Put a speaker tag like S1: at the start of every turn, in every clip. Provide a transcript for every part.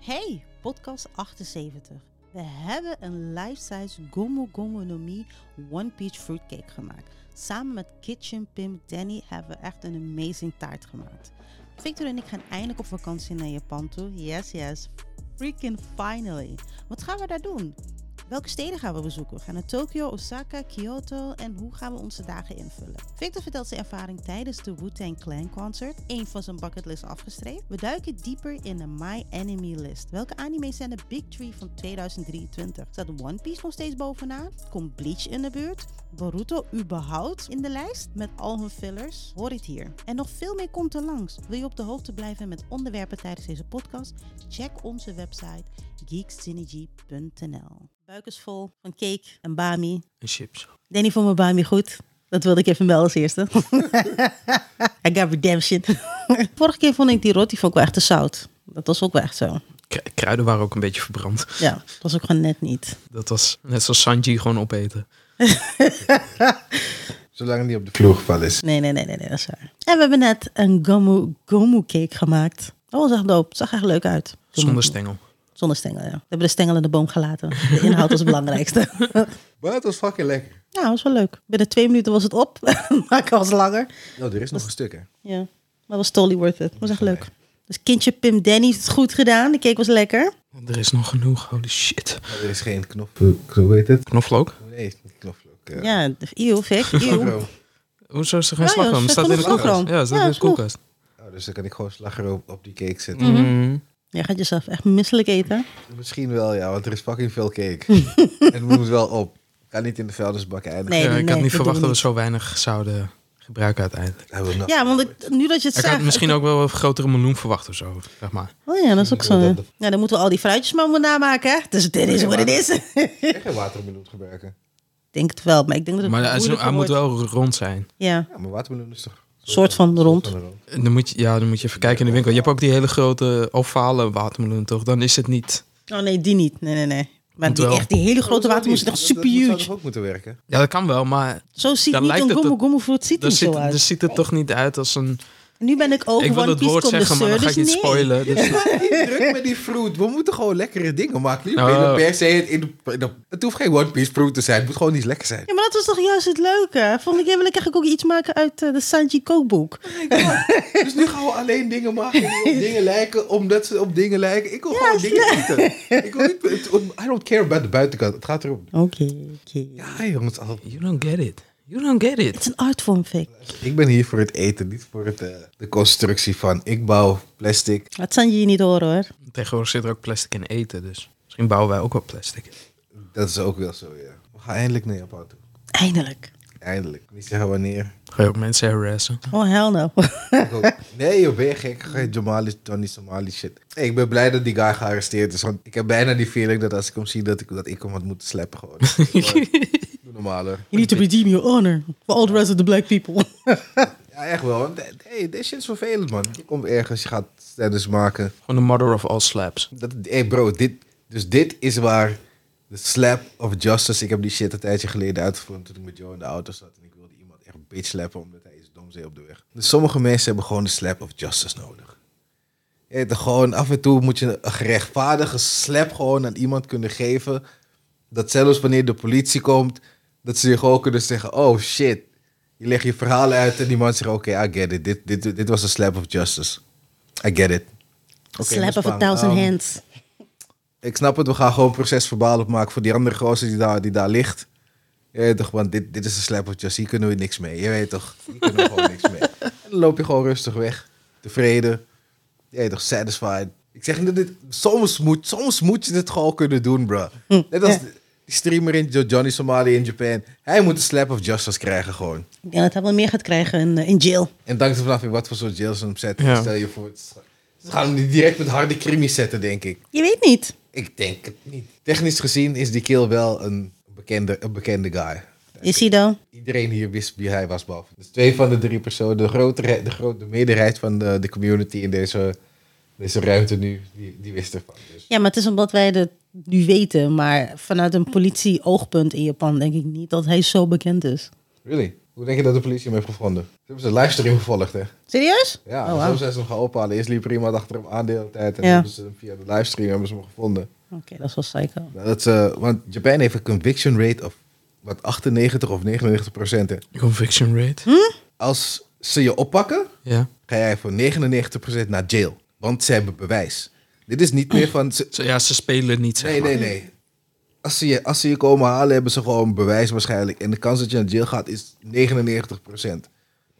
S1: Hey, podcast 78. We hebben een life-size Gomu Gomu One Peach Fruitcake gemaakt. Samen met Kitchen Pimp Danny hebben we echt een amazing taart gemaakt. Victor en ik gaan eindelijk op vakantie naar Japan toe. Yes, yes. Freaking finally. Wat gaan we daar doen? Welke steden gaan we bezoeken? We gaan naar Tokio, Osaka, Kyoto en hoe gaan we onze dagen invullen? Victor vertelt zijn ervaring tijdens de Wu-Tang Clan Concert, één van zijn bucketlist afgestreept. We duiken dieper in de My Enemy List. Welke anime's zijn de Big Three van 2023? Staat One Piece nog steeds bovenaan? Komt Bleach in de buurt? Boruto überhaupt in de lijst met al hun fillers? Hoor het hier. En nog veel meer komt er langs. Wil je op de hoogte blijven met onderwerpen tijdens deze podcast? Check onze website geeksynergy.nl. Buik is vol van cake en bami.
S2: En chips.
S1: Danny vond mijn bami goed. Dat wilde ik even melden als eerste. I got redemption. Vorige keer vond ik die roti vond ik wel echt te zout. Dat was ook wel echt zo.
S2: Kru- Kruiden waren ook een beetje verbrand.
S1: Ja, dat was ook gewoon net niet.
S2: Dat was net zoals Sanji gewoon opeten.
S3: Zolang die op de vloer gevallen is.
S1: Nee, nee, nee, nee, nee, dat is waar. En we hebben net een gomu, gomu cake gemaakt. Dat was echt dope. Zag echt leuk uit.
S2: Zonder stengel.
S1: Zonder stengel, ja. We hebben de stengel in de boom gelaten. De inhoud was het belangrijkste.
S3: Maar het was fucking lekker.
S1: Ja, dat was wel leuk. Binnen twee minuten was het op. maar ik was langer.
S3: Nou, er is nog een stuk, hè?
S1: Ja, maar het was totally worth it. was echt leuk. Dus kindje Pim Danny heeft het goed gedaan. De cake was lekker.
S2: Er is nog genoeg. Holy shit.
S3: Maar Nou, er is geen knop. Hoe heet het?
S2: Knoflook?
S3: Nee, het is niet knoflook. eh,
S1: Ja, eeuw, Vic, eeuw.
S3: slagroom.
S2: Hoezo is er geen
S1: Ja, joh,
S2: slagroom?
S1: er
S2: Het staat in de
S1: staat genoeg
S2: koelkast.
S1: slagroom.
S2: Ja, het staat
S1: Ja,
S2: in de
S1: is genoeg.
S2: koelkast.
S3: Oh, dus dan kan ik gewoon slagroom op die cake zetten.
S1: Mm-hmm.
S2: Mm.
S1: Jij gaat jezelf echt misselijk eten.
S3: Misschien wel, ja, want er is fucking veel cake. en het moet wel op. Kan niet in de vuilnisbak eindigen.
S1: Nee,
S2: Ja,
S1: nee,
S2: ik
S1: nee,
S2: had
S1: dat
S2: niet
S1: doen we
S2: verwacht dat we
S1: niet.
S2: zo weinig zouden gebruiken uiteindelijk.
S3: Hij wil nog-
S1: Ja, want ik- nu dat je het
S2: Ik had
S1: zegt...
S2: misschien ook wel een grotere meloen verwacht of zo, zeg maar.
S1: Oh ja, dat is ook zo.
S3: Ja,
S1: Ja,
S3: dat-
S1: dan moeten we al die fruitjes maar moeten namaken. hè. Dus dit is wat het is. ik
S3: Ik ga geen watermeloen gebruiken.
S1: denk het wel, maar ik denk dat het
S2: Maar hij, is-
S1: moeilijker
S2: hij moet
S1: wordt.
S2: wel rond zijn.
S1: Ja,
S3: Ja, maar watermeloen is toch...
S1: soort van rond.
S2: En Dan moet, je, ja, dan moet je even kijken in de winkel. Je hebt ook die hele grote ovale watermeloen, toch? Dan is het niet...
S1: Oh nee, die niet. Nee, nee, nee. Maar
S2: Moet
S1: die,
S2: wel. Oh,
S1: echt, die hele grote watermoes is
S3: nog
S1: echt super
S3: Dat zou
S1: huge.
S3: toch ook moeten werken?
S2: Ja, dat kan wel, maar
S1: Zo ziet
S2: Dan
S1: niet
S2: lijkt
S1: een
S2: het
S1: gommel
S2: dat-
S1: gommel fruit ziet er
S2: dan
S1: zo
S2: ziet,
S1: uit.
S2: dan ziet het toch niet uit als een...
S1: En nu ben ik ook
S2: Ik wil
S1: One
S2: het
S1: Piece
S2: woord zeggen, maar dan
S1: connoisseur,
S2: ga
S1: dus
S2: je
S1: nee.
S2: het spoilen. Dus
S3: Druk met die fruit. We moeten gewoon lekkere dingen maken. Niet
S2: Oh.
S3: binnen per se. Het, in de- in de- het hoeft geen One Piece fruit te zijn. Het moet gewoon iets lekker zijn.
S1: Ja, maar dat was toch juist het leuke? Volgende keer wil ik eigenlijk ook iets maken uit eh, de Sanji kookboek.
S3: Dus nu gaan we alleen dingen maken die op dingen lijken, omdat ze op dingen lijken. Ik wil gewoon dingen eten. Ik wil niet, het- I don't care about de buitenkant. Het gaat erom.
S1: Oké, oké.
S3: Ja, jongens. al-
S2: You don't get it. You don't get it.
S1: Het is een artvorm, Vic.
S3: Ik ben hier voor het eten, niet voor het, eh, de constructie van ik bouw plastic.
S1: Laat Sanji je niet horen, hoor.
S2: Tegenwoordig zit er ook plastic in eten, dus misschien bouwen wij ook wel plastic. in.
S3: Dat is ook wel zo, ja. We gaan eindelijk naar Japan toe.
S1: Eindelijk.
S3: Eindelijk. Niet zeggen wanneer.
S2: Ga je ook mensen harassen?
S1: Oh, hell no.
S3: Ik ook- Nee, joh, ben je gek? Ga je Jamali, Johnny Somali shit. Hey, ik ben blij dat die guy gearresteerd is. Want ik heb bijna die feeling dat als ik hem zie, dat ik, dat ik hem had moeten slappen gewoon. Maar, Doe normaal hoor.
S1: you need to redeem your honor for all the rest of the black people.
S3: Ja, echt wel. Want hey, dit shit is vervelend, man. Je komt ergens, je gaat stennis maken.
S2: Gewoon de mother of all slaps.
S3: Dat, hey bro, dit, dus dit is waar de slap of justice... Ik heb die shit een tijdje geleden uitgevonden toen ik met Joe in de auto zat. En ik wilde iemand echt bitch slappen omdat hij iets doms deed op de weg. Dus sommige mensen hebben gewoon de slap of justice nodig. Je weet toch, gewoon af en toe moet je een gerechtvaardige slap gewoon aan iemand kunnen geven. Dat zelfs wanneer de politie komt, dat ze je gewoon kunnen zeggen... Oh shit, je legt je verhaal uit en die man zegt... Oké, I get it. Dit, dit, dit was een slap of justice. I get it. Oké,
S1: Slap
S3: dus
S1: of a
S3: bang.
S1: thousand
S3: Ehm,
S1: hands.
S3: ik snap het, we gaan gewoon procesverbaal opmaken voor die andere gozer die daar, die daar ligt. Je weet toch, want dit, dit is een slap of just, hier kunnen we niks mee. Je weet toch, hier kunnen we gewoon niks mee. En dan loop je gewoon rustig weg, tevreden. Je weet toch, satisfied. Ik zeg niet dat dit, soms moet, soms moet je dit gewoon kunnen doen, bro. Net als die streamer in Jo- Johnny Somali in Japan. Hij moet een slap of justice krijgen gewoon.
S1: Ik denk dat hij wel meer gaat krijgen in, eh, in jail.
S3: En dank ervan af in wat voor soort jail ze hem zetten.
S2: Ja.
S3: Stel je voor, het is- ze gaan hem niet direct met harde crimies zetten, denk ik.
S1: Je weet niet.
S3: Ik denk het niet. Technisch gezien is die kill wel een bekende, een bekende guy.
S1: Is hij dan?
S3: Iedereen hier wist wie hij was, behalve. Dus twee van de drie personen, de, grotere, de, grote, de meerderheid van de, de community in deze, deze ruimte nu, die, die wist ervan. Dus
S1: Ja, maar het is omdat wij het nu weten. Maar vanuit een politie-oogpunt in Japan denk ik niet dat hij zo bekend is.
S3: really? Hoe denk je dat de politie hem heeft gevonden? Ze hebben zijn livestream gevolgd, hè?
S1: Serieus?
S3: Ja,
S1: Oh,
S3: zo
S1: wauw.
S3: zijn ze hem gaan ophalen. Eerst liep er iemand achter hem aan de hele tijd. En
S1: Ja.
S3: hebben ze hem via de livestream hebben ze hem gevonden.
S1: Oké, dat is wel psycho.
S3: Nou, dat, is, eh, want Japan heeft een conviction rate of wat 98 of 99 procent. hè.
S2: Conviction rate.
S3: Als ze je oppakken,
S2: Ja.
S3: ga jij voor 99 procent naar jail. Want ze hebben bewijs. Dit is niet meer van... ze-
S2: Ze- Ja, ze spelen niet, zeg
S3: nee,
S2: maar.
S3: nee, nee. Als ze, je, als ze je komen halen, hebben ze gewoon bewijs waarschijnlijk. En de kans dat je naar jail gaat is 99 procent.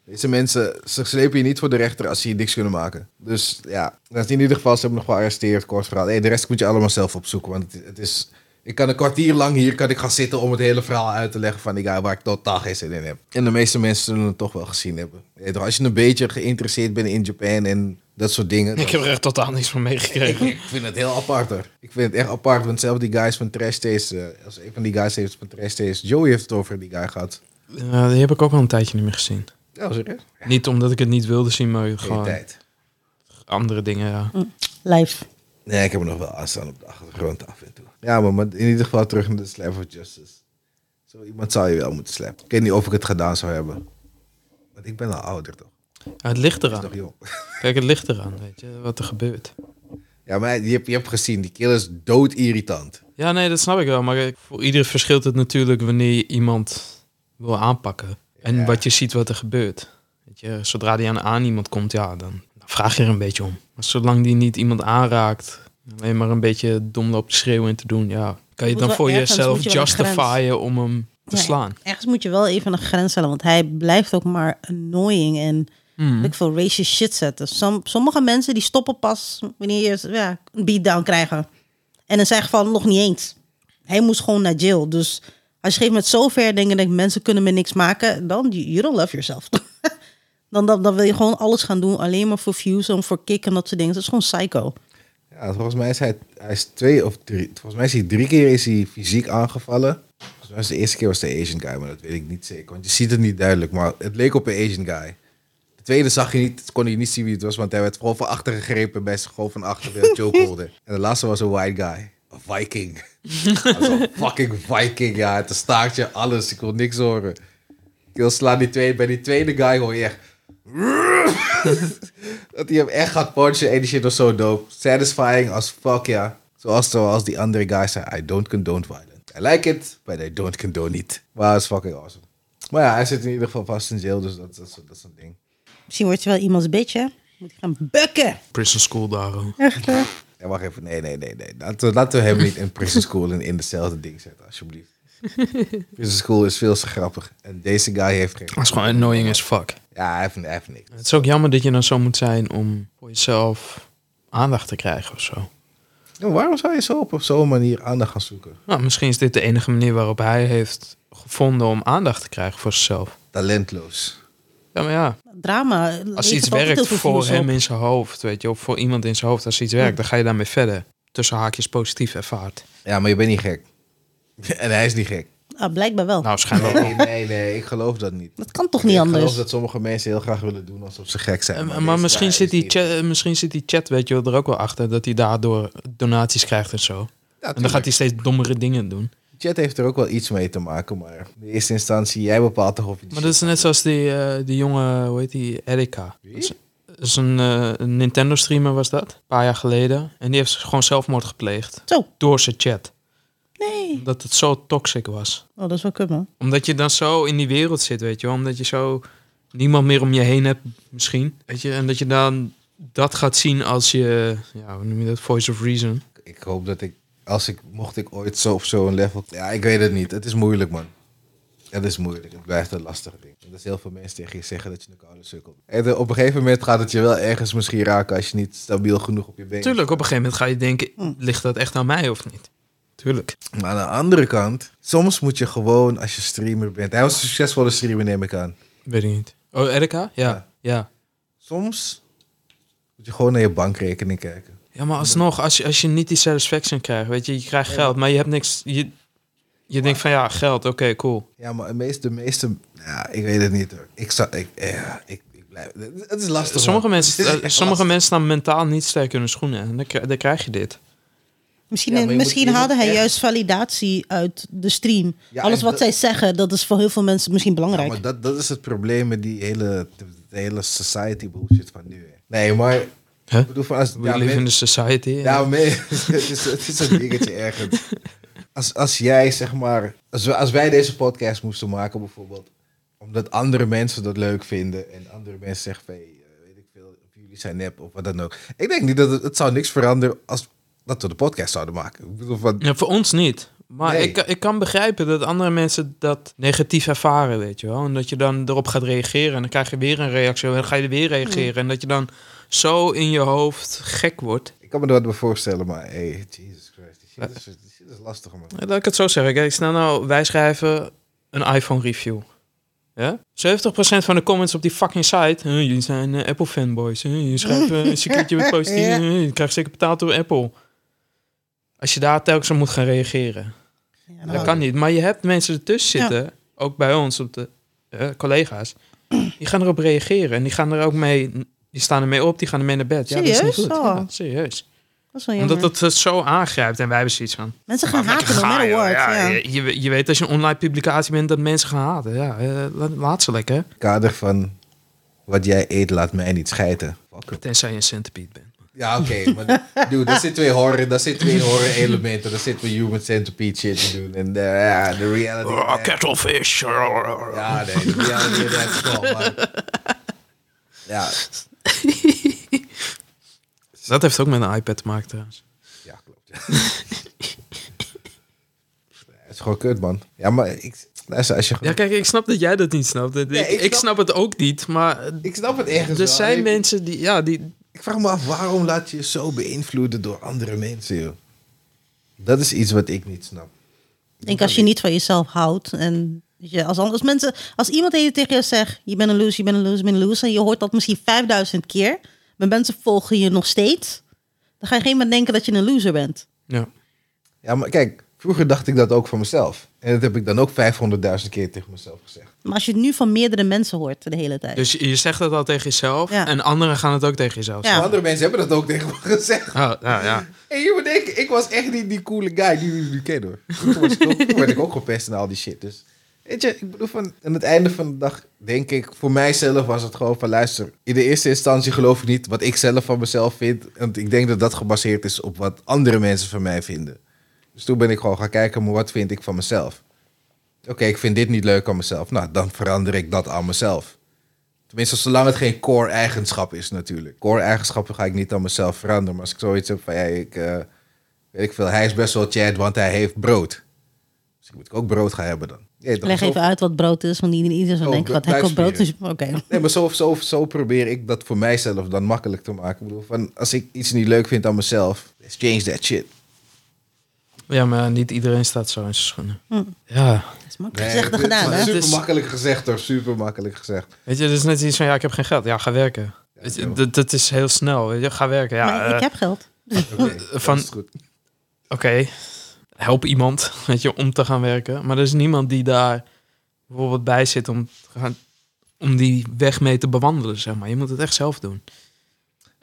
S3: Deze mensen, ze slepen je niet voor de rechter als ze je niks kunnen maken. Dus ja, dat is in ieder geval, ze hebben nog wel gearresteerd, kort verhaal. Hey, de rest moet je allemaal zelf opzoeken, want het, het is... Ik kan een kwartier lang hier kan ik gaan zitten om het hele verhaal uit te leggen van die guy waar ik totaal geen zin in heb. En de meeste mensen zullen het toch wel gezien hebben. Hey, toch, als je een beetje geïnteresseerd bent in Japan en dat soort dingen... dan-
S2: Ik heb er echt totaal niks van meegekregen.
S3: ik vind het heel apart hoor. Ik vind het echt apart, want zelf die guys van Trash Taste, eh, als een van die guys heeft van Trash Taste, Joey heeft het over die guy gehad.
S2: Ja, die heb ik ook al een tijdje niet meer gezien.
S3: Ja, serieus?
S2: Niet omdat ik het niet wilde zien, maar
S3: Geen
S2: gewoon
S3: tijd.
S2: andere dingen. Ja.
S1: Hm. Live.
S3: Nee, ik heb hem nog wel aanstaan op de achtergrond af en toe. Ja, maar, maar in ieder geval terug naar de Slap of Justice. Zo iemand zou je wel moeten slapen. Ik weet niet of ik het gedaan zou hebben. Want ik ben al ouder toch?
S2: Ja, het ligt
S3: Ik ben
S2: eraan.
S3: nog jong.
S2: Kijk, het ligt eraan, weet je, wat er gebeurt.
S3: Ja, maar je hebt, je hebt gezien, die killer is dood irritant.
S2: Ja, nee, dat snap ik wel. Maar eh, voor ieder verschilt het natuurlijk wanneer je iemand wil aanpakken. En
S3: Ja.
S2: wat je ziet wat er gebeurt. Weet je, zodra die aan, aan iemand komt, ja, dan, dan vraag je er een beetje om. Maar zolang die niet iemand aanraakt, alleen maar een beetje dom loopt te schreeuwen en te doen, ja. Kan je het
S1: Moet
S2: dan
S1: wel
S2: voor
S1: ergens,
S2: jezelf
S1: moet je wel een grens.
S2: justifyen om hem te
S1: Ja.
S2: slaan?
S1: Ergens moet je wel even een grens stellen, want hij blijft ook maar annoying en
S2: Mhm.
S1: weet ik veel racist shit zetten. Som- sommige mensen die stoppen pas wanneer je ja, een beatdown krijgen. En in zijn geval nog niet eens. Hij moest gewoon naar jail. Dus als je geeft met zover denken dat mensen kunnen me niks maken, dan you you don't love yourself. dan, dan, dan wil je gewoon alles gaan doen, alleen maar voor views en voor kick en dat soort dingen. Dat is gewoon psycho.
S3: Ja, volgens mij is hij, hij is twee of drie. Volgens mij is hij drie keer is hij fysiek aangevallen. Volgens mij is de eerste keer was de Asian guy, maar dat weet ik niet zeker. Want je ziet het niet duidelijk, maar het leek op een Asian guy. De tweede zag je niet, kon je niet zien wie het was, want hij werd gewoon van achter gegrepen bij zijn gewoon van achter de chokeholder. En de laatste was een white guy. Een viking. Hij was een fucking viking, ja. Het staartje, alles. Ik wil niks horen. Ik wil slaan die tweede. Bij die tweede guy hoor je echt... Dat hij hem echt gaat punchen en die shit was zo dope. Satisfying as fuck, ja. Zoals, zoals die andere guy zei, I don't condone violence. I like it, but I don't condone it. Maar het is fucking awesome. Maar ja, hij zit in ieder geval vast in jail, dus dat, dat, is- dat is een ding.
S1: Misschien word je wel iemands beetje. hè? Moet je gaan bukken.
S2: Prison school daar al.
S1: Echt, hè?
S3: Ja, wacht even, nee, nee, nee, nee. Laten, we- laten we hem niet in prison school en in dezelfde ding zetten, alsjeblieft. prison school is veel te grappig. En deze guy heeft geen...
S2: Dat is gewoon annoying as fuck.
S3: Ja, hij heeft, hij heeft niks.
S2: Het is ook jammer dat je dan zo moet zijn om voor jezelf aandacht te krijgen of zo.
S3: Ja, Nou, waarom zou je zo op zo'n manier aandacht gaan zoeken?
S2: Nou, misschien is dit de enige manier waarop hij heeft gevonden om aandacht te krijgen voor zichzelf.
S3: Talentloos.
S2: Ja, maar ja,
S1: Drama.
S2: als
S1: levert
S2: iets
S1: altijd heel
S2: werkt
S1: veel
S2: voor
S1: views op.
S2: hem in zijn hoofd, weet je, of voor iemand in zijn hoofd, als iets werkt, dan ga je daarmee verder. Tussen haakjes positief ervaart.
S3: Ja, maar je bent niet gek. en hij is niet gek.
S1: Ah, blijkbaar wel.
S2: Nou, schijnbaar wel.
S3: Nee, nee, nee, ik geloof dat niet.
S1: dat kan toch niet
S3: ik
S1: anders?
S3: geloof dat sommige mensen heel graag willen doen alsof ze gek zijn.
S2: Eh, Maar,
S3: deze
S2: misschien,
S3: guy
S2: zit
S3: is
S2: die
S3: niet.
S2: chat, misschien zit die chat, weet je wel, er ook wel achter dat hij daardoor donaties krijgt en zo.
S3: Ja,
S2: En dan gaat hij
S3: tuurlijk.
S2: steeds dommere dingen doen.
S3: Chat heeft er ook wel iets mee te maken, maar in eerste instantie, jij bepaalt toch of je die
S2: Maar dat is net zoals die, eh, die jonge, hoe heet die, Erika. Dat is, dat is een, eh, een Nintendo-streamer was dat, een paar jaar geleden. En die heeft gewoon zelfmoord gepleegd.
S1: Zo.
S2: Door zijn chat.
S1: Nee.
S2: Omdat het zo toxic was.
S1: Oh, dat is wel kut, man.
S2: Omdat je dan zo in die wereld zit, weet je wel. Omdat je zo niemand meer om je heen hebt, misschien. Weet je, en dat je dan dat gaat zien als je, ja, hoe noem je dat, voice of reason.
S3: shit- Ik hoop dat ik, als ik, mocht ik ooit zo op zo'n level... Ja, ik weet het niet. Het is moeilijk, man. Het is moeilijk. Het blijft een lastige ding. Dat is heel veel mensen tegen je zeggen dat je een koude sukkel bent. En eh, op een gegeven moment gaat het je wel ergens misschien raken als je niet stabiel genoeg op je benen
S2: Tuurlijk, op een gegeven moment ga je denken, ligt dat echt aan mij of niet? Tuurlijk.
S3: Maar aan de andere kant, soms moet je gewoon, als je streamer bent... Hij was een succesvolle streamer, neem ik aan.
S2: Weet ik niet. Oh, Erika? Ja.
S3: Ja.
S2: Ja.
S3: Soms moet je gewoon naar je bankrekening kijken.
S2: Ja, maar alsnog, als je, als je niet die satisfaction krijgt, weet je, je krijgt geld, maar je hebt niks. Je, je denkt van ja, geld, oké, cool.
S3: Ja, maar de meeste, de meeste ja, ik weet het niet hoor. Ik zou, ik, ja, ik, ik blijf. Het is lastig.
S2: Sommige
S3: man.
S2: mensen,
S3: Het is
S2: eh,
S3: echt
S2: sommige
S3: lastig.
S2: mensen staan mentaal niet sterk in hun schoenen en dan, kri- dan krijg je dit.
S1: Misschien, eh,
S3: Ja, maar je moet-
S1: misschien
S3: je moet
S1: haalde hij
S3: echt-
S1: juist validatie uit de stream.
S3: Ja,
S1: Alles
S3: en
S1: wat
S3: dat-
S1: zij zeggen, dat is voor heel veel mensen misschien
S3: Ja,
S1: belangrijk.
S3: maar dat, dat is het probleem met die hele, de hele society bullshit van nu. Hè. Nee, maar...
S2: Huh?
S3: Ik bedoel, van als,
S2: We
S3: ja,
S2: live
S3: men-
S2: in the society.
S3: Ja, maar Nou, nee, het, is, het is een dingetje ergens. Als, als jij, zeg maar, als, we- als wij deze podcast moesten maken bijvoorbeeld, omdat andere mensen dat leuk vinden en andere mensen zeggen van, hey, eh, weet ik veel, of jullie zijn nep of wat dan ook. Ik denk niet dat het, het zou niks veranderen als dat we de podcast zouden maken. Ik bedoel, van,
S2: Ja, voor ons niet. Maar
S3: Nee.
S2: ik, ik kan begrijpen dat andere mensen dat negatief ervaren, weet je wel. En dat je dan erop gaat reageren en dan krijg je weer een reactie en dan ga je weer reageren. En dat je dan zo in je hoofd gek wordt.
S3: ik kan me er wat bij voorstellen, maar hey, Jesus Christ, die shit is, die shit is lastig man.
S2: Ja, Laat ik het zo zeggen. Kijk, snel nou, wij schrijven een iPhone review. Ja? 70% van de comments op die fucking site, "Huh, jullie zijn eh, Apple fanboys. Huh, jullie schrijven een secretje met positief,
S1: Ja.
S2: huh, je krijgt zeker betaald door Apple. Als je daar telkens op moet gaan reageren.
S1: Ja,
S2: Dat
S1: nou,
S3: Ja.
S2: kan niet. Maar je hebt mensen ertussen zitten, ook bij ons, op de eh, collega's, die gaan erop reageren. En die gaan er ook mee, die staan ermee op, die gaan ermee naar bed. Ja, dat is niet
S1: Serieus?
S2: goed.
S1: Oh.
S2: Ja, serieus.
S1: dat is wel
S2: Omdat
S1: jammer.
S2: dat het zo aangrijpt en wij hebben zoiets van.
S1: mensen gaan
S2: "Ah,
S1: haten,
S2: lekker
S1: no
S2: gaan,
S1: matter
S2: joh."
S1: what.
S2: Ja,
S1: Ja,
S2: Je, je- je weet als je een online publicatie bent dat mensen gaan haten. Ja, eh, laat, laat ze lekker.
S3: In het kader van, wat jij eet laat mij niet scheiden. Fuck it.
S2: Tenzij je een centipede bent.
S3: Ja, oké. maar dude, daar zitten twee horror, daar zitten twee horror elementen. Daar zitten we human centipede shit te doen. En de ja, de reality.
S2: Oh, kettlefish.
S3: Ah, ja, nee, de reality that's cool, man. Ja,
S2: Dat heeft ook met een iPad te maken trouwens.
S3: ja, klopt. ja. Het is gewoon kut, man. Ja, maar ik, luister, als je
S2: Ja,
S3: gewoon...
S2: kijk, ik snap dat jij dat niet snapt. Ik,
S3: ik
S2: ik,
S3: snap-
S2: snap het ook niet, maar
S3: Ik snap het ergens
S2: er
S3: wel.
S2: zijn
S3: Ik-
S2: mensen die, ja, die,
S3: Ik vraag me af, waarom laat je je zo beïnvloeden door andere mensen, joh? Dat is iets wat ik niet snap.
S1: Ik denk als je niet van jezelf houdt en weet je, als, anders mensen, als iemand tegen je- tegen jou zegt, je bent een loser, je bent een loser, je bent een loser, en je hoort dat misschien 5000 keer, maar mensen volgen je nog steeds, dan ga je geen moment denken dat je een loser bent.
S2: ja.
S3: Ja, maar kijk, vroeger dacht ik dat ook van mezelf. En dat heb ik dan ook 500.000 keer tegen mezelf gezegd.
S1: Maar als je het nu van meerdere mensen hoort de hele tijd.
S2: Dus je zegt dat al tegen jezelf
S1: Ja.
S2: en anderen gaan het ook tegen jezelf
S1: Ja.
S2: zeggen.
S3: Maar Andere mensen hebben dat ook tegen me gezegd.
S2: Oh, ja, ja.
S3: En je moet denken, ik was echt niet die coole guy die jullie nu kennen hoor. Toen was ik ook- Toen werd ik ook gepest en al die shit. Dus weet je, ik bedoel van... Aan het einde van de dag denk ik, voor mijzelf was het gewoon van... Luister, in de eerste instantie geloof ik niet wat ik zelf van mezelf vind. Want ik denk dat dat gebaseerd is op wat andere mensen van mij vinden. Dus toen ben ik gewoon gaan kijken, maar wat vind ik van mezelf? Oké, ik vind dit niet leuk aan mezelf. Nou, dan verander ik dat aan mezelf. Tenminste, zolang het geen core eigenschap is natuurlijk. Core eigenschappen ga ik niet aan mezelf veranderen. Maar als ik zoiets heb van, ja, ik, eh, weet ik veel, hij is best wel Chad, want hij heeft brood. Dus ik moet ook brood gaan hebben dan. Ja, toch?
S1: Leg
S3: Zo-
S1: even uit wat brood is, want niet iedereen zou
S3: Oh,
S1: denken wat hij koopt brood is.
S3: buikspieren.
S1: Oké.
S3: Nee, maar zo, zo, zo probeer ik dat voor mijzelf dan makkelijk te maken. Ik bedoel, van, als ik iets niet leuk vind aan mezelf, let's change that shit.
S2: ja, maar niet iedereen staat zo in zijn schoenen.
S1: Hm.
S2: Ja,
S1: Dat is makkelijk gezegd dan
S3: dit-
S1: gedaan, hè?
S3: Super
S2: Dus-
S3: makkelijk gezegd hoor, super makkelijk gezegd.
S2: weet je, dat is net iets van, ja, ik heb geen geld. Ja, ga werken. Weet je,
S3: joh.
S2: dat, dat is heel snel, weet je, ga werken. Ja,
S1: maar
S2: eh,
S1: ik heb geld.
S3: Oké,
S2: Van-
S3: dat is goed.
S2: oké, help iemand, weet je, om te gaan werken. Maar er is niemand die daar bijvoorbeeld bij zit om, te gaan, om die weg mee te bewandelen, zeg maar. Je moet het echt zelf doen.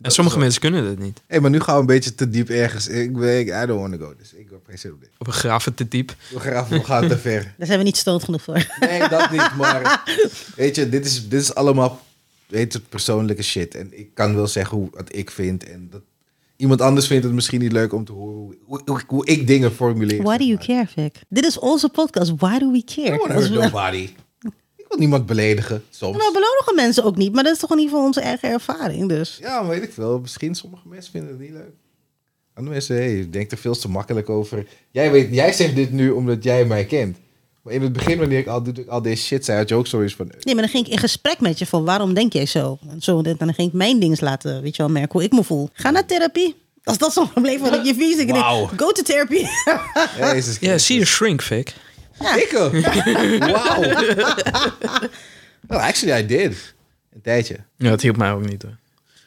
S2: En
S3: is
S2: sommige
S3: zo.
S2: mensen kunnen dat niet.
S3: Hé, maar nu gaan we een beetje te diep ergens. Ik weet, I don't want to go. Dus ik heb geen zin op dit.
S2: Op een graven te diep.
S3: We gaan, we gaan te ver.
S1: Daar zijn we niet stoot genoeg voor.
S3: Nee, dat niet. Maar weet je, dit is, dit is allemaal weet je, persoonlijke shit. En ik kan wel zeggen hoe, wat ik vind. En dat, iemand anders vindt het misschien niet leuk om te horen hoe, hoe, hoe, hoe ik dingen formuleer.
S1: Why do you
S3: zeg
S1: care, Vic? Dit is onze podcast. Why do we
S3: maar. I don't
S1: care?
S3: wanna
S1: Als
S3: hurt
S1: we-
S3: nobody. Ik wil niemand beledigen,
S1: Nou,
S3: soms.
S1: belonigen mensen ook niet, maar dat is toch in ieder geval onze eigen ervaring. Dus
S3: Ja, maar weet ik veel. Misschien sommige mensen vinden het niet leuk. Andere mensen, hey, je denkt er veel te makkelijk over. Jij, weet, jij zegt dit nu omdat jij mij kent. Maar in het begin, wanneer ik al, al deze shit zei, had je ook zoiets van...
S1: Nee, maar dan ging ik in gesprek met je van waarom denk jij zo? En zo en dan ging ik mijn ding laten, weet je wel, merken hoe ik me voel. Ga naar therapie. Als dat zo'n probleem van dat je vies ik denk,
S3: Wauw.
S1: Go to therapy.
S3: Jezus
S2: Ja, zie je shrink, Vic.
S3: Dikke. Wauw. Well, actually, I did. Een tijdje.
S2: Ja, dat hielp mij ook niet, hoor.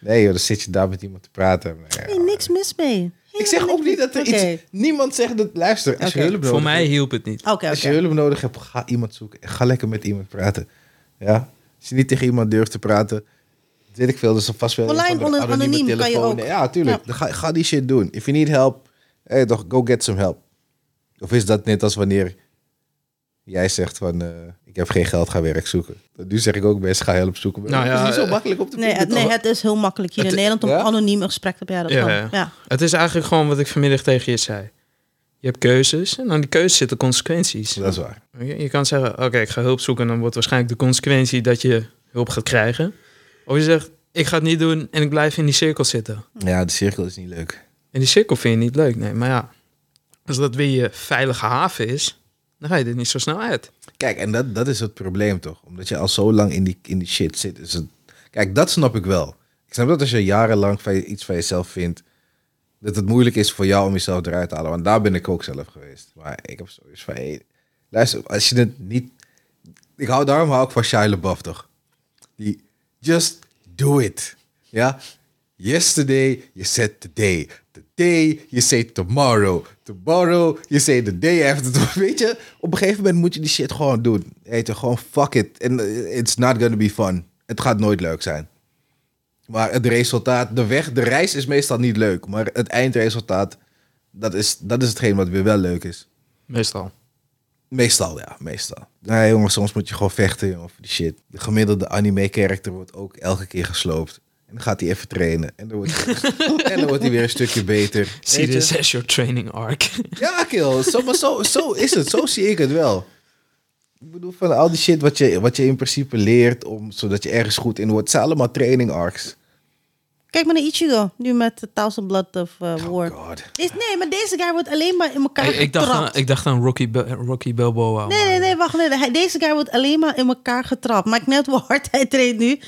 S3: Nee joh, dan zit je daar met iemand te praten. Nou ja.
S1: Nee, niks mis mee.
S3: Ik zeg ook niet dat er
S1: Oké.
S3: iets... Niemand zegt dat... Luister, als
S1: Oké.
S3: je hulp nodig
S2: Voor mij
S3: hebt...
S2: hielp het niet.
S1: Oké, oké.
S3: Als je hulp nodig hebt, ga iemand zoeken. En Ga lekker met iemand praten. Ja? Als je niet tegen iemand durft te praten... Weet ik veel, dus vast wel... een
S1: Online
S3: of andere
S1: onder-
S3: anonieme
S1: anoniem kan je
S3: telefoon.
S1: ook.
S3: Ja, tuurlijk.
S1: Ja.
S3: Dan Ga, ga die shit doen. If you need help, Hé, hey, toch, go get some help. Of is dat net als wanneer jij zegt van, eh, ik heb geen geld, ga werk zoeken. Nu zeg ik ook best, ga hulp zoeken. Maar
S2: Nou
S3: het
S2: ja,
S3: is niet zo
S2: eh,
S3: makkelijk op te
S1: Nee,
S3: vinden,
S1: het, nee,
S3: toch?
S1: het is heel makkelijk hier in
S2: Het-
S1: Nederland om
S3: Oh. ja?
S1: anoniem een gesprek te hebben. Ja, dat
S2: Ja,
S1: kan.
S2: ja.
S1: Ja.
S2: Het is eigenlijk gewoon wat ik vanmiddag tegen je zei. Je hebt keuzes en aan die keuzes zitten consequenties.
S3: Dat is waar.
S2: Je, je kan zeggen, oké, ik ga hulp zoeken. Dan wordt waarschijnlijk de consequentie dat je hulp gaat krijgen. Of je zegt, ik ga het niet doen en ik blijf in die cirkel zitten.
S3: Ja, de cirkel is niet leuk.
S2: En die cirkel vind je niet leuk, nee. Maar ja, als dat weer je veilige haven is, dan ga je er niet zo snel uit.
S3: Kijk, en dat, dat is het probleem toch? Omdat je al zo lang in die, in die shit zit. Is het... Kijk, dat snap ik wel. Ik snap dat als je jarenlang van je- iets van jezelf vindt, dat het moeilijk is voor jou om jezelf eruit te halen. Want daar ben ik ook zelf geweest. Maar ik heb zoiets van, hey, luister, als je het niet... Ik hou daarom hou ik van Shia LaBeouf toch? Die, just do it. Ja? Yesterday, you said today. Today, you say tomorrow. Tomorrow, you say the day after. Weet je, op een gegeven moment moet je die shit gewoon doen. Weet je, gewoon fuck it. And eh, it's not gonna be fun. Het gaat nooit leuk zijn. Maar het resultaat, de weg, de reis is meestal niet leuk. Maar het eindresultaat, dat is, dat is hetgeen wat weer wel leuk is.
S2: Meestal.
S3: Meestal, ja, meestal. Nee, jongen, soms moet je gewoon vechten jongen, voor die shit. De gemiddelde anime-character wordt ook elke keer gesloopt. En dan gaat hij even trainen. En dan wordt hij, en dan wordt hij weer een stukje beter.
S2: See
S3: Weet je?
S2: this as your training arc.
S1: dus.
S3: Ja, kill. Zo, maar zo, zo is het. Zo zie ik het wel. Ik bedoel, van al die shit wat je, wat je in principe leert, om, zodat je ergens goed in wordt, zijn allemaal training arcs.
S1: Kijk maar naar Ichigo, nu met The Thousand Blood of eh, War.
S3: Oh, God.
S1: Deze- nee, maar deze guy wordt alleen maar in elkaar
S2: ik, ik dacht
S1: getrapt.
S2: aan, ik dacht aan Rocky, Be- Rocky Balboa.
S1: Nee, nee, nee, wacht. Nee. Hij- Deze guy wordt alleen maar in elkaar getrapt. Maakt net hoe hard hij treedt nu.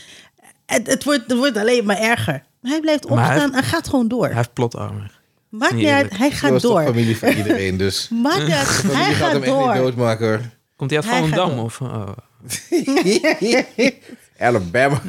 S1: Het, het, wordt, het wordt alleen maar erger. Maar hij blijft
S2: Maar hij-
S1: opstaan en gaat gewoon door.
S2: Hij heeft plotarmen.
S1: Maakt
S2: niet
S1: niet uit,
S2: eerlijk.
S1: hij
S3: Dat
S1: gaat
S3: was toch
S1: door.
S3: familie van iedereen, dus.
S1: Maakt niet uit, hij
S3: Je gaat
S1: gaat
S3: hem echt niet
S1: door.
S3: doodmaken. hoor.
S2: Komt hij uit
S1: Hij gaat
S2: Volendam?
S1: door.
S2: Of, oh.
S3: Alabama.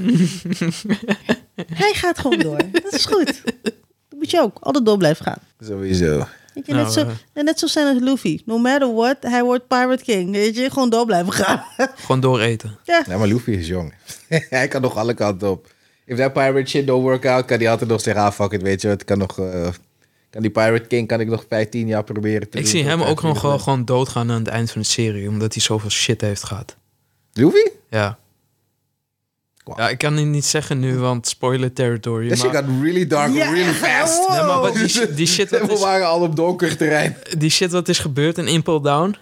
S1: Hij gaat gewoon door. Dat is goed. Dat moet je ook. Altijd door blijven gaan.
S3: Sowieso.
S1: Weet je,
S2: Nou,
S1: net, zo,
S2: eh.
S1: en net zo zijn als Luffy. No matter what, hij wordt Pirate King. Weet je, gewoon door blijven gaan.
S2: Gewoon dooreten.
S1: ja.
S3: Ja, maar Luffy is jong. hij kan nog alle kanten op. If that pirate shit don't work out, kan hij altijd nog zeggen, ah fuck it, weet je, het kan nog... eh, kan die Pirate King kan ik nog 15 jaar proberen te
S2: Ik
S3: doen,
S2: zie
S3: tot
S2: hem ook
S3: 25
S2: gewoon, gewoon,
S3: jaar.
S2: gewoon doodgaan aan het eind van de serie. Omdat hij zoveel shit heeft gehad.
S3: Luffy?
S2: Ja.
S3: Wow.
S2: Ja, ik kan het niet zeggen nu, want spoiler territory.
S3: This shit
S2: Maar,
S3: got really dark
S1: Ja,
S3: really
S1: echt,
S3: fast.
S1: wow.
S2: nee, maar wat
S3: Oh.
S2: die, shi- die, shit
S3: We
S2: wat is,
S3: waren al op donker terrein.
S2: die shit wat is gebeurd in Impel Down,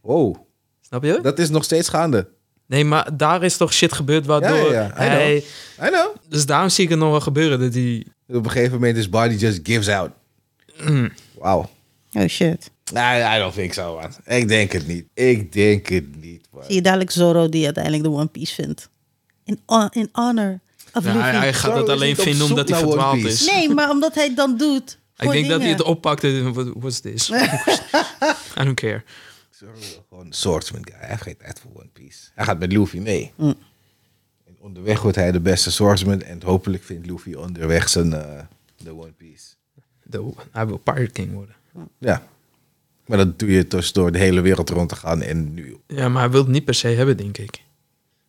S3: Wow,
S2: snap je?
S3: dat is nog steeds gaande.
S2: Nee, maar daar is toch shit gebeurd waardoor
S3: Ja, ja, ja, I know.
S2: hij...
S3: I know.
S2: Dus daarom zie ik het nog wel gebeuren, dat hij...
S3: Op een gegeven moment is body just gives out.
S2: Mm.
S3: Wauw.
S1: Oh shit.
S3: Nee, I don't think so, man. Ik denk het niet. Ik denk het niet, man.
S1: Zie je dadelijk Zoro die uiteindelijk de One Piece vindt. In, hon- in honor of
S2: Ja,
S1: Luffy.
S2: hij, hij gaat
S3: Zoro
S2: dat
S3: is
S2: alleen
S3: niet op
S2: vinden
S3: zoek
S2: omdat hij
S3: naar One
S2: verdwaald
S3: Piece.
S2: is.
S1: Nee, maar omdat hij het dan doet.
S2: ik denk
S1: voor
S2: dat hij
S1: dingen.
S2: het oppakt en... What, what's this? I don't care.
S3: Zoro is gewoon een swordsman guy. Hij heeft geen tijd voor One Piece. Hij gaat met Luffy mee. En onderweg wordt hij de beste swordsman. En hopelijk vindt Luffy onderweg zijn eh, de One Piece.
S2: De- hij wil Pirate King worden.
S3: Ja. Maar dat doe je dus door de hele wereld rond te gaan. En nu...
S2: Ja, maar hij wil het niet per se hebben, denk ik.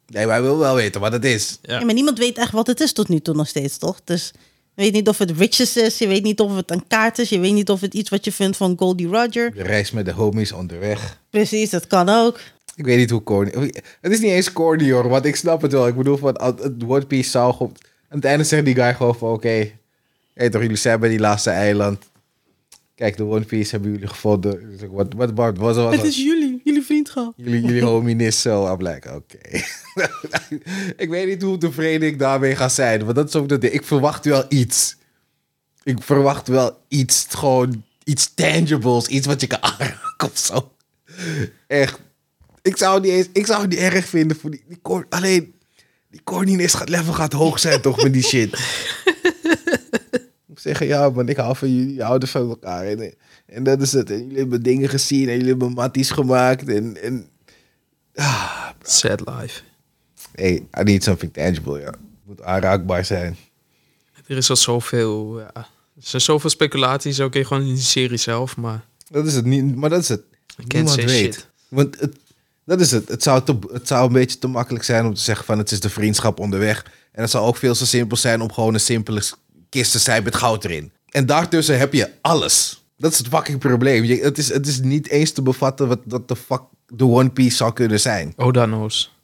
S3: Nee, maar hij wil wel weten wat het is.
S2: Ja.
S1: Ja, maar niemand weet echt wat het is tot nu toe nog steeds, toch? Dus je weet niet of het riches is. Je weet niet of het een kaart is. Je weet niet of het iets wat je vindt van Goldie Roger.
S3: De reis met de homies onderweg.
S1: Precies, dat kan ook.
S3: Ik weet niet hoe corny... Het is niet eens corny hoor, want ik snap het wel. Ik bedoel, van, al- het One Piece zou... gewoon- Aan het einde zegt die guy gewoon van... Oké, hey, toch, jullie zijn bij die laatste eiland. Kijk, de One Piece hebben jullie gevonden. Dus Ik zeg, Wat wat- wat was
S1: Het
S3: het?
S1: is jullie, jullie vriendschap.
S3: Jullie, jullie homie is zo. I'm like, oké. ik weet niet hoe tevreden ik daarmee ga zijn. Want dat is ook dat ding. Ik verwacht wel iets. Ik verwacht wel iets. Gewoon iets tangibles. Iets wat je kan aanraken of zo. Echt. Ik zou het niet, eens, ik zou het niet erg vinden voor die... die cor- alleen, die coördinates gaat level gaat hoog zijn toch met die shit. Ik moet zeggen, ja man, ik hou van jullie. Jullie houden van elkaar. En, en dat is het. En jullie hebben dingen gezien. En jullie hebben matties gemaakt. En... en ah,
S2: Sad life.
S3: Hey, I need something tangible, ja. Het moet aanraakbaar zijn.
S2: Er is al zoveel, ja. Er zijn zoveel speculaties, ook in gewoon in die serie zelf, maar
S3: Dat is het niet, maar dat is het.
S2: can't
S3: Niemand
S2: say
S3: weet.
S2: shit.
S3: Want het, dat is het. Het zou, te, het zou een beetje te makkelijk zijn om te zeggen van het is de vriendschap onderweg. En het zou ook veel te simpel zijn om gewoon een simpele s- kist te zijn met goud erin. En daartussen heb je alles. Dat is het fucking probleem. Je- het, is, het is niet eens te bevatten wat, wat de fuck de One Piece zou kunnen zijn. Oh,
S2: Oda oh, knows.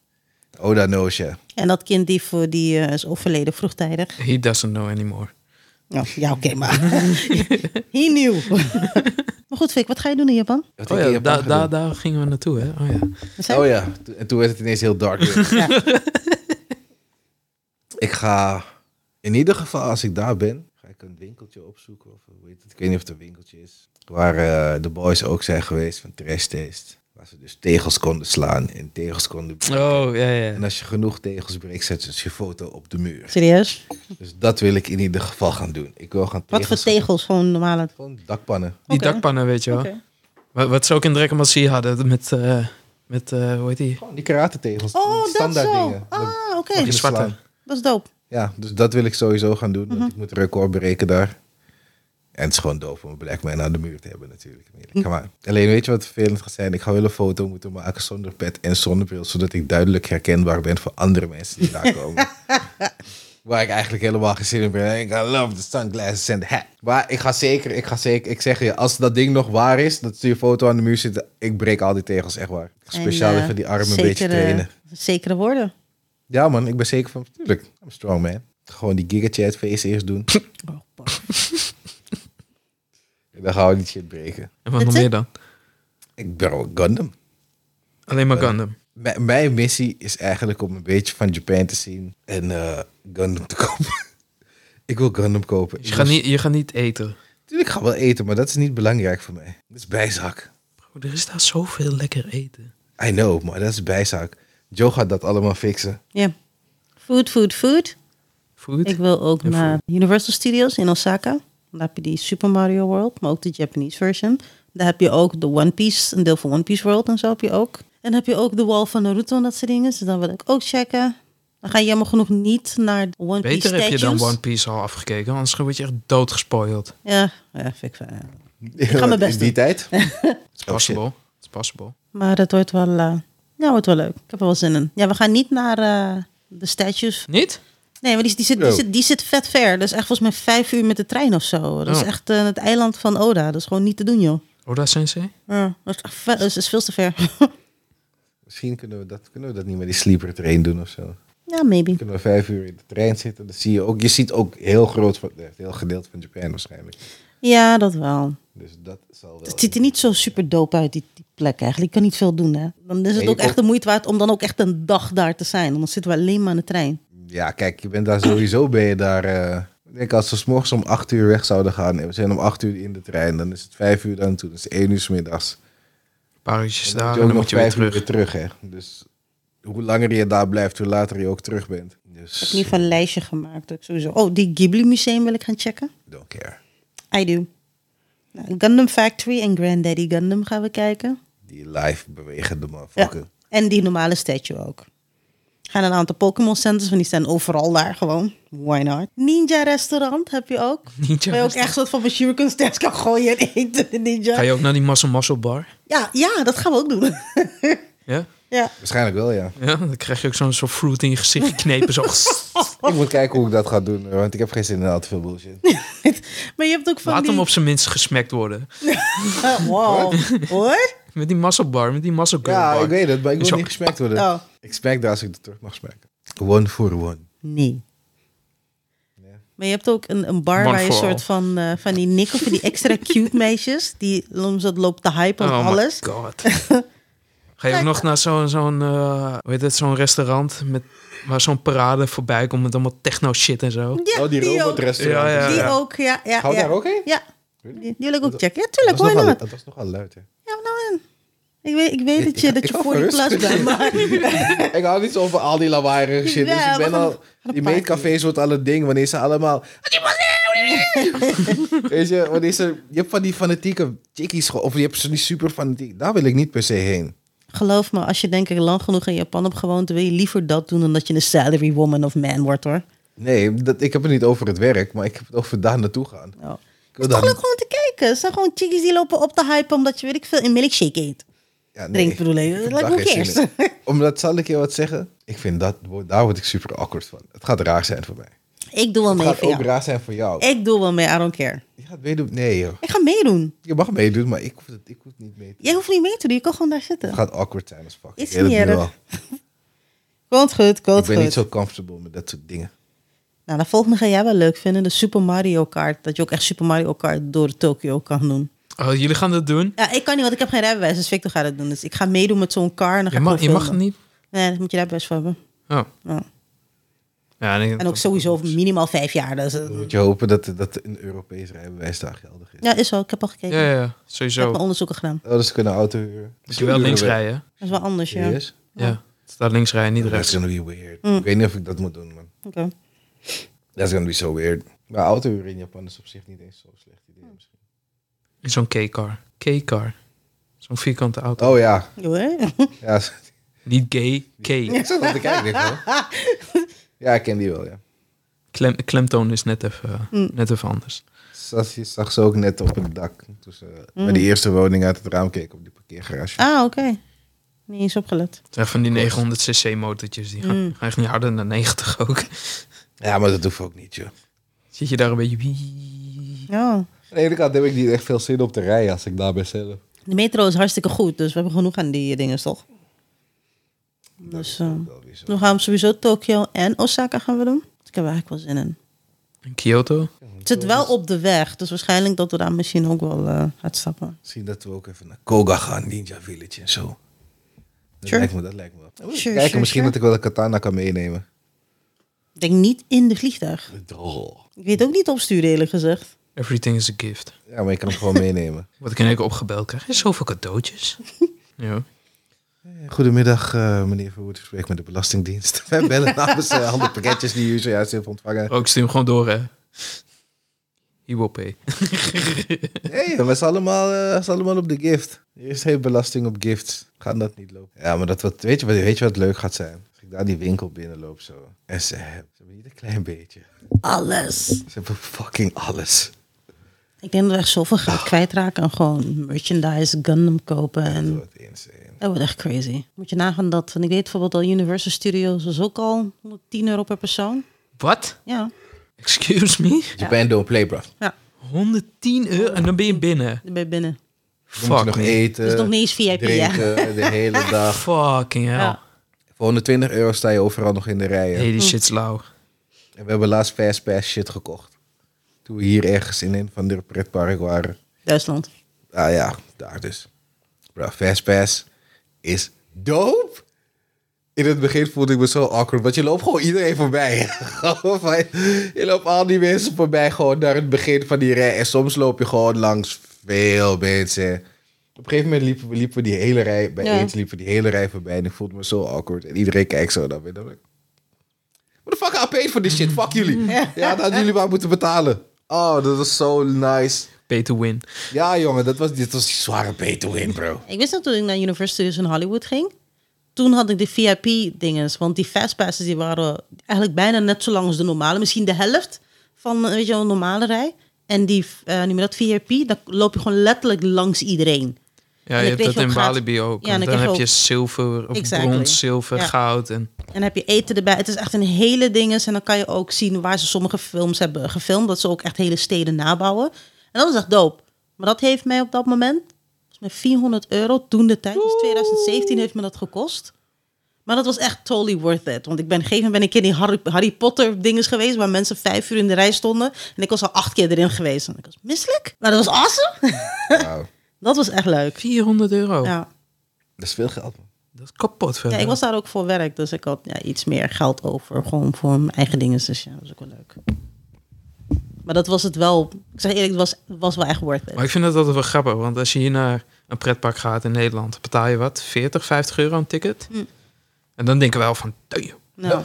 S3: Oda knows je.
S1: En dat kind die, voor, die eh, is overleden vroegtijdig.
S2: He doesn't know anymore.
S1: Oh, ja, oké, maar. He knew. maar goed, Fik, wat ga je doen in Japan?
S3: Wat
S2: Oh
S3: ik in
S2: ja,
S3: Japan
S2: daar
S3: ga
S2: daar-
S3: doen.
S2: daar gingen we naartoe, hè? Oh ja.
S1: Wat zei
S3: Oh
S1: je?
S3: ja, to- en toen werd het ineens heel dark. weer.
S1: Ja.
S3: ik ga in ieder geval, als ik daar ben, ga ik een winkeltje opzoeken. Of hoe heet het? Ik weet niet of het een winkeltje is. Waar eh, de boys ook zijn geweest van Trash Taste. Waar ze dus tegels konden slaan en tegels konden...
S2: Oh, ja, ja.
S3: En als je genoeg tegels breekt, zet ze je foto op de muur.
S1: Serieus?
S3: Dus dat wil ik in ieder geval gaan doen. Ik wil gaan
S1: Wat
S3: tegels...
S1: voor tegels? Gewoon normale.
S3: Gewoon dakpannen.
S2: Die
S1: Oké.
S2: dakpannen, weet je wel.
S1: Oké.
S2: Wat, wat ze ook in Drekkermassie hadden met, eh, met eh, hoe heet die?
S3: Gewoon die karate tegels.
S1: Oh, dat
S3: standaard
S1: zo.
S3: dingen.
S1: Ah, oké.
S2: Die zwarte.
S3: slaan.
S1: Dat is dope.
S3: Ja, dus dat wil ik sowieso gaan doen. Want ik moet een record breken daar. En het is gewoon doof om een black man aan de muur te hebben natuurlijk. Kom maar. Alleen weet je wat vervelend gaat zijn? Ik ga wel een foto moeten maken zonder pet en zonnebril. Zodat ik duidelijk herkenbaar ben voor andere mensen die daar komen. Waar ik eigenlijk helemaal geen zin in ben. Ik love the sunglasses and the hat. Maar ik ga zeker, ik ga zeker, ik zeg je, als dat ding nog waar is, dat ze je foto aan de muur zitten, ik breek al die tegels echt waar. Ik ga speciaal
S1: En, eh,
S3: even die armen een beetje
S1: zekere-
S3: trainen.
S1: Zekere woorden.
S3: Ja, man, ik ben zeker van. Tuurlijk, I'm strong, man. Gewoon die gigachat face eerst doen.
S1: Oh, pa.
S3: En dan gaan we die shit breken.
S2: En wat
S1: Met
S2: nog
S1: ze-
S2: meer dan?
S3: Ik ben wel Gundam.
S2: Alleen maar Gundam.
S3: M- mijn missie is eigenlijk om een beetje van Japan te zien en eh, Gundam te kopen. ik wil Gundam kopen.
S2: Je gaat, niet, je gaat niet eten.
S3: Tuurlijk ga ik wel eten, maar dat is niet belangrijk voor mij. Dat is bijzaak.
S2: Bro, Oh, er is daar zoveel lekker eten.
S3: I know, maar dat is bijzaak. Joe gaat dat allemaal fixen.
S1: Ja. Food, food, food.
S2: Food?
S1: Ik wil ook
S2: En
S1: naar Universal Studios in Osaka. Daar heb je die Super Mario World, maar ook de Japanese version. Daar heb je ook de One Piece, een deel van One Piece World en zo heb je ook. En dan heb je ook de Wall van Naruto en dat soort dingen. Dus dan wil ik ook checken. Dan ga je jammer genoeg niet naar de One Piece
S2: Beter heb je
S1: statues.
S2: dan One Piece al afgekeken, anders word je echt doodgespoild.
S1: Ja, ja vind ik fijn.
S3: Ik
S1: ga mijn best
S3: In die
S1: doen.
S3: tijd.
S2: It's possible. It's possible.
S1: Maar dat wordt wel, eh, ja, wordt wel leuk. Ik heb er wel zin in. Ja, we gaan niet naar eh, de statues.
S2: Niet?
S1: Nee, maar die, die, zit, die,
S3: Oh.
S1: zit, die zit vet ver. Dat is echt volgens mij vijf uur met de trein of zo. Dat is
S2: Oh.
S1: echt eh, het eiland van Oda. Dat is gewoon niet te doen, joh.
S2: Oda Sensei?
S1: Ja, dat is, echt ve- dat is veel te ver.
S3: Misschien kunnen we, dat, kunnen we dat niet met die sleeper train doen of zo.
S1: ja, maybe.
S3: kunnen we vijf uur in de trein zitten. Dan zie je ook, je ziet ook heel groot, van, eh, heel gedeelte van Japan waarschijnlijk.
S1: Ja, dat wel.
S3: Dus dat zal wel.
S1: Het ziet er niet zo super dope uit, die, die plek eigenlijk. Je kan niet veel doen, hè. Dan is
S3: Nee,
S1: het
S3: je
S1: ook echt
S3: komt-
S1: de moeite waard om dan ook echt een dag daar te zijn. Want dan zitten we alleen maar aan de trein.
S3: Ja, kijk, je bent daar sowieso, ben je daar... eh, ik denk als we 's morgens om acht uur weg zouden gaan en we zijn om acht uur in de trein, dan is het vijf uur daar naartoe, dan is het één uur 's middags.
S2: Een paar uurtjes
S3: Dan
S2: daar
S3: moet
S2: en
S3: je ook
S2: dan
S3: nog
S2: moet je weer
S3: vijf uur
S2: terug.
S3: weer terug, hè. Dus hoe langer je daar blijft, hoe later je ook terug bent.
S1: Ik heb
S3: Dus,
S1: in ieder geval een lijstje gemaakt. dat ik sowieso... Oh, die Ghibli Museum wil ik gaan checken.
S3: don't care.
S1: I do. Nou, Gundam Factory en Granddaddy Gundam gaan we kijken.
S3: Die live bewegende
S1: Ja.
S3: motherfucker.
S1: En die normale statue ook. Gaan een aantal Pokémon centers, want die staan overal daar gewoon. Why not? Ninja restaurant heb je ook.
S2: Ninja
S1: Waar je ook
S2: restaurant.
S1: echt soort van shuriken sterk kan gooien en eten in ninja.
S2: Ga je ook naar die Muscle Muscle Bar?
S1: Ja, ja, dat gaan we ook doen.
S2: Ja?
S1: ja.
S3: Waarschijnlijk wel, ja.
S2: Ja, dan krijg je ook zo'n soort fruit in je gezicht geknepen. Zo.
S3: Ik moet kijken hoe ik dat ga doen, eh, want ik heb geen zin in al te veel bullshit.
S1: Maar je hebt ook van
S2: Laat
S1: die...
S2: hem op zijn minst gesmekt worden.
S1: Ah, wow. Hoor?
S2: Met die muscle bar, met die muscle girl
S3: Ja,
S2: bar.
S3: ik weet het, maar ik wil
S2: Zo.
S3: niet gesmekt worden.
S1: Oh.
S3: Ik smaak daar als ik er terug mag smaken. One for one.
S1: Nee. Maar je hebt ook een, een bar
S2: One
S1: waar je een
S2: for
S1: soort van, eh, van die nikken, van die extra cute meisjes, die om zo loopt te hypen op
S2: Oh my
S1: alles.
S2: god. Ga je ook nog naar zo'n zo'n eh, hoe heet het, zo'n restaurant met, waar zo'n parade voorbij komt met allemaal techno shit en zo?
S1: Ja,
S3: oh, die,
S1: ook.
S3: robotrestaurant.
S2: Ja, ja.
S1: Die ook, ja. ja,
S3: Gaan we
S1: ja.
S3: daar ook heen?
S1: Ja.
S3: Really?
S1: Die, die wil ik ook
S3: Dat-
S1: checken. Ja, tuurlijk,
S3: dat, was
S1: why
S3: nogal,
S1: not?
S3: dat was nogal luid, hè.
S1: Ja, nou in. Ik weet, ik weet dat je,
S3: Ik-
S1: dat
S3: ik
S1: je
S3: hou
S1: voor de
S3: van
S1: klas
S3: rust.
S1: bent, maar...
S3: ik hou niet zo van al die lawaaierige shit. Dus
S1: Ja,
S3: ik
S1: we
S3: ben
S1: gaan-
S3: al...
S1: we gaan
S3: Die
S1: een paar
S3: meetcafés wordt al het ding wanneer ze allemaal... Weet je, wanneer ze... Je hebt van die fanatieke chickies... ge- Of je hebt ze die super fanatiek... Daar wil ik niet per se heen.
S1: Geloof me, als je denk ik lang genoeg in Japan hebt gewoond, wil je liever dat doen dan dat je een salary woman of man wordt, hoor.
S3: Nee, dat, ik heb het niet over het werk, maar ik heb het over daar naartoe gaan.
S1: Nou, Het
S3: Ik wil
S1: is toch
S3: daar-
S1: leuk gewoon te kijken. Het zijn gewoon chickies die lopen op te hypen omdat je, weet ik veel, een milkshake eet.
S3: Ja,
S1: Drinkt, bedoel eh, ik.
S3: heb
S1: Like,
S3: daar
S1: who
S3: geen
S1: cares?
S3: zin in. Omdat, zal ik je wat zeggen? Ik vind dat, daar word ik super awkward van. Het gaat raar zijn voor mij.
S1: Ik doe wel
S3: Het
S1: mee
S3: gaat
S1: voor
S3: ook
S1: jou. Eh.
S3: raar zijn voor jou.
S1: Ik doe wel mee, I don't care.
S3: Je gaat meedoen? Nee, joh.
S1: Ik ga meedoen.
S3: Je mag meedoen, maar ik hoef het, ik hoef het niet mee te
S1: Jij hoeft niet mee te doen, je kan gewoon daar
S3: Het
S1: zitten.
S3: gaat awkward zijn als fuck.
S1: Is
S3: Ik weet
S1: niet
S3: het nu
S1: erg.
S3: wel.
S1: Komt goed,
S3: Ik
S1: komt
S3: ben
S1: goed.
S3: niet zo comfortable met dat soort dingen.
S1: Nou, de volgende ga jij wel leuk vinden, de Super Mario Kart. Dat je ook echt Super Mario Kart door Tokyo kan doen.
S2: Oh, jullie gaan dat doen?
S1: Ja, ik kan niet, want ik heb geen rijbewijs. Dus Victor gaat het doen. Dus ik ga meedoen met zo'n car. En dan ga
S2: Je
S1: ik
S2: mag,
S1: gewoon
S2: je mag het
S1: filmen.
S2: niet.
S1: Nee, daar moet je rijbewijs voor hebben.
S2: Oh.
S1: Ja.
S2: Ja, nee,
S1: En ook sowieso minimaal vijf jaar. Dus, eh,
S3: Dan moet je hopen dat, dat een Europees rijbewijs daar geldig is.
S1: ja, is zo. Ik heb al gekeken.
S2: Ja, ja, ja,
S1: Ik heb
S2: sowieso.
S1: mijn onderzoeken gedaan.
S3: Oh, dus ze kunnen auto huren.
S2: Moet je wel links rijden.
S1: Dat is wel anders, ja. Oké.
S3: Serieus?
S2: Ja. Het staat links rijden, niet
S3: That's
S2: rechts.
S3: gonna be weird.
S1: Mm.
S3: Ik weet niet of ik dat moet doen, man. That's gonna be so weird. Maar auto huren in Japan is op zich niet eens zo'n slecht idee
S1: Mm.
S3: misschien.
S2: In zo'n K-car. K-car. Zo'n vierkante auto.
S3: Oh ja.
S1: Ja, hoor.
S3: ja.
S2: Niet gay, K.
S3: ik zat al te kijken. dit wel. Ja, ik ken die wel, ja.
S2: Klem, klemtoon is net even, eh, net even anders.
S3: Zag, je zag ze ook net op het dak. Toen ze bij de eerste woning uit het raam keek op die parkeergarage.
S1: Mm. Ah, oké. Niet eens opgelet.
S2: Het zijn van die 900cc motortjes. Die gaan, gaan echt niet harder dan 90 ook.
S3: Ja, maar dat hoeft ook niet, joh.
S2: Zit je daar een beetje... wie-
S1: Ja.
S3: Aan de ene kant heb ik niet echt veel zin op te rijden als ik daar ben zelf.
S1: De metro is hartstikke goed, dus we hebben genoeg aan die eh, dingen, toch?
S3: Nou, Dat
S1: Dus
S3: is
S1: eh,
S3: ook wel weer zo.
S1: we gaan sowieso Tokio en Osaka gaan we doen. Dus ik heb er eigenlijk wel zin in.
S2: In Kyoto?
S1: Het zit wel op de weg, dus waarschijnlijk dat we daar misschien ook wel eh gaat stappen.
S3: Misschien dat we ook even naar Koga gaan, Ninja Village en zo. Dat
S1: Sure.
S3: lijkt me, dat lijkt me wel. Even
S1: Sure,
S3: Kijken,
S1: sure,
S3: misschien
S1: sure.
S3: dat ik wel een katana kan meenemen.
S1: Ik denk niet in de vliegtuig.
S3: Droog.
S1: Ik weet ook niet opsturen, eerlijk gezegd.
S2: Everything is a gift.
S3: Ja, maar ik kan hem gewoon meenemen.
S2: Wat ik in één keer opgebeld krijg. is zoveel cadeautjes. ja.
S3: Goedemiddag, eh, meneer Verwoerd. Ik spreek met de Belastingdienst. Wij bellen namens eh, al de pakketjes die u zojuist heeft ontvangen.
S2: Oh, ik stuur hem gewoon door, hè. He will pay.
S3: Nee, we zijn allemaal, eh, was allemaal op de gift. Er is geen belasting op gifts. Gaat dat niet lopen? Ja, maar dat wat, weet, je, wat- weet je wat leuk gaat zijn? Als ik daar die winkel binnenloop zo. En ze hebben, ze hebben niet een klein beetje.
S1: Alles.
S3: Ze hebben fucking alles.
S1: Ik denk dat we echt zoveel geld kwijtraken aan gewoon merchandise, Gundam kopen.
S3: Dat
S1: En
S3: wordt insane.
S1: dat wordt echt crazy. Moet je nagaan dat, want ik weet bijvoorbeeld al Universal Studios was ook al 110 euro per persoon.
S2: Wat?
S1: Ja,
S2: Excuse me?
S3: Japan don't play, bro. Dan
S2: 110 euro en dan ben je binnen.
S1: daar ben je binnen.
S3: moet je
S2: Fuck
S3: Dus nog
S2: me.
S3: eten,
S1: Dat is nog niet eens VIP, ja.
S3: drinken de hele dag.
S2: Fucking hell.
S1: Ja.
S3: Voor 120 euro sta je overal nog in de rijen.
S2: Hey, die shit's lauw.
S3: En we hebben laatst Fastpass shit gekocht. Toen we hier ergens in een van de pretpark waren.
S1: Duitsland.
S3: Ah ja, daar dus. Bro, Fastpass is dope. In het begin voelde ik me zo awkward, want je loopt gewoon iedereen voorbij. Gewoon van- je loopt al die mensen voorbij gewoon naar het begin van die rij. En soms loop je gewoon langs veel mensen. Op een gegeven moment liepen we, liepen we die hele rij, bij
S1: Ja.
S3: eens liepen we die hele rij voorbij. En ik voelde me zo awkward. En iedereen kijkt zo naar me. En dan ben ik, What the fuck, I paid for this shit, fuck jullie. Ja, dat hadden jullie maar moeten betalen. Oh, dat was zo nice.
S2: Pay to win.
S3: Ja, jongen, dat was, dit was die zware pay to win, bro.
S1: Ik wist dat toen ik naar Universal Studios in Hollywood ging. Toen had ik de VIP-dinges. Want die fastpasses die waren eigenlijk bijna net zo lang als de normale. Misschien de helft van eh, weet je, wel, een normale rij. En die, eh noem je dat, VIP, dan loop je gewoon letterlijk langs iedereen. En
S2: Ja, je
S1: dan
S2: hebt
S1: kreeg
S2: dat
S1: je ook
S2: in
S1: gratis-
S2: Walibi ook.
S1: Ja, en
S2: en
S1: dan
S2: dan
S1: kreeg
S2: heb
S1: je
S2: je zilver, of
S1: Exactly.
S2: brons, zilver,
S1: Ja.
S2: goud. En
S1: En dan heb je eten erbij. Het is echt een hele dinges. En dan kan je ook zien waar ze sommige films hebben gefilmd. Dat ze ook echt hele steden nabouwen. En dat was echt dope. Maar dat heeft mij op dat moment, volgens mij 400 euro toen de tijd. Dus 2017 heeft me dat gekost. Maar dat was echt totally worth it. Want ik ben, op een gegeven moment ben ik in die Harry, Harry Potter dinges geweest. Waar mensen vijf uur in de rij stonden. En ik was al acht keer erin geweest. En ik was misselijk. Maar dat was awesome.
S3: Wauw,
S1: Dat was echt leuk.
S2: 400 euro.
S1: Ja.
S3: dat is veel geld, man.
S2: Dat is kapot veel.
S1: Ja,
S3: Mhm.
S1: ik was daar ook voor werk, dus ik had ja, iets meer geld over. Gewoon voor mijn eigen dingen. Dus ja, dat was ook wel leuk. Maar dat was het wel. Ik zeg eerlijk, het was, was wel echt worth it.
S2: Maar ik vind dat altijd wel grappig. Want als je hier naar een pretpark gaat in Nederland... betaal je wat? 40, 50 euro een ticket? En dan denken we wel van... "Tjoh."
S1: Hm. Nou,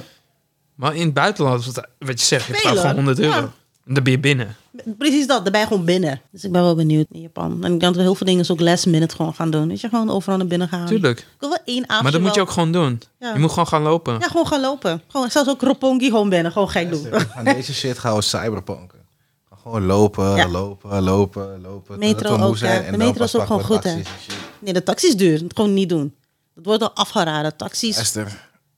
S2: Maar in het buitenland, wat- wat je zegt, je betaalt
S1: Spelen.
S2: gewoon 100 euro.
S1: Ja.
S2: En dan ben je binnen.
S1: precies dat, daarbij gewoon binnen. Dus ik ben wel benieuwd in Japan. En ik denk dat we heel veel dingen ook last minute gewoon gaan doen. Weet je, gewoon overal naar binnen gaan.
S2: Tuurlijk.
S1: Ik wil wel één avond.
S2: Maar dat moet je ook gewoon doen.
S1: Ja.
S2: Je moet gewoon gaan lopen.
S1: Ja, gewoon gaan lopen. Gewoon, zelfs ook Roppongi gewoon binnen. Gewoon gek doen.
S3: We gaan deze shit gaan we cyberpunken. We gaan Gewoon lopen,
S1: Ja.
S3: lopen, lopen, lopen.
S1: Metro
S3: totdat we moe
S1: ook,
S3: zijn
S1: ja.
S3: en
S1: De
S3: dan
S1: metro
S3: pas
S1: is ook
S3: pakken we
S1: gewoon
S3: de
S1: goed, hè.
S3: taxis en shit.
S1: Nee, de taxi is duur. Gewoon niet doen. Dat wordt al afgeraden. Taxis.
S3: Esther, ik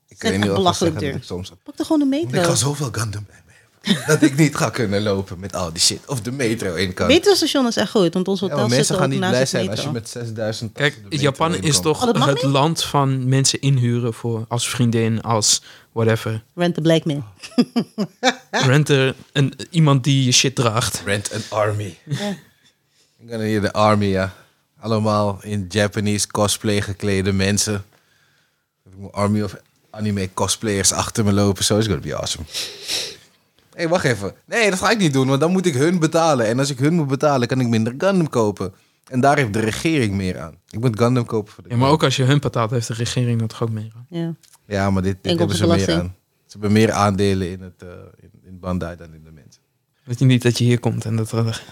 S1: echt
S3: weet niet of ik
S1: belachelijk
S3: zeggen dat
S1: duur.
S3: ik soms...
S1: Pak er gewoon de
S3: Ik
S1: metro.
S3: had zoveel Gundam bij me hebben. dat ik niet ga kunnen lopen met al die shit. Of de metro in kan.
S1: Metrostation is echt goed, want ons
S3: Ja,
S1: hotel
S3: maar
S1: zit
S3: mensen
S1: ook
S3: gaan niet
S1: naast
S3: blij
S1: het
S3: zijn als je
S1: metro.
S3: met 6000
S2: Kijk,
S3: de metro
S2: Japan
S3: in
S2: is
S3: komt.
S2: toch
S1: Oh, dat mag
S2: het
S1: niet?
S2: land van mensen inhuren voor als vriendin, als whatever.
S1: Rent the Black
S3: Oh.
S1: Man.
S2: Renter, een, iemand die je shit draagt.
S3: Rent an army. I'm gonna hear the army, ja. Allemaal in Japanese cosplay geklede mensen. Heb ik mijn army of anime cosplayers achter me lopen. Zo is gonna be awesome. Hé, hey, wacht even. Nee, dat ga ik niet doen, want dan moet ik hun betalen. En als ik hun moet betalen, kan ik minder Gundam kopen. En daar heeft de regering meer aan. Ik moet Gundam kopen voor de
S2: Ja, maar ook als je hun betaalt, heeft de regering dat toch ook mee.
S1: Ja.
S3: Ja, maar dit, dit hebben ze meer
S1: Inkomstenbelasting.
S3: aan. Ze hebben meer aandelen in, het, eh, in, in Bandai dan in de mensen.
S2: Weet je niet dat je hier komt en dat er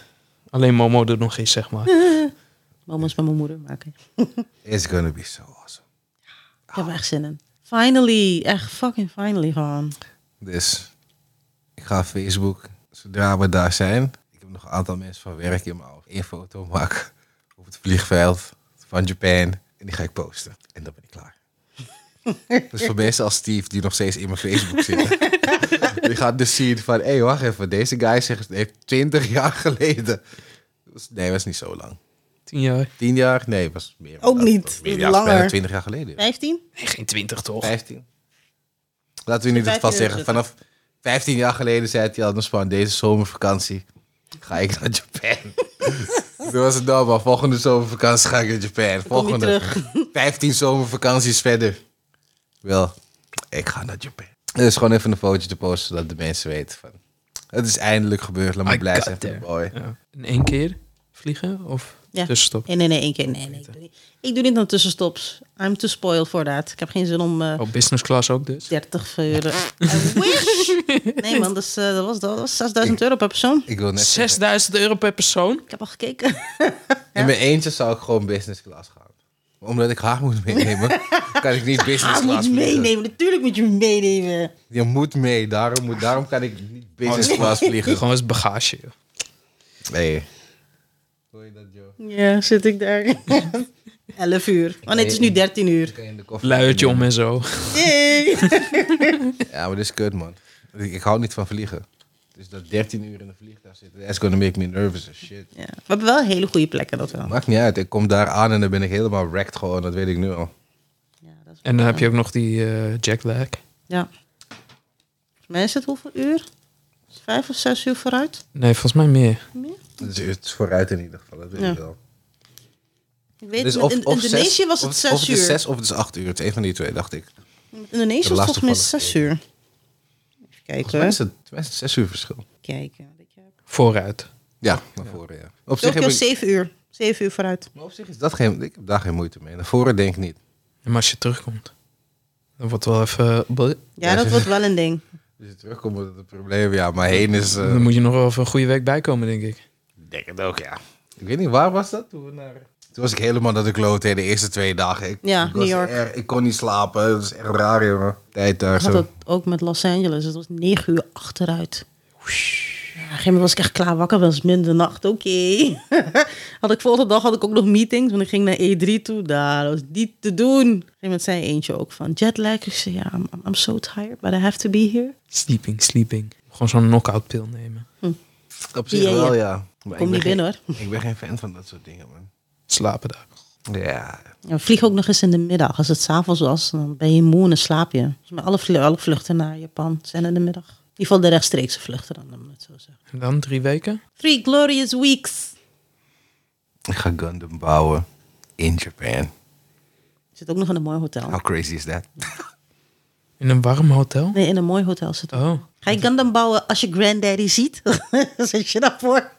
S2: alleen Momo er nog is, zeg maar.
S1: Mama is met mijn moeder, maar oké.
S3: It's gonna be so awesome.
S1: Ik heb er echt zin in. Finally, echt fucking finally gewoon.
S3: Dus ik ga op Facebook, zodra we daar zijn. Ik heb nog een aantal mensen van werk in mijn hoofd. Eén foto maken op het vliegveld van Japan. En die ga ik posten. En dan ben ik klaar. dus voor mensen als Steve, die nog steeds in mijn Facebook zitten. die gaat dus zien van, hé, hey, wacht even. Deze guy zegt, heeft 20 jaar geleden. Dus, nee, was niet zo lang.
S2: Tien jaar.
S3: Tien jaar? Nee, was meer.
S1: Ook
S3: dat-
S1: niet.
S3: was meer,
S1: Niet
S3: ja, het is bijna
S1: langer.
S3: 20 jaar geleden.
S1: 15?
S2: Nee, geen twintig toch?
S3: 15. Laten we niet het
S1: 15
S3: vast
S1: uur
S3: zeggen.
S1: zitten.
S3: Vanaf 15 jaar geleden zei hij anders van deze zomervakantie ga ik naar Japan. Toen was het nou maar volgende zomervakantie ga ik naar Japan.
S1: Kom je
S3: Volgende
S1: terug.
S3: 15 zomervakanties verder. Wel, ik ga naar Japan. Dus gewoon even een fotootje te posten zodat de mensen weten van het is eindelijk gebeurd. Laat me
S2: I
S3: blij
S2: got
S3: zijn voor de
S2: there.
S3: boy.
S2: Ja. In één keer vliegen of
S1: Ja.
S2: tussenstop?
S1: Nee, nee, nee, één keer. Nee, nee, ik doe niet, ik doe niet aan tussenstops. I'm too spoiled for that. Ik heb geen zin om eh,
S2: Oh, business class ook dus?
S1: 30 euro. I wish! Nee man, dus, eh, dat, was, dat was 6000 euro per persoon.
S3: Ik wil net zeggen,
S2: 6000 euro per persoon?
S1: Ik heb al gekeken.
S3: In mijn eentje zou ik gewoon business class gaan. Maar omdat ik haar moet meenemen, kan ik niet business
S1: Ah, moet
S3: class
S1: je
S3: vliegen.
S1: meenemen. Natuurlijk moet je meenemen.
S3: Je moet mee, daarom, moet, daarom kan ik niet business
S2: Oh,
S3: class vliegen.
S2: Gewoon als bagage. joh.
S3: Nee. Hoor je dat, Joe?
S1: Ja, zit ik daar. 11 uur. Oh nee, het is nu 13 uur.
S3: Kan je in de koffer
S2: Luiertje om en zo.
S1: Yay.
S3: Ja, maar dit is kut, man. Ik, ik hou niet van vliegen. Dus dat 13 uur in een vliegtuig zitten, that's gonna make me nervous as shit.
S1: Ja, we hebben wel hele goede plekken, dat wel.
S3: Maakt niet uit, ik kom daar aan en dan ben ik helemaal wrecked gewoon, dat weet ik nu al.
S1: Ja, dat is
S2: En dan heb je ook nog die eh, jacklag.
S1: Ja. Volgens mij is het hoeveel uur? Vijf of zes uur vooruit?
S2: Nee, volgens mij meer.
S3: Dus het is vooruit in ieder geval, dat weet
S1: Ja.
S3: ik wel.
S1: Ik weet
S3: Dus
S1: in- in
S3: zes-
S1: Indonesië was het
S3: of-
S1: zes
S3: Of het
S1: uur.
S3: is zes of het is acht uur, het is een van die twee, dacht ik.
S1: In Indonesië
S3: De
S1: was het
S3: laatste
S1: volgens mij
S3: vallen.
S1: zes uur. Even kijken.
S3: Volgens mij is het, volgens mij is het zes uur verschil.
S1: hoor. kijken.
S2: Vooruit.
S3: Ja, naar voren, ja. Op zich, heb
S1: Tokio
S3: ik,
S1: zeven uur. Zeven uur vooruit.
S3: maar op zich is dat geen, ik heb daar geen moeite mee. Naar voren denk ik niet.
S2: En als je terugkomt, dan wordt wel even...
S1: Ja, dat wordt wel een ding.
S3: Dus je terugkomt met het probleem, ja, maar heen is... eh,
S2: Dan moet je nog wel even een goede week bijkomen, denk ik.
S3: Ik denk het ook, ja. Ik weet niet, waar was dat toen we naar... Toen was ik helemaal dat ik kloot de eerste twee dagen. Ik,
S1: Ja,
S3: ik was
S1: New York.
S3: erg- ik kon niet slapen, dat is echt raar, jongen. Tijd daar
S1: Ik had
S3: zo.
S1: dat ook met Los Angeles. Het was negen uur achteruit. Ja, op een gegeven moment was ik echt klaar wakker. was middernacht, oké. had ik volgende dag had ik ook nog meetings. Want ik ging naar E3 toe. Daar dat was niet te doen. Op een gegeven moment zei eentje ook van jetlag. Ik zei, ja, I'm, I'm so tired, but I have to be here.
S2: Sleeping, sleeping. Gewoon zo'n knock-out pil nemen.
S3: Op zich
S1: Ja, ja.
S3: wel, ja. Maar
S1: Kom
S3: ik ben
S1: niet
S3: geen-
S1: binnen hoor.
S3: Ik ben geen fan van dat soort dingen, man.
S2: Slapen daar.
S3: Ja.
S1: Ja, vlieg ook nog eens in de middag. Als het s'avonds was, dan ben je moe en dan slaap je. Dus maar alle, vlie- alle vluchten naar Japan zijn in de middag. In ieder geval de rechtstreekse vluchten dan, om het zo te zeggen.
S2: En dan drie weken?
S1: Three glorious weeks.
S3: Ik ga Gundam bouwen in Japan.
S1: Zit ook nog in een mooi hotel.
S3: How crazy is that?
S2: In een warm hotel?
S1: Nee, in een mooi hotel zit ook.
S2: Oh.
S1: Ga je Gundam bouwen als je Granddaddy ziet? Zet je daarvoor?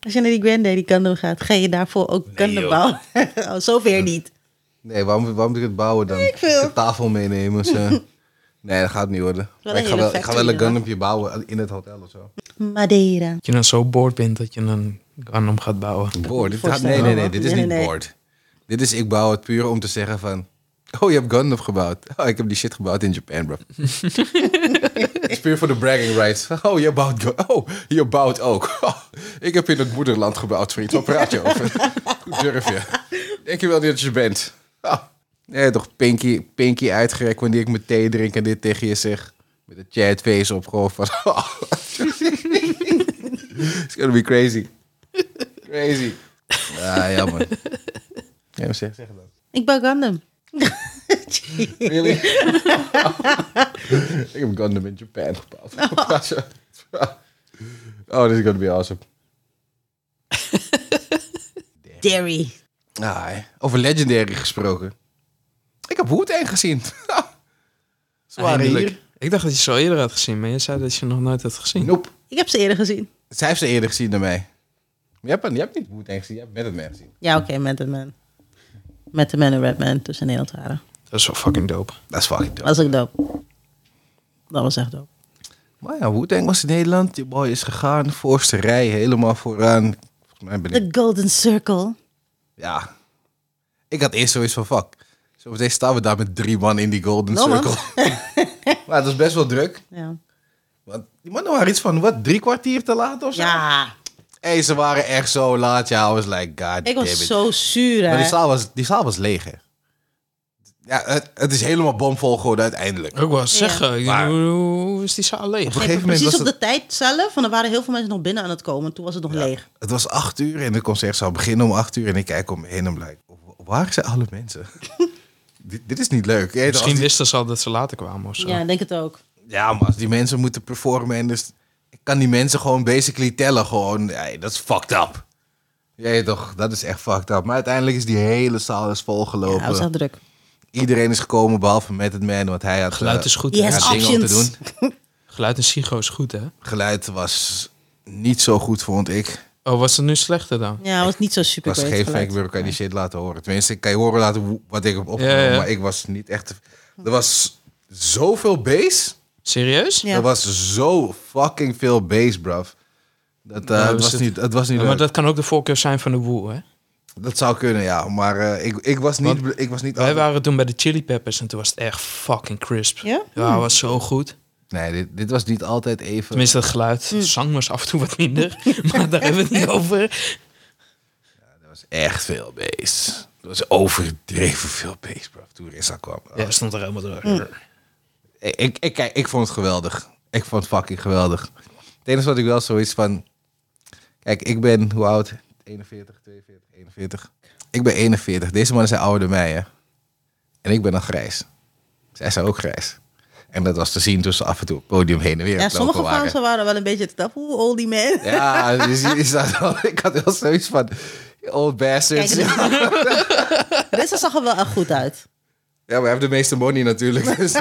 S1: als je naar die Granddaddy Gundam gaat, ga je daarvoor ook Gundam
S3: joh.
S1: bouwen? oh, zover niet.
S3: Nee, waarom, waarom moet ik het bouwen dan? Ik
S1: veel.
S3: de tafel meenemen. Zo. nee, dat gaat niet worden.
S1: Wel
S3: Maar
S1: een
S3: ik, ga
S1: hele
S3: wel, ik ga wel een
S1: factory,
S3: Gundampje bouwen in het hotel of zo.
S1: Madeira.
S2: Dat je dan zo boord bent dat je een Gundam gaat bouwen.
S3: Board. Dit gaat,
S1: voorstellen.
S3: nee, nee, nee. Dit is
S1: Nee,
S3: niet
S1: nee, nee.
S3: board. Dit is ik bouw het puur om te zeggen van... Oh, je hebt Gundam gebouwd. Oh, ik heb die shit gebouwd in Japan, bro. Het is puur voor de bragging rights. Oh, je bouwt, Gun- oh, je bouwt ook. Oh, ik heb in het moederland gebouwd, vriend. Wat praat je over? Hoe durf je? Denk je wel dat je Oh. bent? Ah. Nee, toch pinky, pinky uitgerekt wanneer ik mijn thee drink en dit tegen je zeg. Met een chat face op, gewoon van... oh. It's gonna be crazy. Crazy. Ah, ja, man. Ja, maar zeg, zeg het dan.
S1: Ik ben Gundam.
S3: Really? ik heb Gundam in Japan gepaald. oh, this is gonna be awesome.
S1: Derry.
S3: Ah, hè. over Legendary gesproken. Ik heb Wu-Tang gezien. Ze waren
S2: Eindelijk.
S3: hier.
S2: Ik dacht dat je ze al eerder had gezien, maar je zei dat je nog nooit had gezien.
S3: Nope.
S1: Ik heb ze eerder gezien.
S3: Zij heeft ze eerder gezien dan mij. Je hebt, je hebt niet Wu-Tang gezien, je hebt Method Man gezien.
S1: Ja, oké, met de man. Met de man en Redman tussen Nederland waren.
S2: Dat is wel fucking dope.
S3: Dat is fucking
S1: Dat was ook dope. Dat was echt dope.
S3: Maar ja, Wu-Tang was in Nederland. Die boy is gegaan. Voorste rij, helemaal vooraan. Volgens mij ben ik...
S1: The Golden Circle.
S3: Ja. Ik had eerst zoiets van, fuck. Zometeen staan we daar met drie man in die golden
S1: No, Nou, man.
S3: circle. maar het was best wel druk.
S1: Ja.
S3: Want die mannen waren iets van, wat, drie kwartier te laat of zo?
S1: ja.
S3: Hé, ze waren echt zo laat. Ja, I was like, god
S1: Ik
S3: damn it.
S1: was zo zuur,
S3: Maar die
S1: hè.
S3: zaal was, die zaal was leeg, hè. Ja, het, het is helemaal bomvol geworden uiteindelijk.
S2: Ook wel zeggen, ik
S3: Maar-
S2: denk, hoe, hoe is die zaal leeg?
S3: Op een
S1: Nee,
S3: gegeven moment
S1: precies
S3: was
S1: op
S3: het,
S1: de tijd zelf. Want er waren heel veel mensen nog binnen aan het komen. Toen was het nog leeg.
S3: het was acht uur en de concert zou beginnen om acht uur. En ik kijk om me heen en blijk, waar zijn alle mensen? dit, dit is niet leuk. Je weet, als
S2: Misschien
S3: die-
S2: wisten ze al dat ze later kwamen of zo.
S1: Ja, ik denk het ook.
S3: Ja, maar als die mensen moeten performen en dus... Ik kan die mensen gewoon basically tellen gewoon. Hey, dat is fucked up. Jij toch, dat is echt fucked up. Maar uiteindelijk is die hele zaal is
S1: Ja,
S3: volgelopen.
S1: het was echt druk.
S3: Iedereen is gekomen behalve met het man, want hij had...
S2: Geluid
S3: eh,
S2: is goed.
S1: Yes,
S2: hè?
S3: ja, dingen om te
S1: options.
S3: doen.
S2: Geluid en psycho is goed, hè?
S3: Geluid was niet zo goed, vond ik. Het
S2: Oh, was het nu slechter dan?
S1: Ja, het was niet zo super
S3: was geen fake kan je die shit laten horen. Tenminste, ik kan je horen laten hoe- wat ik heb opgenomen.
S2: Ja, ja.
S3: Maar ik was niet echt... Er was zoveel bass.
S2: Serieus?
S1: Ja.
S3: Er was zo fucking veel bass, bruv. Dat, eh,
S2: Nou,
S3: het,
S2: is
S3: was
S2: het-
S3: niet, het was niet
S2: Ja, maar
S3: leuk.
S2: dat kan ook de voorkeur zijn van de woe, hè?
S3: Dat zou kunnen, ja. Maar eh, ik, ik was niet... Ik was niet
S2: Wij
S3: altijd-
S2: waren toen bij de Chili Peppers en toen was het echt fucking crisp.
S1: Ja?
S2: Ja, was zo goed.
S3: Nee, dit, dit was niet altijd even...
S2: Tenminste, het geluid. De zang was af en toe wat minder, maar daar hebben we het niet over.
S3: Er was echt veel bass. Er was overdreven veel bass, bro. Toen Rissa kwam.
S2: Ja, stond er helemaal door.
S3: Ik, ik, ik, kijk, ik vond het geweldig. Ik vond het fucking geweldig. Het enige wat ik wel zoiets van... Kijk, ik ben... Hoe oud? 41, 42, 41. Ik ben 41. Deze mannen zijn ouder dan mij, hè. En ik ben nog grijs. Zij zijn ook grijs. En dat was te zien toen ze af en toe het podium heen en weer aan
S1: Ja,
S3: het lopen
S1: sommige
S3: waren.
S1: fans waren wel een beetje te tap. Oeh, oldie man.
S3: Ja, dus je- je staat wel- ik had wel zoiets van...
S1: Kijk,
S3: Old bastards. Ja,
S1: Rissa zag er wel echt goed uit.
S3: maar hij heeft de meeste money natuurlijk. Dus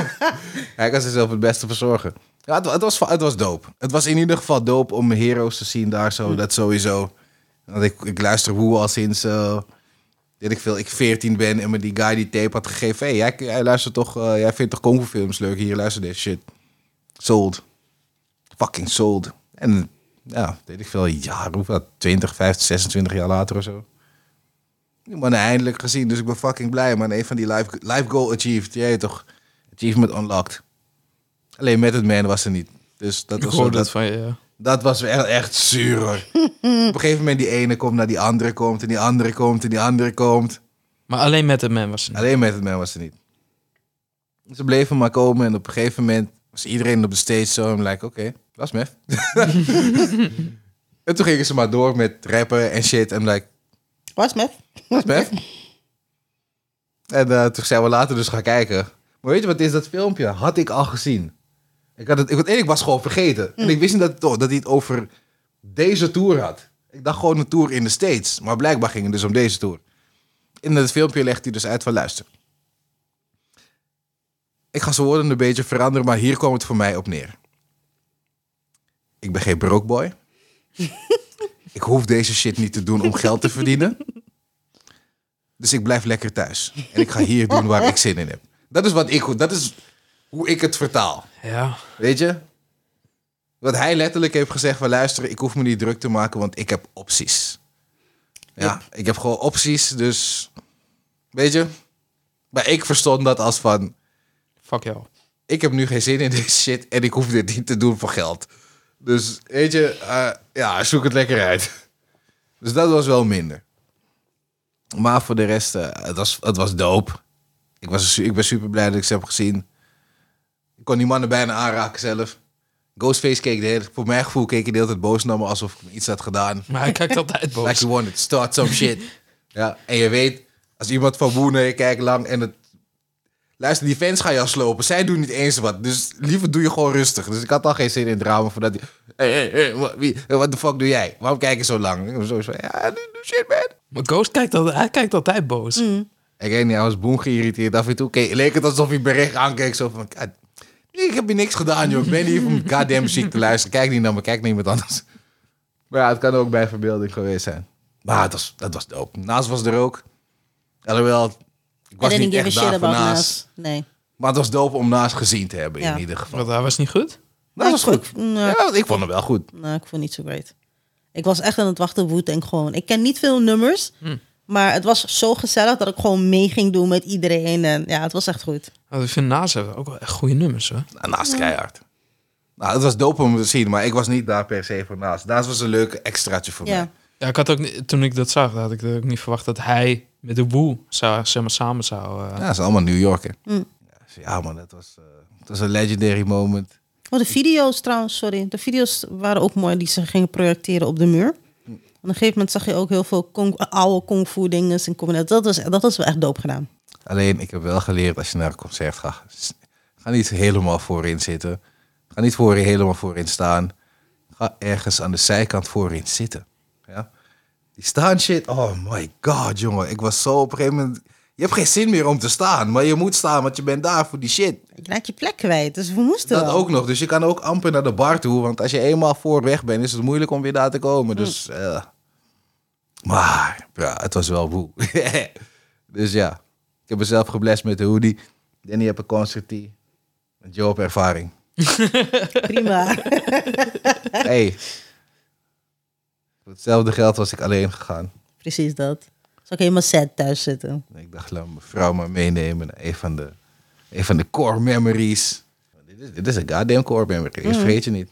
S3: hij kan zichzelf het beste verzorgen. Ja, het, wa- het was, va- het was dope. Het was in ieder geval dope om heroes te zien daar zo. Dat sowieso. Want ik, ik luister hoe al sinds... eh weet ik veel, ik 14 ben en me die guy die tape had gegeven. Hé, hey, jij, jij luistert toch... eh, jij vindt toch kung fu films leuk? Hier, luister dit shit. Sold. Fucking sold. En ja, weet ik veel, jaar, hoeveel? 20, 50, 26 jaar later of zo. Die mannen eindelijk gezien, dus ik ben fucking blij, man. Een van die life, life goal achieved, jij toch? Achievement unlocked. Alleen met het man was er niet. Dus dat
S2: Ik
S3: was, wel-
S2: hoorde dat
S3: dat,
S2: van je. ja.
S3: dat was wel echt zuur, hoor. Op een gegeven moment die ene komt naar die andere komt, en die andere komt, en die andere komt.
S2: Maar alleen met de man was het. niet.
S3: Alleen met het man was het niet. Ze bleven maar komen en op een gegeven moment was iedereen op de stage zo. En like, oké, dat is mef. en toen gingen ze maar door met rappen en shit. En like,
S1: Was met?
S3: dat is mef. en eh, toen zijn we later dus gaan kijken. Maar weet je wat het is? Dat filmpje had ik al gezien. Ik had het, ik, en ik was gewoon vergeten. En ik wist niet dat, het- dat hij het over deze tour had. Ik dacht gewoon een tour in de States. Maar blijkbaar ging het dus om deze tour. In dat filmpje legt hij dus uit van luister. Ik ga zijn woorden een beetje veranderen, maar hier kwam het voor mij op neer. Ik ben geen brookboy. ik hoef deze shit niet te doen om geld te verdienen. Dus ik blijf lekker thuis. En ik ga hier doen waar ik zin in heb. Dat is wat ik dat is hoe ik het vertaal.
S2: Ja,
S3: Weet je? Wat hij letterlijk heeft gezegd van luister, ik hoef me niet druk te maken, want ik heb opties. Ja, ik heb gewoon opties, dus weet je? Maar ik verstond dat als van
S2: fuck jou.
S3: ik heb nu geen zin in deze shit en ik hoef dit niet te doen voor geld. Dus weet je, eh, ja, zoek het lekker uit. Dus dat was wel minder. Maar voor de rest, eh, het, was, het was dope. Ik, was, su- ik ben super blij dat ik ze heb gezien. Ik kon die mannen bijna aanraken zelf. Ghostface keek de hele, voor mijn gevoel keek hij de hele tijd boos naar me alsof ik me iets had gedaan.
S2: Maar hij kijkt altijd boos.
S3: Like you wanted to start some shit. ja, en je weet, als iemand van woe naar je kijkt lang en het... Luister, die fans gaan jou slopen. Zij doen niet eens wat. Dus liever doe je gewoon rustig. Dus ik had al geen zin in drama voordat hij... Hey, hey, hey, wat, wie, what the fuck doe jij? Waarom kijk je zo lang? Ik was sowieso van, ja, doe, doe shit, man.
S2: Maar Ghost kijkt altijd, hij kijkt altijd boos.
S3: Ik weet niet, hij was boem geïrriteerd af en toe. Keek, leek het alsof hij bericht aankeek. Zo van, "God, ik heb hier niks gedaan, joh. Ik ben hier om goddamn muziek te luisteren. Kijk niet naar me, kijk naar iemand anders. Maar ja, het kan ook bij verbeelding geweest zijn. Maar het was, dat was dope. Naast was er ook. Alhoewel, ik was
S1: I didn't give
S3: niet
S1: a
S3: echt daar
S1: shit
S3: voor
S1: about
S3: naast.
S1: Nas. Nee.
S3: Maar het was dope om naast gezien te hebben,
S1: Ja.
S3: in ieder geval.
S2: Want hij was niet goed.
S3: Dat was
S1: vond-
S3: goed.
S1: nou,
S3: Ja, want ik vond hem wel goed.
S1: Nou, ik vond het niet zo great. Ik was echt aan het wachten op en gewoon. Ik ken niet veel nummers, maar het was zo gezellig dat ik gewoon mee ging doen met iedereen. En ja, het was echt goed.
S2: Nou, ik vind Nas hebben ook wel echt goede nummers, hoor.
S3: Nou, Naast keihard. Nou, het was dope om te zien, maar ik was niet daar per se voor naast. Naast was een leuk extraatje voor mij.
S1: Ja.
S2: Ja, ik had ook niet- toen ik dat zag, had ik ook niet verwacht dat hij met de Woe zou, zeg maar, samen zou... eh,
S3: Ja, ze zijn allemaal New Yorker.
S1: Mm.
S3: Ja, dus Ja, man, dat was, eh, het was een legendary moment.
S1: Oh, de video's trouwens, sorry. De video's waren ook mooi die ze gingen projecteren op de muur.
S3: Hm.
S1: Op een gegeven moment zag je ook heel veel kung- oude kung fu dingen in combinatie. Dat was, dat was wel echt doop gedaan.
S3: Alleen, ik heb wel geleerd als je naar een concert gaat, s- ga niet helemaal voorin zitten. Ga niet voor, helemaal voorin staan. Ga ergens aan de zijkant voorin zitten. Ja? Die staan shit, oh my god, jongen. Ik was zo op een gegeven moment... Je hebt geen zin meer om te staan, maar je moet staan, want je bent daar voor die shit.
S1: Je raakt je plek kwijt, dus we moesten
S3: Dat
S1: wel.
S3: ook nog. Dus je kan ook amper naar de bar toe. Want als je eenmaal voor weg bent, is het moeilijk om weer daar te komen. Dus, eh, Maar ja, het was wel woe. dus ja, ik heb mezelf geblest met de hoodie. Danny heb een concertie. En Joe op ervaring.
S1: Prima.
S3: hey. Voor hetzelfde geld was ik alleen gegaan.
S1: Precies dat. Zal ik helemaal sad thuis zitten.
S3: En ik dacht, laat mijn vrouw maar meenemen naar een van de, een van de core memories. Dit is, dit is een goddamn core memory. Dat vergeet je niet.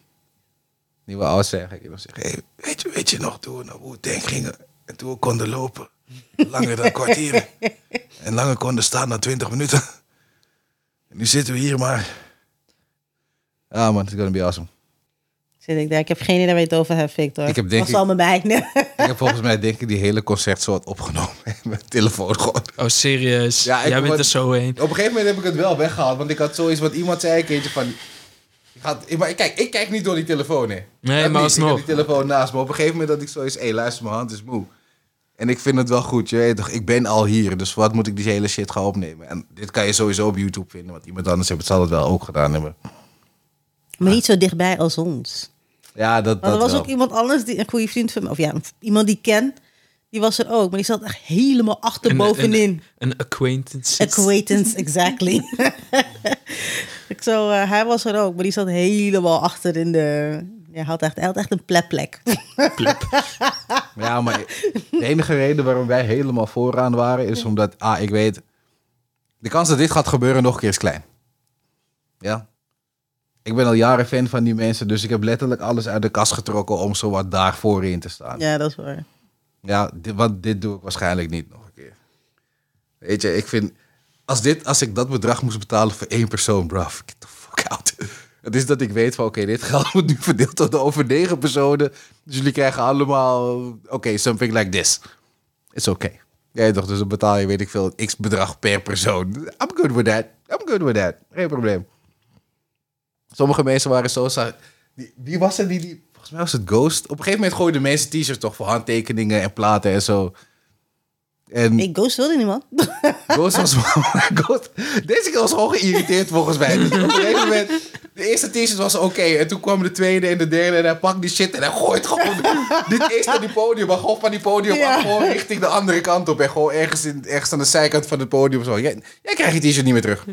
S3: Niet wel oud zijn, ga ik je nog zeggen. Hey, weet, je, weet je nog toen we naar Wu-Tang gingen en toen we konden lopen? Langer dan kwartieren. En langer konden staan dan twintig minuten. En nu zitten we hier maar. Ah man, it's gonna be awesome.
S1: Zit ik daar. Ik heb geen idee waar je het over hebt, Victor.
S3: Ik heb denk
S1: was
S3: ik-
S1: al mijn bijna.
S3: Ik heb volgens mij denk ik die hele concertsoort opgenomen. Met mijn telefoon gewoon.
S2: Oh, serieus?
S3: Ja, ik
S2: Jij bent
S3: word-
S2: er zo heen.
S3: Op een gegeven moment heb ik het wel weggehaald, want ik had zoiets wat iemand zei een keertje van. Ik had, ik- maar kijk, ik kijk niet door die telefoon heen.
S2: Nee, maar
S3: Dat niet. Ik
S2: alsnog.
S3: heb die telefoon naast me. Op een gegeven moment had ik zoiets, hé, luister, mijn hand is moe. En ik vind het wel goed, je weet toch, ik ben al hier, dus wat moet ik die hele shit gaan opnemen? En dit kan je sowieso op YouTube vinden, want iemand anders heeft het, zal het wel ook gedaan hebben.
S1: Maar niet zo dichtbij als ons.
S3: Ja, dat,
S1: Maar
S3: dat
S1: er was
S3: wel.
S1: ook iemand anders, die, een goede vriend van me. Of ja, iemand die ik ken. Die was er ook. Maar die zat echt helemaal achter bovenin.
S2: Een, een acquaintance.
S1: Acquaintance, exactly. ik zo, eh, hij was er ook, maar die zat helemaal achter in de... Hij had echt, hij had echt een plepplek.
S3: Ja, maar de enige reden waarom wij helemaal vooraan waren is omdat, ah, ik weet, de kans dat dit gaat gebeuren nog een keer is klein. Ja. Ik ben al jaren fan van die mensen, dus ik heb letterlijk alles uit de kast getrokken om zowat daar voorin te staan. Ja,
S1: ja, dat is waar.
S3: dit, want dit doe ik waarschijnlijk niet nog een keer. Weet je, ik vind, als, dit, als ik dat bedrag moest betalen voor één persoon, bruh, get the fuck out. Het is dat ik weet van, oké, dit geld wordt nu verdeeld tot over negen personen. Dus jullie krijgen allemaal, oké, something like this is oké. Jij toch, dus dan betaal je, weet ik veel, x bedrag per persoon. I'm good with that. I'm good with that. Geen probleem. Sommige mensen waren zo... sa- Die, wie was het die, die... Volgens mij was het Ghost. Op een gegeven moment gooiden mensen t-shirts toch voor handtekeningen en platen en zo. En
S1: Ik ghost wilde niemand.
S3: Ghost was... Ghost, deze keer was gewoon geïrriteerd volgens mij. Op een gegeven moment... De eerste t-shirt was oké. en toen kwam de tweede en de derde. En hij pakt die shit en hij gooit gewoon... dit is naar die podium. Maar gewoon van die podium
S1: Ja.
S3: af. Gewoon richting de andere kant op. En gewoon ergens, in, ergens aan de zijkant van het podium. Zo. Jij, jij krijgt je t-shirt niet meer terug.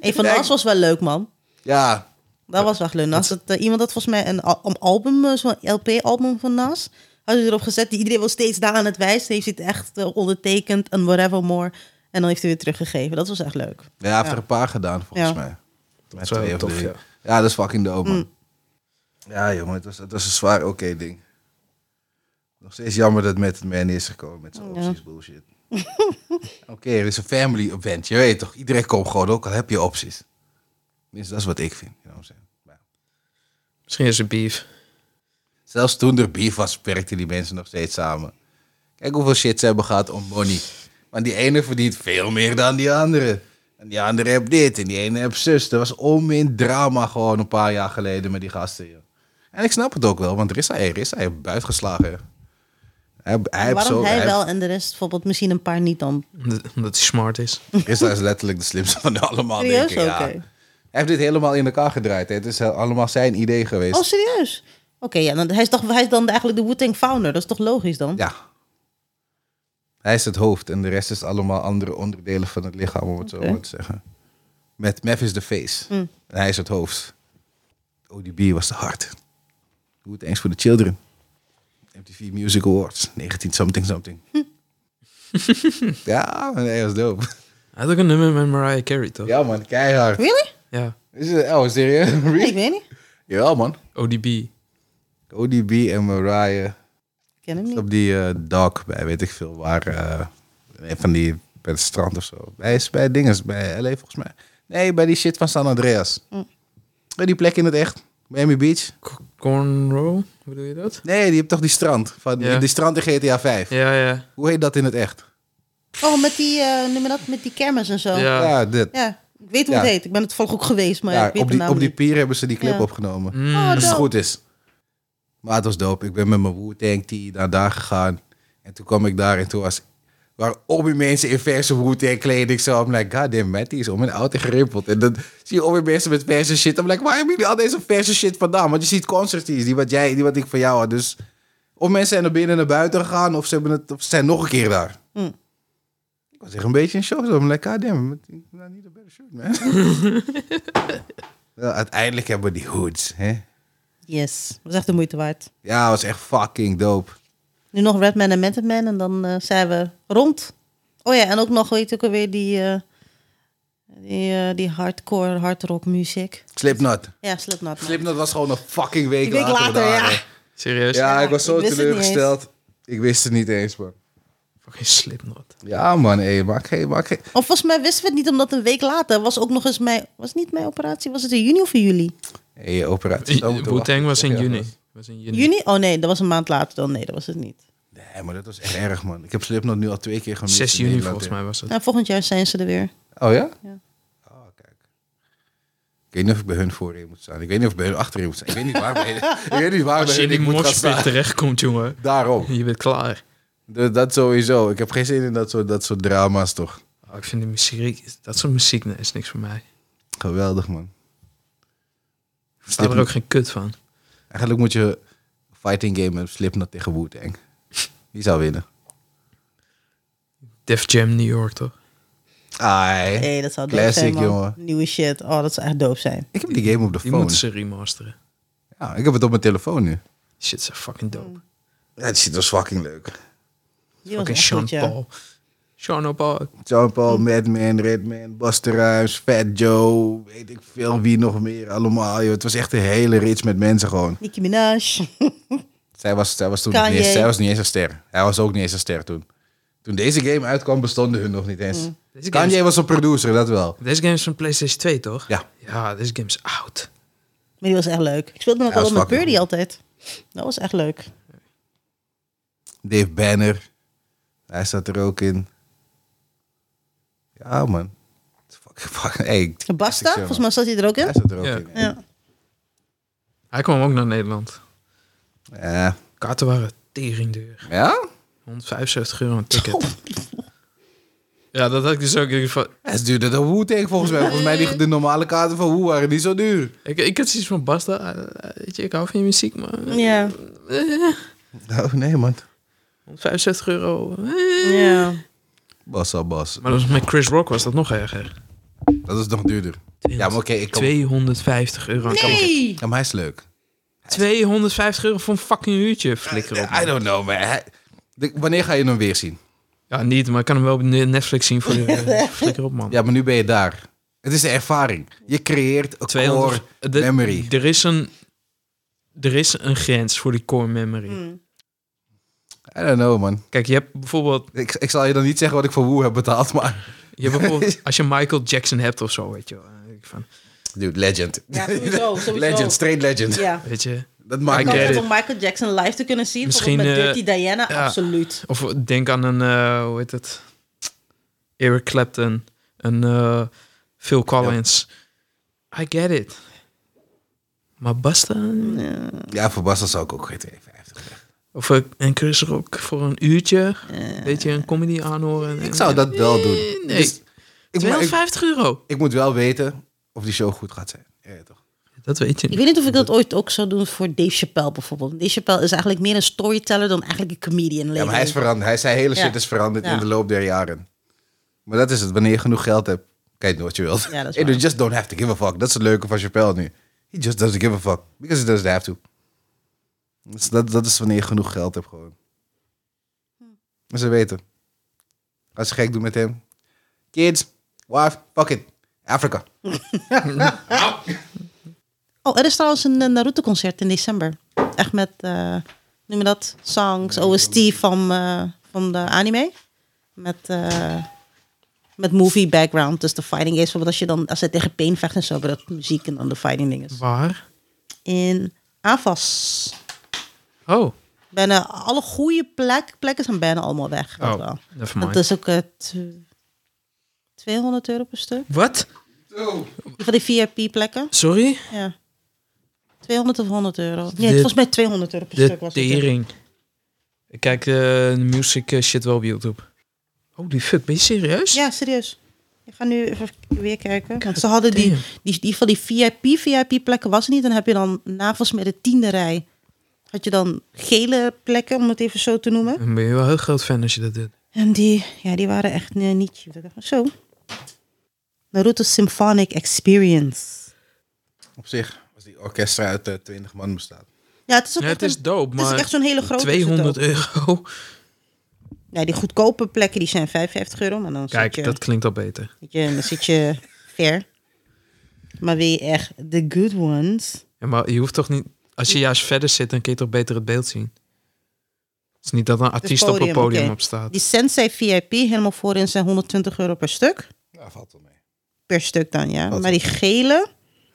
S1: Een van de
S3: Nee.
S1: as was wel leuk, man.
S3: Ja.
S1: Dat was wel leuk. Nas, dat, eh, iemand had volgens mij een, al- een album, eh, zo'n LP-album van Nas. Had hij erop gezet. Die iedereen wil steeds daar aan het wijzen. Heeft hij het echt eh, ondertekend en whatever more. En dan heeft hij weer teruggegeven. Dat was echt leuk.
S3: Ja, hij heeft er een paar gedaan volgens
S1: Ja.
S3: mij. Met
S2: is wel
S3: twee of
S2: tof,
S3: drie.
S2: ja.
S3: Ja. dat is fucking dope, man. Ja, jongen. Het was, het was een zwaar oké ding. Nog steeds jammer dat met het man is gekomen. Met zijn opties bullshit. oké, het is een family event. Je weet toch. Iedereen komt gewoon ook, al heb je opties. Tenminste, dat is wat ik vind. You know what I'm saying? Maar
S2: Misschien is het beef.
S3: Zelfs toen er beef was, werkten die mensen nog steeds samen. Kijk hoeveel shit ze hebben gehad om money. Want die ene verdient veel meer dan die andere. En die andere heeft dit en die ene heeft zus. Er was onmin drama gewoon een paar jaar geleden met die gasten. Joh. En ik snap het ook wel, want Rissa, hey, Rissa heeft buitgeslagen. joh. Hij, hij heeft
S1: Waarom
S3: zo,
S1: hij
S3: hij
S1: wel en de rest bijvoorbeeld misschien een paar niet dan?
S2: Omdat omdat hij smart is.
S3: Rissa is letterlijk de slimste van allemaal, denk
S1: Serieus?
S3: ik.
S1: Oké.
S3: Ja. Hij heeft dit helemaal in elkaar gedraaid. hè. Het is allemaal zijn idee geweest.
S1: Oh, serieus? Oké, ja, dan, hij, is toch, hij is dan eigenlijk de Wu-Tang founder. Dat is toch logisch dan?
S3: Ja. Hij is het hoofd en de rest is allemaal andere onderdelen van het lichaam, om het
S1: Oké. Mm.
S3: zo maar te zeggen. Met Mef is de face. En hij is het hoofd. ODB was de hart. Good Thanks for the Children. MTV Music Awards, 19 something something.
S1: Hm.
S3: ja, man, hij was dope.
S2: Hij had ook een nummer met Mariah Carey, toch? Ja.
S3: Ja man, keihard.
S1: Really?
S3: Is het, oh, serieus?
S1: Nee,
S3: Really?
S1: ik weet niet.
S3: Ja man.
S2: ODB.
S3: ODB en Mariah.
S1: Ik ken hem
S3: Is
S1: niet.
S3: Op die eh dock bij weet ik veel waar. eh, een van die bij het strand of zo. Hij is bij dinges, bij LA volgens mij. Nee, bij die shit van San Andreas.
S1: Mm.
S3: Bij die plek in het echt. Miami Beach.
S2: C- Cornrow? Hoe bedoel je dat?
S3: Nee, die hebt toch die strand. Van,
S2: Ja.
S3: Die strand in GTA 5.
S2: Ja, ja.
S3: Hoe heet dat in het echt?
S1: Oh, met die, eh noem je dat, met die kermis en zo. Ja.
S2: Ja.
S3: Ja, dit.
S1: Ik weet hoe
S3: Ja.
S1: het heet. Ik ben het toevallig ook geweest, maar
S3: Ja,
S1: ik weet
S3: op,
S1: de
S3: die,
S1: naam
S3: op die
S1: niet.
S3: pier hebben ze die clip
S1: Ja.
S3: opgenomen.
S2: Mm.
S1: Oh,
S3: Als het
S1: dope.
S3: Dus goed is. Maar het was dope. Ik ben met mijn Wu-Tang tee naar daar gegaan. En toen kwam ik daar en toen was... Waar alweer mensen in verse Wu-Tang kleding zo. I'm like, goddamn, Matty is om een auto gerimpeld. En dan zie je alweer mensen met verse shit. I'm like, waar hebben jullie al deze verse shit vandaan? Want je ziet concerties, die wat, jij, die wat ik van jou had. Dus of mensen zijn naar binnen en naar buiten gegaan... of ze, hebben het, of ze zijn nog een keer daar.
S1: Mm.
S3: Ik was echt een beetje in shock. zo. I'm like, goddamn, ik niet een better shirt, man. Wel, Uiteindelijk hebben we die hoods, hè?
S1: Yes, dat is echt de moeite waard.
S3: Ja, was echt fucking dope.
S1: Nu nog Redman en Method Man en dan eh, zijn we rond. Oh ja, en ook nog, weet je ook alweer, die, eh, die, eh, die hardcore, hardrock muziek.
S3: Slipknot.
S1: Ja, Slipknot. man.
S3: Slipknot was gewoon een fucking week
S1: Een week
S3: later.
S1: later,
S3: daar,
S1: ja.
S3: hè.
S2: Serieus?
S3: Ja, ik was zo
S1: Ik wist het niet
S3: teleurgesteld. Ik wist het niet eens, man.
S2: Fucking Slipknot.
S3: Ja, man, hé, maak geen, maak geen.
S1: Of volgens mij wisten we het niet, omdat een week later was ook nog eens mijn... Was het niet mijn operatie? Was het in juni of in juli?
S3: Hé, je operatie. zou moeten
S2: Wu-Tang
S3: wachten.
S2: Eh, was in
S3: Ja,
S2: juni.
S3: was-
S2: Was in juni.
S1: Juni? Oh nee, dat was een maand later dan. Nee, dat was het niet.
S3: Nee, maar dat was echt erg, man. Ik heb Slipknot nu al twee keer gemist.
S2: 6
S3: in
S2: juni
S3: Nederland,
S2: volgens mij was het.
S1: Nou, volgend jaar zijn ze er weer.
S3: hè. Oh ja?
S1: Ja.
S3: Oh, kijk. Ik weet niet of ik bij hun voorin moet staan. Ik weet niet of ik bij hun achterin moet staan. Ik weet niet waar bij, ik weet niet waar
S2: Als
S3: bij
S2: je in
S3: hun
S2: die
S3: ik moet gaan
S2: moshpit
S3: staan.
S2: terechtkomt, jongen.
S3: Daarom.
S2: Je bent klaar.
S3: Dus dat sowieso. Ik heb geen zin in dat soort, dat soort drama's, toch?
S2: Oh, ik vind de muziek... Dat soort muziek nee, is niks voor mij.
S3: Geweldig, man.
S2: Ik sta er ook geen kut van.
S3: Eigenlijk moet je fighting game met Slipknot tegen Wu-Tang. Wie zou winnen?
S2: Def Jam New York, toch?
S3: Ai.
S1: Nee, dat zou dope
S3: Classic,
S1: zijn, man.
S3: jongen.
S1: Nieuwe shit. Oh, dat zou echt dope zijn.
S3: Ik heb die game op de
S2: Die
S3: phone.
S2: moeten ze remasteren.
S3: Ja, ik heb het op mijn telefoon nu.
S2: Die Shit, ze fucking
S1: Mm.
S2: dope.
S3: Ja, die shit was fucking leuk.
S1: Die was
S2: Fucking
S1: echt
S2: Sean
S1: goed, ja.
S2: Paul. Sean Paul.
S3: John Paul, Madman, Redman, Buster Rhymes, Fat Joe, weet ik veel wie nog meer allemaal. Joh. Het was echt een hele rits met mensen gewoon.
S1: Nicki Minaj.
S3: Zij was, zij was toen nog niet
S1: Kanye.
S3: eens, zij was niet eens een ster. Hij was ook niet eens een ster toen. Toen deze game uitkwam bestonden hun nog niet eens.
S2: Deze game,
S3: Kanye was een producer, dat wel.
S2: is, deze game is van PlayStation 2, toch?
S3: Ja.
S2: Ja, deze game is oud.
S1: Maar die was echt leuk. Ik speelde nog
S3: Ja,
S1: wel
S3: dat is
S1: met
S3: fucking
S1: Birdie altijd. Dat was echt leuk.
S3: Dave Banner. Hij zat er ook in. Ja, man. Fuck, fuck. Hey,
S1: Basta, volgens mij zat hij er ook in.
S3: Hij zat er ook
S2: Ja.
S3: in.
S1: Ja.
S2: Hij kwam ook naar Nederland.
S3: Ja.
S2: Kaarten waren teringduur.
S3: Ja?
S2: 175 euro een ticket. Ja, dat had ik dus ook. Ik, van-
S3: Hij is duurder dan Wu-Tang volgens mij. Volgens mij die, de normale kaarten van Wu waren niet zo duur.
S2: ik, ik had zoiets van Basta. eh, Weet je, ik hou van je muziek, maar eh,
S1: Ja.
S3: Oh, nee, man.
S2: 175 euro. eh.
S1: ja.
S3: Bas al bas.
S2: Maar dat was met Chris Rock was dat nog erger.
S3: Dat is nog duurder. Ja, maar oké. ik kan...
S2: 250 euro.
S1: Nee!
S3: Ja, maar hij is leuk.
S2: 250 euro voor een fucking uurtje, flikker op.
S3: I don't know, man. Hij- De- wanneer ga je hem weer zien?
S2: Ja, niet, maar ik kan hem wel op Ne- Netflix zien voor de flikker op, man.
S3: Ja, maar nu ben je daar. Het is de ervaring. Je creëert een
S2: 200
S3: core
S2: de-
S3: memory.
S2: Er is een... Er is een grens voor die core memory.
S3: Hmm.
S1: Hmm.
S3: I don't know, man.
S2: Kijk, je hebt bijvoorbeeld,
S3: Ik, ik zal je dan niet zeggen wat ik voor Wu heb betaald, maar...
S2: je hebt bijvoorbeeld als je Michael Jackson hebt of zo, weet je wel. eh, ik Van,
S3: Dude, legend.
S1: Ja, sowieso, sowieso.
S3: Legend, straight legend.
S1: Ja.
S2: Weet je?
S3: Dat maakt
S2: I
S1: Ik
S3: niet
S2: get
S1: had
S3: uit.
S2: it.
S1: het om Michael Jackson live te kunnen zien.
S2: Misschien,
S1: Misschien met
S2: eh,
S1: Dirty Diana,
S2: ja.
S1: absoluut.
S2: Of denk aan een, eh, hoe heet het? Eric Clapton. Een eh, Phil Collins. I get it. Maar Basta?
S3: Ja, voor Basta zou ik ook geen 52 zeggen.
S2: Of eh, een Chris Rock voor een uurtje. Weet je, een comedy aanhoren.
S3: Eh. Ik zou dat wel doen.
S2: Nee.
S3: Dus ik, maar ik,
S2: 250 euro.
S3: ik moet wel weten of die show goed gaat zijn. Ja, ja, toch?
S2: Dat weet je
S1: Ik
S2: niet.
S1: weet niet of ik dat ooit ook zou doen voor Dave Chappelle bijvoorbeeld. Dave Chappelle is eigenlijk meer een storyteller dan eigenlijk een comedian.
S3: ja, maar hij is veranderd. Hij, zijn hele
S1: Ja.
S3: shit is veranderd
S1: Ja.
S3: in de loop der jaren. Maar dat is het. Wanneer je genoeg geld hebt, kan je doen wat je wilt.
S1: Ja, dat is
S3: And
S1: waar.
S3: you just don't have to give a fuck. Dat is het leuke van Chappelle nu. He just doesn't give a fuck. Because he doesn't have to. Dus dat, dat is wanneer je genoeg geld hebt gewoon.
S1: Hm.
S3: Maar ze weten. Als ze gek doen met hem. Kids, wife, fuck it. Afrika.
S1: Oh, er is trouwens een eh, Naruto-concert in december. Echt met, eh noem je dat, songs, OST van, eh, van de anime. Met, eh, met movie background, dus de fighting games. Bijvoorbeeld als, je dan, als hij tegen Pain vecht en zo, hebben dat muziek en dan de fighting dingen.
S2: Waar?
S1: In Avas.
S2: Oh.
S1: Bijna alle goede plek, plekken zijn bijna allemaal weg. Dat
S2: Oh,
S1: wel.
S2: never
S1: Dat
S2: mind.
S1: is ook eh, tw- 200 euro per stuk.
S2: Wat?
S1: Van die VIP-plekken.
S2: Sorry?
S1: Ja. 200 of 100 euro. Nee,
S2: Dit-
S1: volgens mij 200 euro per
S2: De
S1: stuk was het. ja.
S2: tering. Ik kijk eh, de music eh, shit wel op YouTube. Holy fuck, ben je serieus?
S1: Ja, serieus. Ik ga nu even weer kijken. Want ze hadden die,
S2: damn.
S1: die, die van die VIP, VIP plekken was er niet. Dan heb je dan navels met de tiende rij. Had je dan gele plekken, om het even zo te noemen.
S2: Dan ben je wel heel groot fan als je dat doet.
S1: En die, ja, die waren echt eh, niet cheap. Ik dacht van, Zo. Naruto Symphonic Experience.
S3: Op zich, als die orkestra uit eh, 20 man bestaat.
S1: Ja, het is ook
S2: Ja,
S1: echt
S2: het is
S1: een-
S2: dope,
S1: het
S2: maar
S1: is echt zo'n hele grote. is het
S2: 200
S1: ook.
S2: euro.
S1: Ja, die goedkope plekken die zijn 55 euro. Maar dan zit je,
S2: Kijk, dat klinkt al beter.
S1: weet je, dan zit je ver. Maar wil je echt de good ones?
S2: Ja, maar je hoeft toch niet... Als je juist verder zit, dan kun je toch beter het beeld zien. Het is niet dat een artiest op
S1: podium,
S2: het podium
S1: oké.
S2: op staat.
S1: Die Sensei VIP helemaal voorin zijn 120 euro per stuk.
S3: Ja, valt wel mee.
S1: Per stuk dan, ja.
S3: Wat?
S1: Maar die gele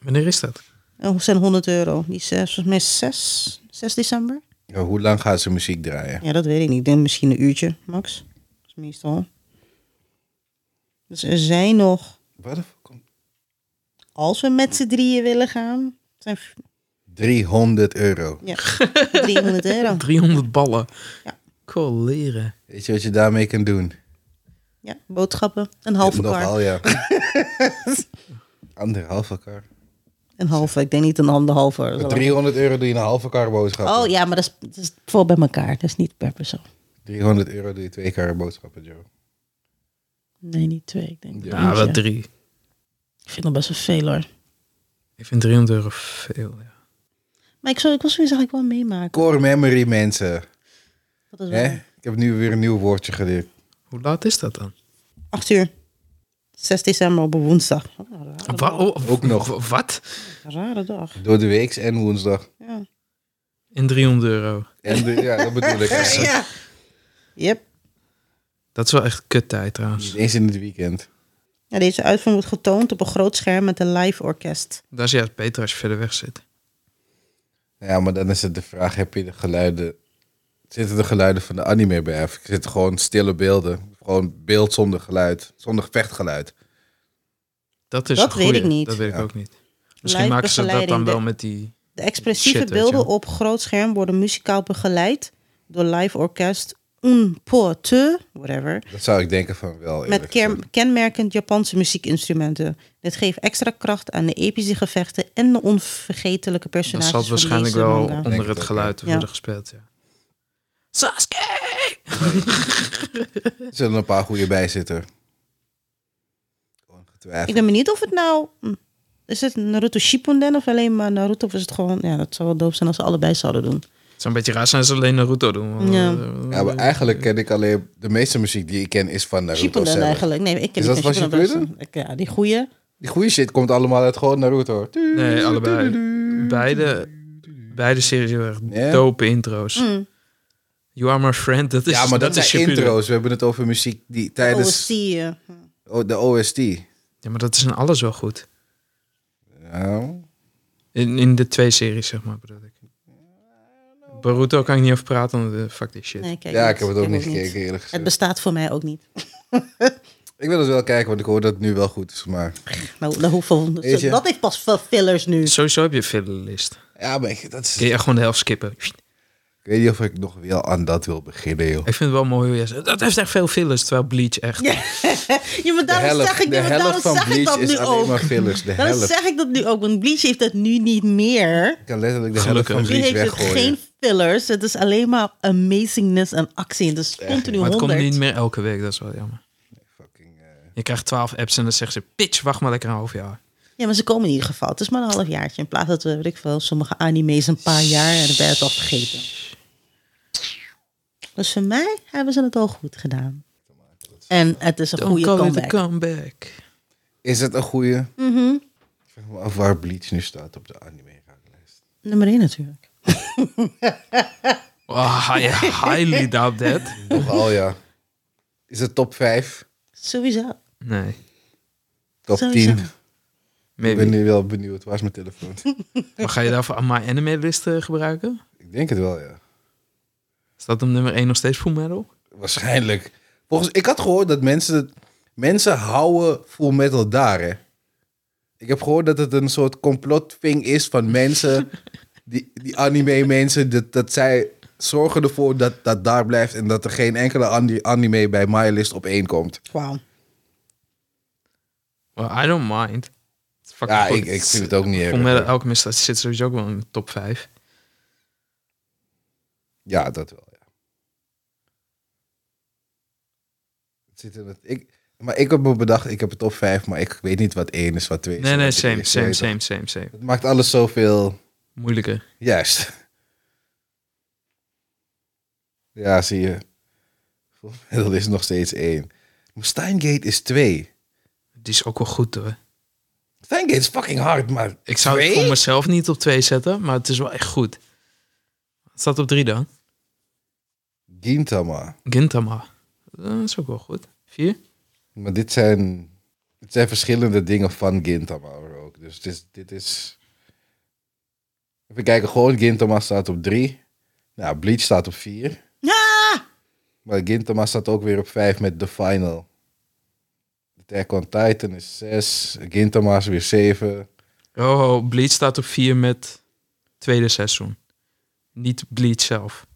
S2: Wanneer is dat?
S1: eh, zijn 100 euro. Die is eh, volgens mij 6, 6 december.
S3: Ja, hoe lang gaan ze muziek draaien?
S1: Ja, dat weet ik niet. Ik denk misschien een uurtje, max. Dat is meestal. Dus er zijn nog,
S3: Waar de fuck komt-
S1: als we met z'n drieën willen gaan, zijn v-
S3: 300 euro.
S1: ja, 300 euro.
S2: 300 ballen.
S1: Ja.
S2: Cool leren.
S3: Weet je wat je daarmee kunt doen?
S1: Ja, boodschappen. Een halve kar.
S3: Nogal, ja. Anderhalve kar.
S1: Een halve, ik denk niet een anderhalve.
S3: Met 300 euro doe je een halve kar boodschappen.
S1: Oh ja, maar dat is, dat is voor bij elkaar. Dat is niet per persoon.
S3: 300 euro doe je twee kar boodschappen, Joe.
S1: Nee, niet twee. Ik denk
S2: Ja,
S1: eentje.
S2: wel drie.
S1: Ik vind dat best wel veel hoor.
S2: Ik vind 300 euro veel, ja.
S1: Maar ik, zou, ik wil sowieso eigenlijk wel meemaken.
S3: Core memory, mensen.
S1: Dat is wel
S3: Hè? Ik heb nu weer een nieuw woordje geleerd.
S2: Hoe laat is dat dan?
S1: Acht uur. 6 december op een woensdag. Wat een rare,
S2: Wa- oh,
S3: Ook nog.
S2: wa- Wat?
S1: rare dag.
S3: Door de weeks en woensdag.
S1: Ja.
S2: In 300 euro.
S3: En de, ja, dat bedoel ik.
S1: ja. Yep.
S2: Dat is wel echt kut tijd trouwens.
S3: Niet eens in het weekend.
S1: Ja, deze uitvoering wordt getoond op een groot scherm met een live orkest.
S2: Dat is juist beter als je verder weg zit.
S3: Ja, maar dan is het de vraag, heb je de geluiden... Zitten de geluiden van de anime bij? Of zitten gewoon stille beelden? Gewoon beeld zonder geluid. Zonder vechtgeluid.
S2: Dat is
S1: Dat
S2: een goeie.
S1: weet ik niet.
S2: Dat weet ik
S3: Ja.
S2: ook niet. Misschien
S1: Live
S2: maken ze dat dan
S1: begeleiding,
S2: wel
S1: de-
S2: met die...
S1: De expressieve
S2: Shit, weet je
S1: beelden
S2: wel.
S1: op groot scherm worden muzikaal begeleid door live orkest Un Po Te, whatever,
S3: Dat zou ik denken van wel.
S1: met
S3: eerlijk gezegd.
S1: ker- kenmerkend Japanse muziekinstrumenten. Dit geeft extra kracht aan de epische gevechten en de onvergetelijke
S2: Dat
S1: personages
S2: zal het
S1: van
S2: waarschijnlijk
S1: deze
S2: wel
S1: manga.
S3: Denk
S2: onder
S3: het
S2: het
S3: ook,
S2: geluid
S1: ja.
S2: worden gespeeld, ja. Sasuke!
S3: Er zullen een paar goede bij zitten. Gewoon
S1: Ik
S3: getwijfeld.
S1: ben benieuwd of het nou... hm, Is het Naruto Shippuden of alleen maar Naruto? Of is het gewoon... Ja, dat zou wel dope zijn als ze allebei zouden doen.
S2: Het zou een beetje raar zijn als ze alleen Naruto doen. want- eh,
S1: Ja.
S3: Ja, maar eigenlijk ken ik alleen... De meeste muziek die ik ken is van Naruto
S1: Shippuden
S3: zelf.
S1: eigenlijk. Nee, ik ken
S3: Is dat
S1: niet van
S3: van Shippuden?
S1: Ik- Ja, die goeie.
S3: Die goede shit komt allemaal uit gewoon Naruto.
S2: Nee, allebei. Beide, beide series hebben echt
S3: Ja.
S2: dope intro's.
S1: Mm.
S2: You Are My Friend, dat is
S3: Ja, maar dat,
S2: is
S3: zijn
S2: Shippuden.
S3: intro's. We hebben het over muziek die
S1: Oh,
S3: tijdens
S1: zie je.
S3: o- de OST.
S2: Ja, maar dat is in alles wel goed.
S3: Ja, Nou,
S2: In, in de twee series, zeg maar, bedoel ik. Boruto kan ik niet over praten, want eh, fuck die shit.
S1: Nee, kijk,
S3: ja,
S1: niet.
S3: ik heb het ook
S1: Kijk
S3: niet gekeken, eerlijk
S1: Het
S3: gezegd.
S1: bestaat voor mij ook niet.
S3: Ik wil het wel kijken, want ik hoor dat het nu wel goed is. Maar
S1: Nou, nou, hoeveel,
S3: Weet je?
S1: dat heeft pas veel fillers nu.
S2: Sowieso heb je een fillerlist.
S3: ja, maar ik, dat is,
S2: Kun je echt gewoon de helft skippen.
S3: ik weet niet of ik nog wel aan dat wil beginnen, joh.
S2: Ik vind het wel mooi hoe jij zegt, dat heeft echt veel fillers, terwijl Bleach echt...
S1: Ja, maar
S3: De
S1: daarom
S3: helft,
S1: zeg ik,
S3: de
S1: ja, maar daarom
S3: helft van
S1: zeg ik
S3: Bleach
S1: dat
S3: is
S1: nu
S3: alleen
S1: ook.
S3: maar fillers. De
S1: Daarom
S3: helft.
S1: zeg ik dat nu ook, want Bleach heeft dat nu niet meer.
S3: Ik kan letterlijk de
S2: Gelukkig.
S3: helft
S1: Nu
S3: van Bleach
S1: heeft het
S3: weggooien.
S1: geen fillers. Het is alleen maar amazingness en actie. En dus continu
S2: Maar het komt
S1: 100.
S2: niet meer elke week, dat is wel jammer.
S3: Fucking, eh,
S2: Je krijgt twaalf apps en dan zegt ze, pitch, wacht maar lekker een half jaar.
S1: Ja, maar ze komen in ieder geval. Het is maar een halfjaartje. In plaats dat we, weet ik veel, sommige anime's een paar jaar en dan ben je het al vergeten. Dus voor mij hebben ze het al goed gedaan. En het is een
S2: Don't
S1: goede
S2: call it a
S1: comeback.
S2: comeback.
S3: is het een goede?
S1: Mhm.
S3: Ik vraag me af waar Bleach nu staat op de anime raaklijst.
S1: Nummer 1 natuurlijk.
S2: Oh, I highly doubt that.
S3: Nogal ja. Is het top 5?
S1: Sowieso.
S2: Nee,
S3: Top
S1: Sowieso.
S3: 10? Ik ben
S2: maybe.
S3: nu wel benieuwd. Waar is mijn telefoon?
S2: Maar ga je daarvoor aan My Anime List eh, gebruiken?
S3: ik denk het wel, ja.
S2: Staat op nummer 1 nog steeds Full Metal?
S3: Waarschijnlijk. Volgens, ik had gehoord dat mensen, het- mensen houden full metal daar, hè. Ik heb gehoord dat het een soort complotthing is van mensen, die, die anime mensen, dat, dat zij zorgen ervoor dat dat daar blijft en dat er geen enkele ani- anime bij My List op één komt.
S1: Wauw.
S2: Well, I don't mind. Het is fucking
S3: Ja,
S2: goed.
S3: ik, ik vind het ook niet
S2: Full Metal
S3: erg.
S2: Alchemist dat zit sowieso ook wel in de top 5.
S3: Ja, dat wel, ja. Het zit in het, ik, maar ik heb me bedacht, ik heb een top 5, maar ik weet niet wat één is, wat twee is.
S2: Nee,
S3: wat
S2: nee,
S3: drie
S2: same,
S3: is,
S2: same,
S3: weet je
S2: same, same, same.
S3: toch? Het maakt alles zoveel...
S2: Moeilijker.
S3: Juist. Ja, zie je. Dat is nog steeds één. Maar Steingate is twee.
S2: Die is ook wel goed hoor.
S3: Steingate is fucking hard, maar...
S2: Ik zou het
S3: Twee?
S2: voor mezelf niet op 2 zetten, maar het is wel echt goed. Wat staat op 3 dan?
S3: Gintama.
S2: Gintama. Dat is ook wel goed. 4?
S3: Maar dit zijn... Het zijn verschillende dingen van Gintama ook. Dus dit is... Dit is... Even kijken, gewoon Gintama staat op drie. Nou, Bleach staat op vier.
S1: Ah!
S3: Maar Gintama staat ook weer op vijf met The Final. Attack on Titan is zes. Gintama is weer zeven.
S2: Oh, Bleach staat op 4 met tweede seizoen. Niet Bleach zelf.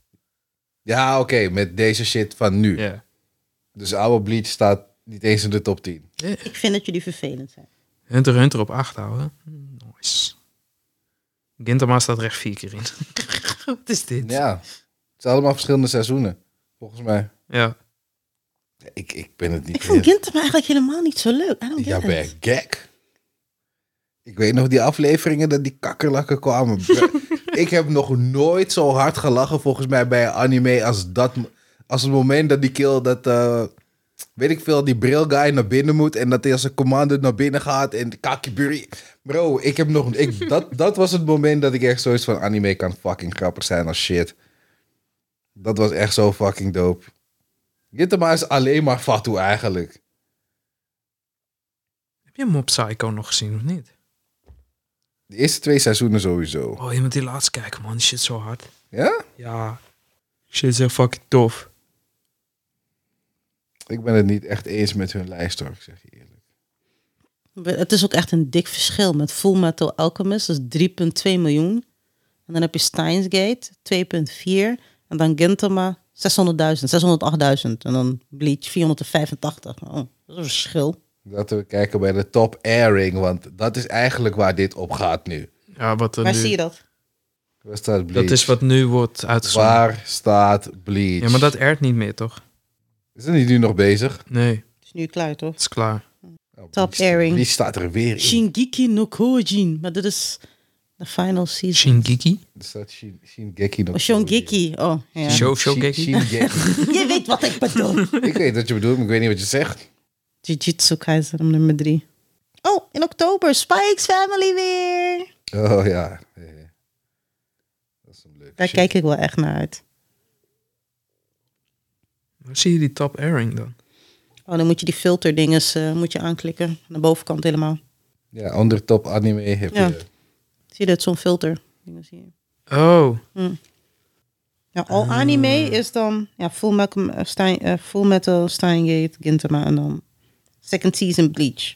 S3: Ja, oké, met deze shit van nu.
S2: Ja.
S3: Dus oude Bleach staat niet eens in de top 10.
S1: Ik vind dat jullie vervelend zijn.
S2: Hunter x Hunter op 8 houden. Nice. Gintama staat recht vier keer in. Wat is dit?
S3: Ja, het zijn allemaal verschillende seizoenen, volgens mij.
S2: Ja.
S3: Ik, ik ben het niet
S1: Ik vond Gintama eigenlijk helemaal niet zo leuk. I don't
S3: Ja,
S1: get
S3: ben
S1: it.
S3: je gek? Ik weet nog die afleveringen dat die kakkerlakken kwamen. Bro, ik heb nog nooit zo hard gelachen volgens mij bij een anime als dat... Als het moment dat die kill dat... eh, weet ik veel, die bril guy naar binnen moet en dat hij als een commando naar binnen gaat en Kakiburi. Bro, ik heb nog... Ik, dat, dat was het moment dat ik echt zoiets van anime kan fucking grappig zijn als shit. Dat was echt zo fucking dope. Gintama is alleen maar Fatu eigenlijk.
S2: Heb je Mob Psycho nog gezien of niet?
S3: De eerste twee seizoenen sowieso.
S2: Oh, je moet die laatst kijken, man. Die shit is zo hard.
S3: Ja?
S2: Ja. Shit is echt fucking tof.
S3: Ik ben het niet echt eens met hun lijst hoor, ik zeg je eerlijk.
S1: Het is ook echt een dik verschil met Full Metal Alchemist, dat is 3,2 miljoen. En dan heb je Steins Gate, 2,4. En dan Gintama, 600.000, 608.000. En dan Bleach, 485. Oh, dat is een verschil.
S3: Laten we kijken bij de top airing, want dat is eigenlijk waar dit op gaat nu.
S2: Ja, wat er
S1: Waar
S2: nu...
S1: zie je dat?
S3: Waar staat Bleach?
S2: Dat is wat nu wordt uitgezonden.
S3: Waar staat Bleach?
S2: Ja, maar dat airt niet meer, toch?
S3: Is het niet nu nog bezig?
S2: Nee,
S1: Het is nu klaar, toch?
S2: het is klaar.
S3: Oh,
S1: Top
S3: Bleach-
S1: airing.
S3: Bleach staat er weer in.
S1: Shingeki no Kyojin. Maar dit is de final season.
S2: Shingeki?
S3: Er staat Shin, Shingeki nog.
S1: Oh, Shongeki. Oh, ja.
S2: Sho- Shogeki?
S3: Shingeki.
S1: Je weet wat ik bedoel.
S3: ik weet wat je bedoelt, maar ik weet niet wat je zegt.
S1: Jujutsu Kaisen om nummer 3. Oh, in oktober. Spikes Family weer.
S3: Oh ja. Eh, Dat is een leuke
S1: Daar
S3: shit.
S1: kijk ik wel echt naar uit.
S2: Waar zie je die top airing dan?
S1: Oh, dan moet je die filterdinges eh moet je aanklikken. Aan de bovenkant helemaal.
S3: Ja, andere top anime heb
S1: Ja.
S3: je.
S1: Zie je dat, zo'n filter. Dingen zie je.
S2: Oh,
S1: Ja, al anime is dan ja, Full, Malcolm, eh, Stein, eh, Full Metal, Steingate, Gintama en dan Second Season Bleach.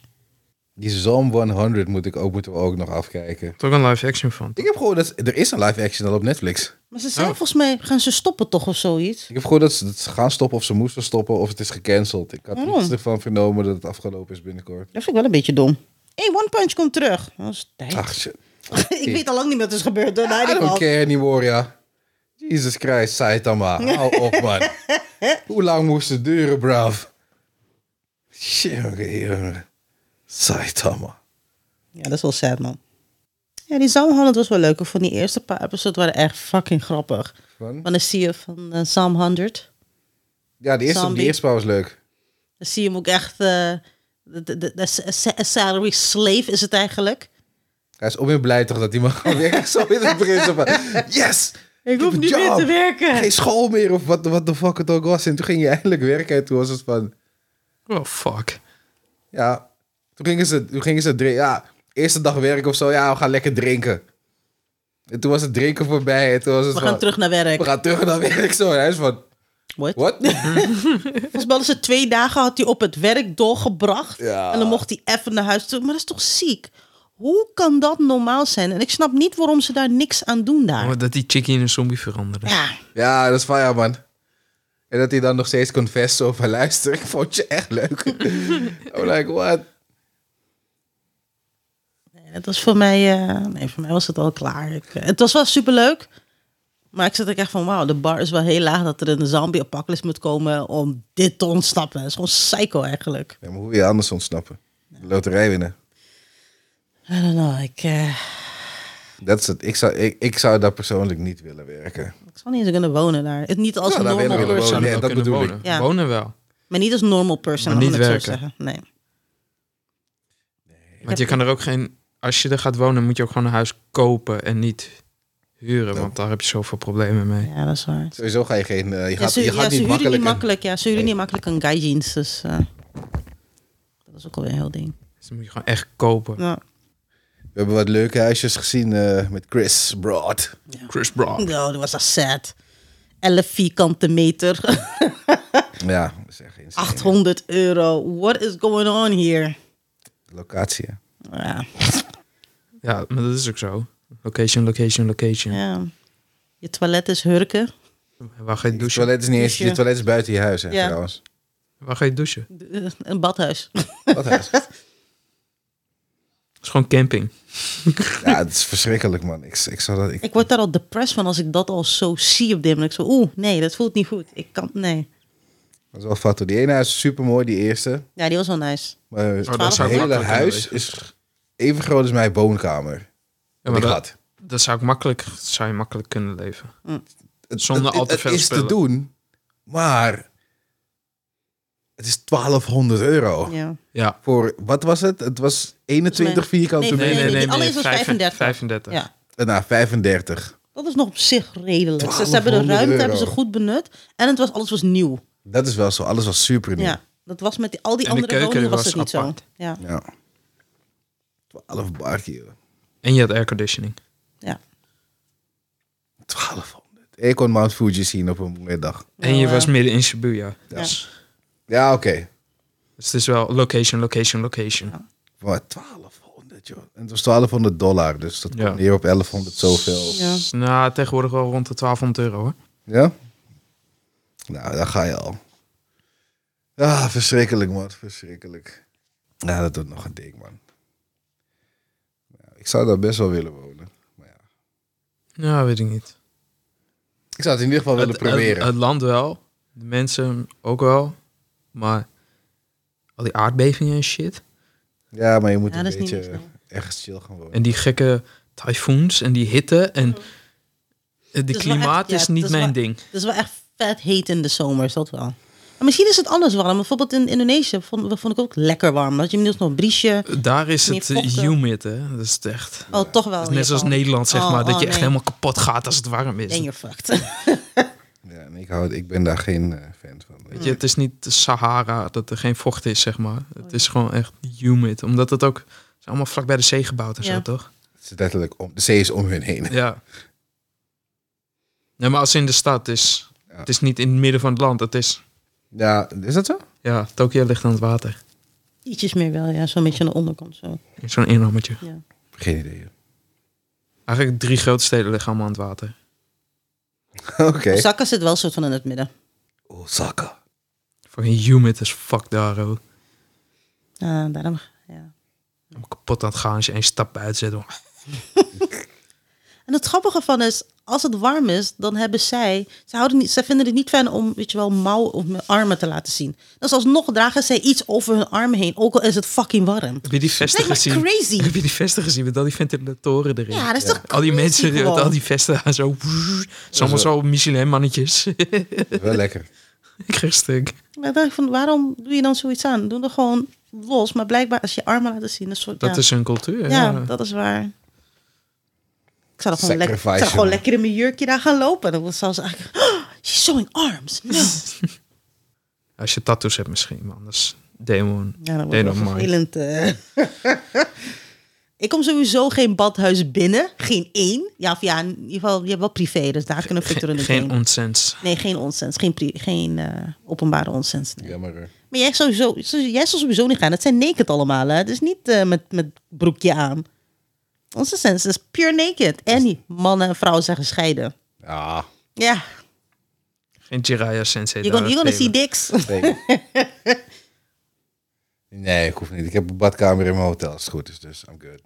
S3: Die Zoom 100 moet ik ook, moeten we ook nog afkijken.
S2: toch een live action van.
S3: Ik heb gehoord dat er is een live action al op Netflix.
S1: Maar ze zijn
S2: Oh.
S1: volgens mij, gaan ze stoppen toch of zoiets?
S3: Ik heb gehoord dat ze, dat ze gaan stoppen of ze moesten stoppen of het is gecanceld. Ik had
S1: Waarom?
S3: niets ervan vernomen dat het afgelopen is binnenkort.
S1: Dat vind ik wel een beetje dom. Hé, One Punch komt terug. Dat is tijd.
S3: Ach, shit.
S1: ik weet al lang niet wat er is gebeurd. Dan
S3: I don't
S1: al.
S3: care anymore, ja. Jesus Christ, Saitama. Hou op, man. Hoe lang moest het duren, bruv? Shit, jongen. Saitama.
S1: Ja, dat is wel sad, man. Ja, die Sam Holland was wel leuk. Ik vond die eerste paar episodes waren echt fucking grappig.
S3: Van?
S1: Want dan zie je van eh Sam 100.
S3: Ja, de eerste, de
S1: Zombie.
S3: eerste paar was leuk.
S1: Dan zie je hem ook echt... eh de, de, de, de sa- salary slave is het eigenlijk.
S3: Hij is onweer blij toch dat hij mag gaan werken. Zo in het begin. zo van, yes!
S1: Ik hoef
S3: heb
S1: niet
S3: een
S1: meer
S3: job.
S1: te werken.
S3: Geen school meer of wat wat de fuck het ook was. En toen ging je eindelijk werken. En toen was het van...
S2: Oh, fuck.
S3: Ja, toen gingen ze, toen gingen ze drinken. Ja, eerste dag werk of zo. Ja, we gaan lekker drinken. En toen was het drinken voorbij. En toen was het
S1: We
S3: van,
S1: gaan terug naar werk.
S3: We gaan terug naar werk. Zo. En hij is van...
S1: What?
S3: What?
S1: Volgens mij hadden ze twee dagen had hij op het werk doorgebracht.
S3: Ja.
S1: En dan mocht hij even naar huis toe. Maar dat is toch ziek? Hoe kan dat normaal zijn? En ik snap niet waarom ze daar niks aan doen daar.
S2: Oh, dat die chickie in een zombie veranderde.
S1: Ja,
S3: ja, dat is van ja, man. En dat hij dan nog steeds confess zo van... Luister, ik vond je echt leuk. I'm like, what?
S1: nee, dat was voor mij... eh, nee, voor mij was het al klaar. Ik, eh, het was wel superleuk. Maar ik zat ook echt van... Wauw, de bar is wel heel laag dat er een zombie-apocalypse moet komen om dit te ontsnappen. Dat is gewoon psycho eigenlijk.
S3: Ja, maar hoe wil je anders ontsnappen? De loterij winnen.
S1: I don't know. Ik, eh,
S3: Dat is het. Ik zou, ik, ik zou daar persoonlijk niet willen werken.
S1: ik zal niet eens kunnen wonen daar. Het niet als
S3: Ja,
S1: een
S3: daar
S1: normal
S3: willen we
S1: person.
S3: wonen. Ja,
S2: wel
S3: dat
S2: kunnen
S3: bedoel ik.
S2: wonen.
S1: Ja.
S2: Wonen wel.
S1: Maar niet als normal person.
S2: Maar
S1: laat
S2: niet
S1: me het zo
S2: werken.
S1: zeggen. Nee.
S2: Want je kan er ook geen... Als je er gaat wonen, moet je ook gewoon een huis kopen en niet huren. Want daar heb je zoveel problemen mee.
S1: Ja, dat is waar.
S3: Sowieso ga je geen... eh, je
S1: Ja,
S3: gaat,
S1: ze,
S3: je
S1: ja,
S3: gaat
S1: ze
S3: niet
S1: huren
S3: makkelijk...
S1: niet makkelijk. Ja, ze huren niet makkelijk een guy jeans. Dus eh, dat is ook alweer een heel ding.
S2: Dus dan moet je gewoon echt kopen.
S1: Ja.
S3: We hebben wat leuke huisjes gezien eh, met Chris Broad.
S2: Chris Brown.
S1: Oh, dat was dat sad. 11 vierkante meter,
S3: Ja, dat is echt insane.
S1: 800 euro. What is going on here?
S3: Locatie. hè.
S1: Ja,
S2: Ja, maar dat is ook zo. Location, location, location.
S1: ja. Je toilet is hurken.
S2: Waar ga je
S3: Je
S2: douchen?
S3: toilet is niet eens,
S1: Douche.
S3: je toilet is buiten je huis, hè,
S1: Ja.
S3: trouwens.
S2: Waar ga je douchen? Het
S1: Eh, Een badhuis.
S3: Wat huis?
S2: is gewoon camping.
S3: Ja, het is verschrikkelijk, man. Ik, ik zou dat... Ik,
S1: Ik word daar al depressed van als ik dat al zo zie op dit moment. Ik zo, oeh, nee, dat voelt niet goed. Ik kan, nee.
S3: dat is wel fatto. Die ene huis is super mooi, die eerste.
S1: Ja, die was wel nice.
S3: Maar het
S2: Oh, dat zou
S3: hele
S2: makkelijk
S3: huis
S2: kunnen
S3: is even groot als mijn woonkamer.
S2: Ja,
S3: Die
S2: maar dat,
S3: gat.
S2: dat zou ik makkelijk, zou je makkelijk kunnen leven.
S3: Het-
S2: Zonder
S3: het-
S2: al te
S3: het-
S2: veel
S3: Het is te
S2: spullen.
S3: doen, maar het is 1200 euro.
S1: Ja.
S2: Ja.
S3: Voor, wat was het? Het was 21 vierkante
S1: Nee,
S3: meter.
S1: nee, nee, die allereerst was
S2: vijf-
S1: 35.
S2: 35.
S1: ja.
S3: Nou, 35.
S1: Dat is nog op zich redelijk. Ze, ze hebben de
S3: 1200
S1: ruimte hebben ze
S3: euro.
S1: goed benut. En het was, alles was nieuw.
S3: Dat is wel zo. Alles was super nieuw.
S1: Ja, dat was met die, al die
S2: En de
S1: andere
S2: keuken
S1: woningen was
S2: was
S1: het niet
S2: apart.
S1: zo. Ja,
S3: Ja. 12 barkie, joh.
S2: En je had airconditioning.
S1: ja.
S3: 1200. Ik kon Mount Fuji zien op een mooie dag.
S2: En je was midden in Shibuya.
S1: Ja.
S2: Dus,
S3: Ja, oké.
S2: dus het is wel location, location, location.
S3: Maar 1200, joh. En het was 1200 dollar, dus dat
S2: Ja.
S3: komt neer op 1100 zoveel.
S1: Ja.
S2: Dus, nou, tegenwoordig wel rond de 1200 euro hoor.
S3: Ja? Nou, daar ga je al. Ah, verschrikkelijk, man. Verschrikkelijk. Ja, dat doet nog een dik, man. Ja, ik zou daar best wel willen wonen. Maar ja.
S2: Nou, weet ik niet.
S3: Ik zou het in ieder geval willen
S2: het,
S3: proberen.
S2: het- het land wel. De mensen ook wel. Maar al die aardbevingen en shit.
S3: ja, maar je moet
S1: Ja, dat
S3: een
S1: is niet
S3: beetje
S1: niks,
S3: echt chill gaan wonen.
S2: En die gekke tyfoons en die hitte. En het
S1: Mhm. is wel
S2: klimaat
S1: echt- ja,
S2: is
S1: het
S2: niet
S1: is
S2: mijn
S1: wel-
S2: ding.
S1: Het is wel echt vet heet in de zomer, is dat wel. Maar misschien is het anders warm. Bijvoorbeeld in Indonesië vond, vond ik ook lekker warm. Dat je inmiddels nog een briesje.
S2: Daar is
S1: Meer
S2: het
S1: vochtig.
S2: humid, hè. Dat is het echt...
S1: Oh, toch wel.
S2: Dat is net zoals
S1: Japan.
S2: Nederland, zeg
S1: Oh,
S2: maar. Dat
S1: oh,
S2: je echt
S1: nee.
S2: helemaal kapot gaat als het warm is.
S1: Then you're fucked.
S3: Ja, en ik, hou, ik ben daar geen eh, fan van. weet
S2: Weet je,
S3: je.
S1: Oh,
S2: het is niet de Sahara dat er geen vocht is, zeg maar. Het is gewoon echt humid. Omdat het ook is allemaal vlak bij de zee gebouwd en
S1: Ja.
S2: zo, toch?
S3: Het is letterlijk om, de zee is om hun heen.
S2: Ja. Nee, maar als in de stad is.
S3: Ja.
S2: Het is niet in het midden van het land. Het is.
S3: Ja, is dat zo?
S2: Ja, Tokio ligt aan het water.
S1: Ietsjes meer wel, ja. Zo'n beetje aan de onderkant zo.
S2: In Zo'n inhammetje.
S1: Ja.
S3: Geen idee. joh.
S2: Eigenlijk drie grote steden liggen allemaal aan het water.
S3: Oké.
S1: Osaka zit wel soort van in het midden.
S3: Osaka.
S2: Fucking humid as fuck daar, hoor.
S1: Ah, daarom, ja.
S2: Helemaal kapot aan het gaan als je één stap uitzet. hoor.
S1: En het grappige van is, als het warm is, dan hebben zij... Ze, houden niet, ze vinden het niet fijn om, weet je wel, mouwen of hun armen te laten zien. Dus alsnog dragen zij iets over hun armen heen, ook al is het fucking warm.
S2: Heb je die vesten
S1: Lijkt me
S2: gezien?
S1: crazy.
S2: Heb je die vesten gezien met al die ventilatoren erin?
S1: Ja, dat is toch
S2: al die
S1: crazy
S2: mensen, met
S1: gewoon?
S2: al die vesten aan zo. Het is allemaal zo Michelin-mannetjes.
S3: Wel lekker.
S2: Ik kreeg stuk.
S1: Maar ik dacht van, waarom doe je dan zoiets aan? Doe er gewoon los. Maar blijkbaar, als je armen laat zien, een soort...
S2: Dat
S1: ja.
S2: is hun cultuur.
S1: Ja,
S2: ja.
S1: dat is waar. Ik zou er gewoon, lekker, ik zou
S3: Sacrifice,
S1: er gewoon
S3: man.
S1: lekker in mijn jurkje daar gaan lopen. Dan zou ze eigenlijk... "Oh, she's showing arms. No.
S2: Als je tattoos hebt misschien, maar anders demon.
S1: Ja, dat
S2: Nee,
S1: wordt wel
S2: dat mag.
S1: vervelend. eh. ik kom sowieso geen badhuis binnen. Geen één. Ja, of ja, in ieder geval, je hebt wel privé. Dus daar kunnen
S2: Geen,
S1: futteren niet
S2: geen
S1: heen.
S2: onsens.
S1: Nee, geen onsens. Geen, pri- geen eh, openbare onsens. nee.
S3: Jammer. hoor.
S1: Maar jij, sowieso, jij zal sowieso niet gaan. Het zijn naked allemaal. Hè? Dus niet eh, met, met broekje aan. Onze sens is pure naked. En mannen en vrouwen zijn gescheiden.
S3: Ja,
S1: Ja,
S2: Geen Jiraiya sensei.
S1: je dus gonna,
S2: daar
S1: you gonna
S2: spelen.
S1: see dicks.
S3: zeker. nee, ik hoef niet. Ik heb een badkamer in mijn hotel als het goed is, dus I'm good.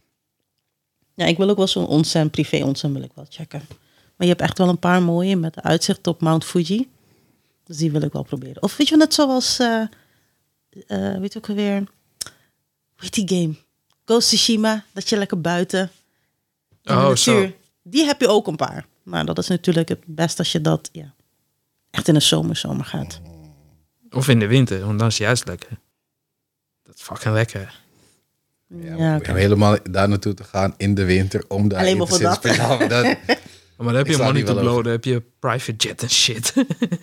S1: Ja, ik wil ook wel zo'n onsen, privé onsen wil ik wel checken. Maar je hebt echt wel een paar mooie met uitzicht op Mount Fuji. Dus die wil ik wel proberen. Of weet je wel, net zoals, eh eh, weet je ook alweer, hoe heet die game? Ghost Tsushima, dat je lekker buiten in de
S2: Oh,
S1: natuur.
S2: zo.
S1: Die heb je ook een paar. Maar dat is natuurlijk het best als je dat ja, echt in de zomer, zomer gaat.
S2: Of in de winter, want dan is het juist lekker. Dat is fucking lekker.
S3: Ja,
S1: Ja,
S3: om
S1: oké.
S3: helemaal daar naartoe te gaan in de winter om daar
S1: Alleen
S3: in te
S1: maar voor
S3: zitten.
S1: dat.
S3: Speciaal voor dat.
S2: Maar dan heb je
S3: Ik
S2: een
S3: sla
S2: money
S3: die
S2: te
S3: wel over.
S2: blowen, dan heb je private jet en shit.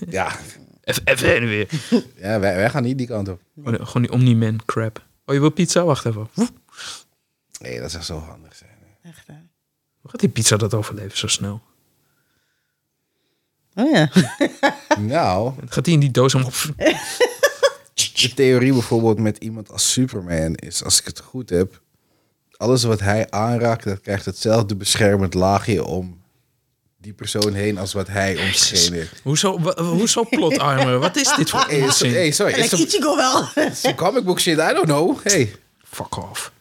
S3: Ja,
S2: even, even heen en weer.
S3: ja wij, wij gaan niet die kant op.
S2: Gewoon, gewoon die Omni-Man crap. Oh, je wil pizza? Wacht even. Woep.
S3: Nee, dat zou zo handig zijn.
S1: Echt, hè?
S2: Hoe gaat die pizza dat overleven zo snel?
S1: Oh ja.
S3: Nou,
S2: Gaat die in die doos om?
S3: de theorie bijvoorbeeld met iemand als Superman is, als ik het goed heb, alles wat hij aanraakt, dat krijgt hetzelfde beschermend laagje om die persoon heen als wat hij om zich heen heeft.
S2: Hoezo, wa- hoeso plotarmen? Wat is dit voor
S3: Hey, so-
S2: onzin?
S3: hey, sorry,
S1: Like
S3: it's some,
S1: Ichigo wel.
S3: some comic book shit, I don't know. Hey.
S2: Fuck off.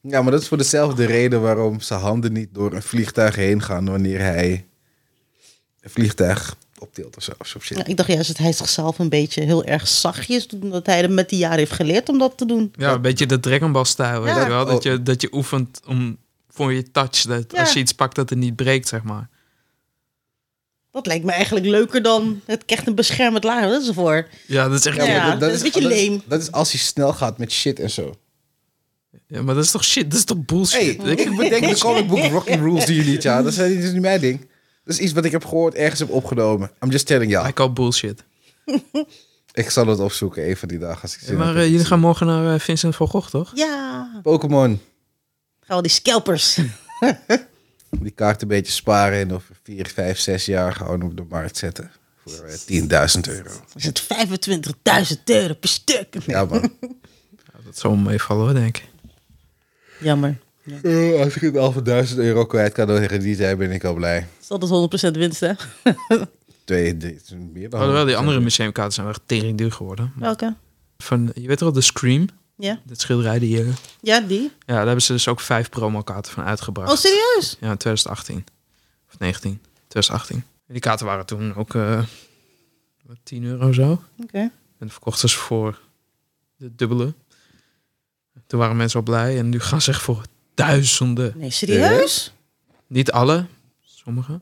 S3: Ja, maar dat is voor dezelfde reden waarom zijn handen niet door een vliegtuig heen gaan wanneer hij een vliegtuig optilt of zo. of zo shit.
S1: Ja, Nou, ik dacht juist dat hij zichzelf een beetje heel erg zachtjes doet. Omdat hij er met die jaren heeft geleerd om dat te doen.
S2: Ja, een beetje de Dragon Ball stijl, weet
S1: Ja.
S2: je wel? Dat
S3: Oh.
S2: je, dat je oefent om voor je touch, dat
S1: Ja.
S2: als je iets pakt dat het niet breekt, zeg maar.
S1: Dat lijkt me eigenlijk leuker dan het echt een beschermend laag. Dat is ervoor.
S2: Ja, dat is echt...
S1: Ja,
S2: Ja,
S1: maar-
S2: maar,
S1: dat is een beetje
S3: dat
S1: lame.
S3: dat is als hij snel gaat met shit en zo.
S2: dat is toch shit? Dat is toch bullshit?
S3: Hey, ik bedenk de comic book Rocking Rules die jullie het jaar. Dat is, dat is niet mijn ding. Dat is iets wat ik heb gehoord, ergens heb opgenomen. I'm just telling
S2: I
S3: you.
S2: call bullshit.
S3: Ik zal het opzoeken een van die dagen als ik zin
S2: maar
S3: heb.
S2: eh, jullie gaan morgen naar eh, Vincent van Gogh, toch?
S1: Ja,
S3: Pokémon,
S1: gaan wel die scalpers.
S3: die kaart een beetje sparen en over 4, 5, 6 jaar gewoon op de markt zetten. Voor eh, 10.000 euro.
S1: Is het 25.000 euro per stuk?
S3: Ja man.
S2: Ja, dat zal me meevallen, hoor, denk ik.
S1: Jammer. Ja.
S3: Eh, Als ik het al voor 1000 euro kwijt kan dan tegen die tijd ben ik al blij.
S1: Is altijd 100% winst, hè?
S3: Twee, drie, het is meer dan.
S2: Alhoewel, Oh, die andere museumkaarten zijn wel echt tering duur geworden.
S1: Welke?
S2: Van, je weet toch de Scream?
S1: Ja,
S2: Dat schilderij die... eh,
S1: ja die.
S2: ja, daar hebben ze dus ook vijf promokaarten van uitgebracht.
S1: Oh, serieus?
S2: Ja, in 2018. Of 19. 2018. En die kaarten waren toen ook eh, wat 10 euro zo.
S1: Oké.
S2: En verkochten ze voor de dubbele. Toen waren mensen al blij. En nu gaan ze echt voor duizenden.
S1: Nee, serieus?
S2: Niet alle, sommige.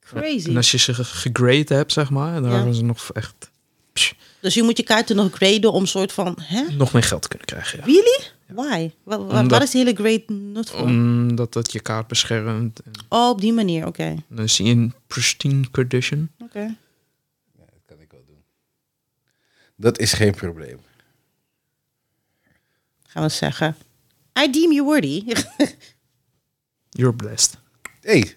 S2: En
S1: Crazy.
S2: als je ze ge- gegrade hebt, zeg maar, dan
S1: Ja.
S2: hebben ze nog echt
S1: Dus je moet je kaarten nog graden om soort van... Hè?
S2: nog meer geld te kunnen krijgen. Ja.
S1: Really? Why? Wa- wa-
S2: Omdat-
S1: Waar is de hele grade nut voor?
S2: Omdat dat je kaart beschermt. En
S1: Oh, op die manier. Oké.
S2: dan is hij in pristine condition.
S1: Oké.
S3: Dat kan ik wel doen. Dat is geen probleem.
S1: Gaan gaan we zeggen, I deem you worthy.
S2: You're blessed.
S3: Hey,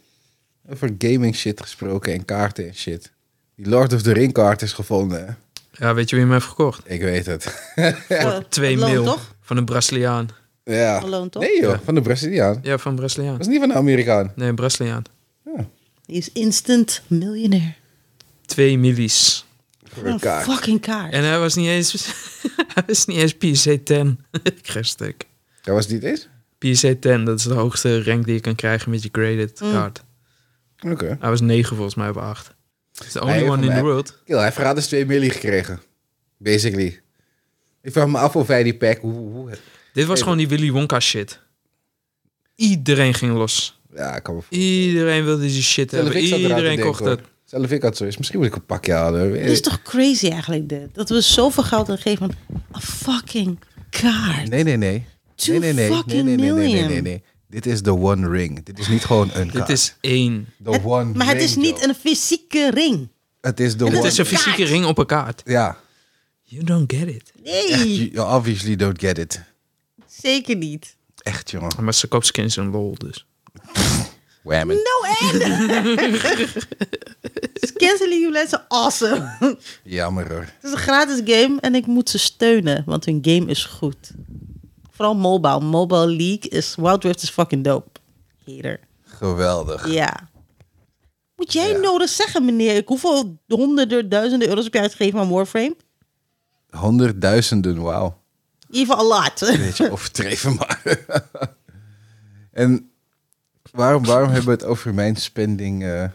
S3: over gaming shit gesproken en kaarten en shit. Die Lord of the Ring kaart is gevonden. hè?
S2: Ja, weet je wie hem heeft gekocht?
S3: Ik weet het.
S1: Voor
S2: Twee
S1: loon,
S2: mil
S1: toch?
S2: van een Braziliaan.
S3: ja.
S1: Alone, toch? Oh,
S3: Nee joh,
S2: Ja.
S3: van de Braziliaan.
S2: Ja, van een Braziliaan.
S3: Dat is niet van de Amerikaan.
S2: Nee, een Braziliaan.
S1: Die is instant miljonair.
S2: Twee millies.
S3: Voor
S1: Een
S3: een kaart.
S1: fucking kaart.
S2: En hij was niet eens, hij was niet eens PSC 10. Ik kreeg stuk.
S3: Dat was het niet eens?
S2: PSC 10, dat is de hoogste rank die je kan krijgen met je graded
S1: Mm.
S2: kaart.
S3: Oké.
S2: Hij was 9 volgens mij op 8. Is the only
S3: heeft
S2: one in
S3: hem,
S2: the
S3: hè?
S2: world.
S3: Kill, hij heeft gratis 2 milli gekregen. Basically. Ik vraag me af of hij die pack... Hoe, hoe,
S2: Dit was
S3: Hey,
S2: gewoon die Willy Wonka shit. Iedereen ging los.
S3: ja, ik kan me voorstellen.
S2: Iedereen wilde die shit
S3: Zelf
S2: hebben.
S3: ik zat eraan te
S2: Iedereen
S3: denken,
S2: kocht
S3: hoor.
S2: het.
S3: Zelf ik had zoiets. Misschien moet ik een pakje halen.
S1: Het is toch crazy eigenlijk dit? Dat we zoveel geld aan geven aan een fucking kaart.
S3: Nee, nee, nee.
S1: Two
S3: Nee, nee, nee. Nee,
S1: fucking
S3: nee, nee, nee, nee,
S1: million.
S3: nee, nee. Dit is de One Ring. Dit is niet gewoon een
S2: Dit
S3: kaart.
S2: is één.
S3: de
S1: Het-
S3: One
S1: maar het
S3: Ring,
S1: is niet
S3: joh.
S1: een fysieke ring.
S3: Het is de
S1: het
S2: Het
S3: One
S2: is een
S1: kaart.
S2: fysieke ring op een kaart.
S3: Ja.
S2: You don't get it.
S1: Nee,
S3: You you obviously don't get it.
S1: zeker niet.
S3: Echt, jongen.
S2: Maar ze koopt skins en lol dus.
S3: Whammen.
S1: No end! Canceling You Lens is awesome.
S3: Jammer, hoor.
S1: Het is een gratis game en ik moet ze steunen, want hun game is goed. Vooral mobile. Mobile League is... Wild Rift is fucking dope. Hater.
S3: Geweldig.
S1: Ja. Moet jij
S3: Ja.
S1: nodig zeggen, meneer? Ik hoeveel honderden, duizenden euro's heb je uitgegeven aan Warframe?
S3: Honderdduizenden, wauw.
S1: Even a lot.
S3: Een beetje overdreven, maar... en waarom, waarom hebben we het over mijn spending... eh?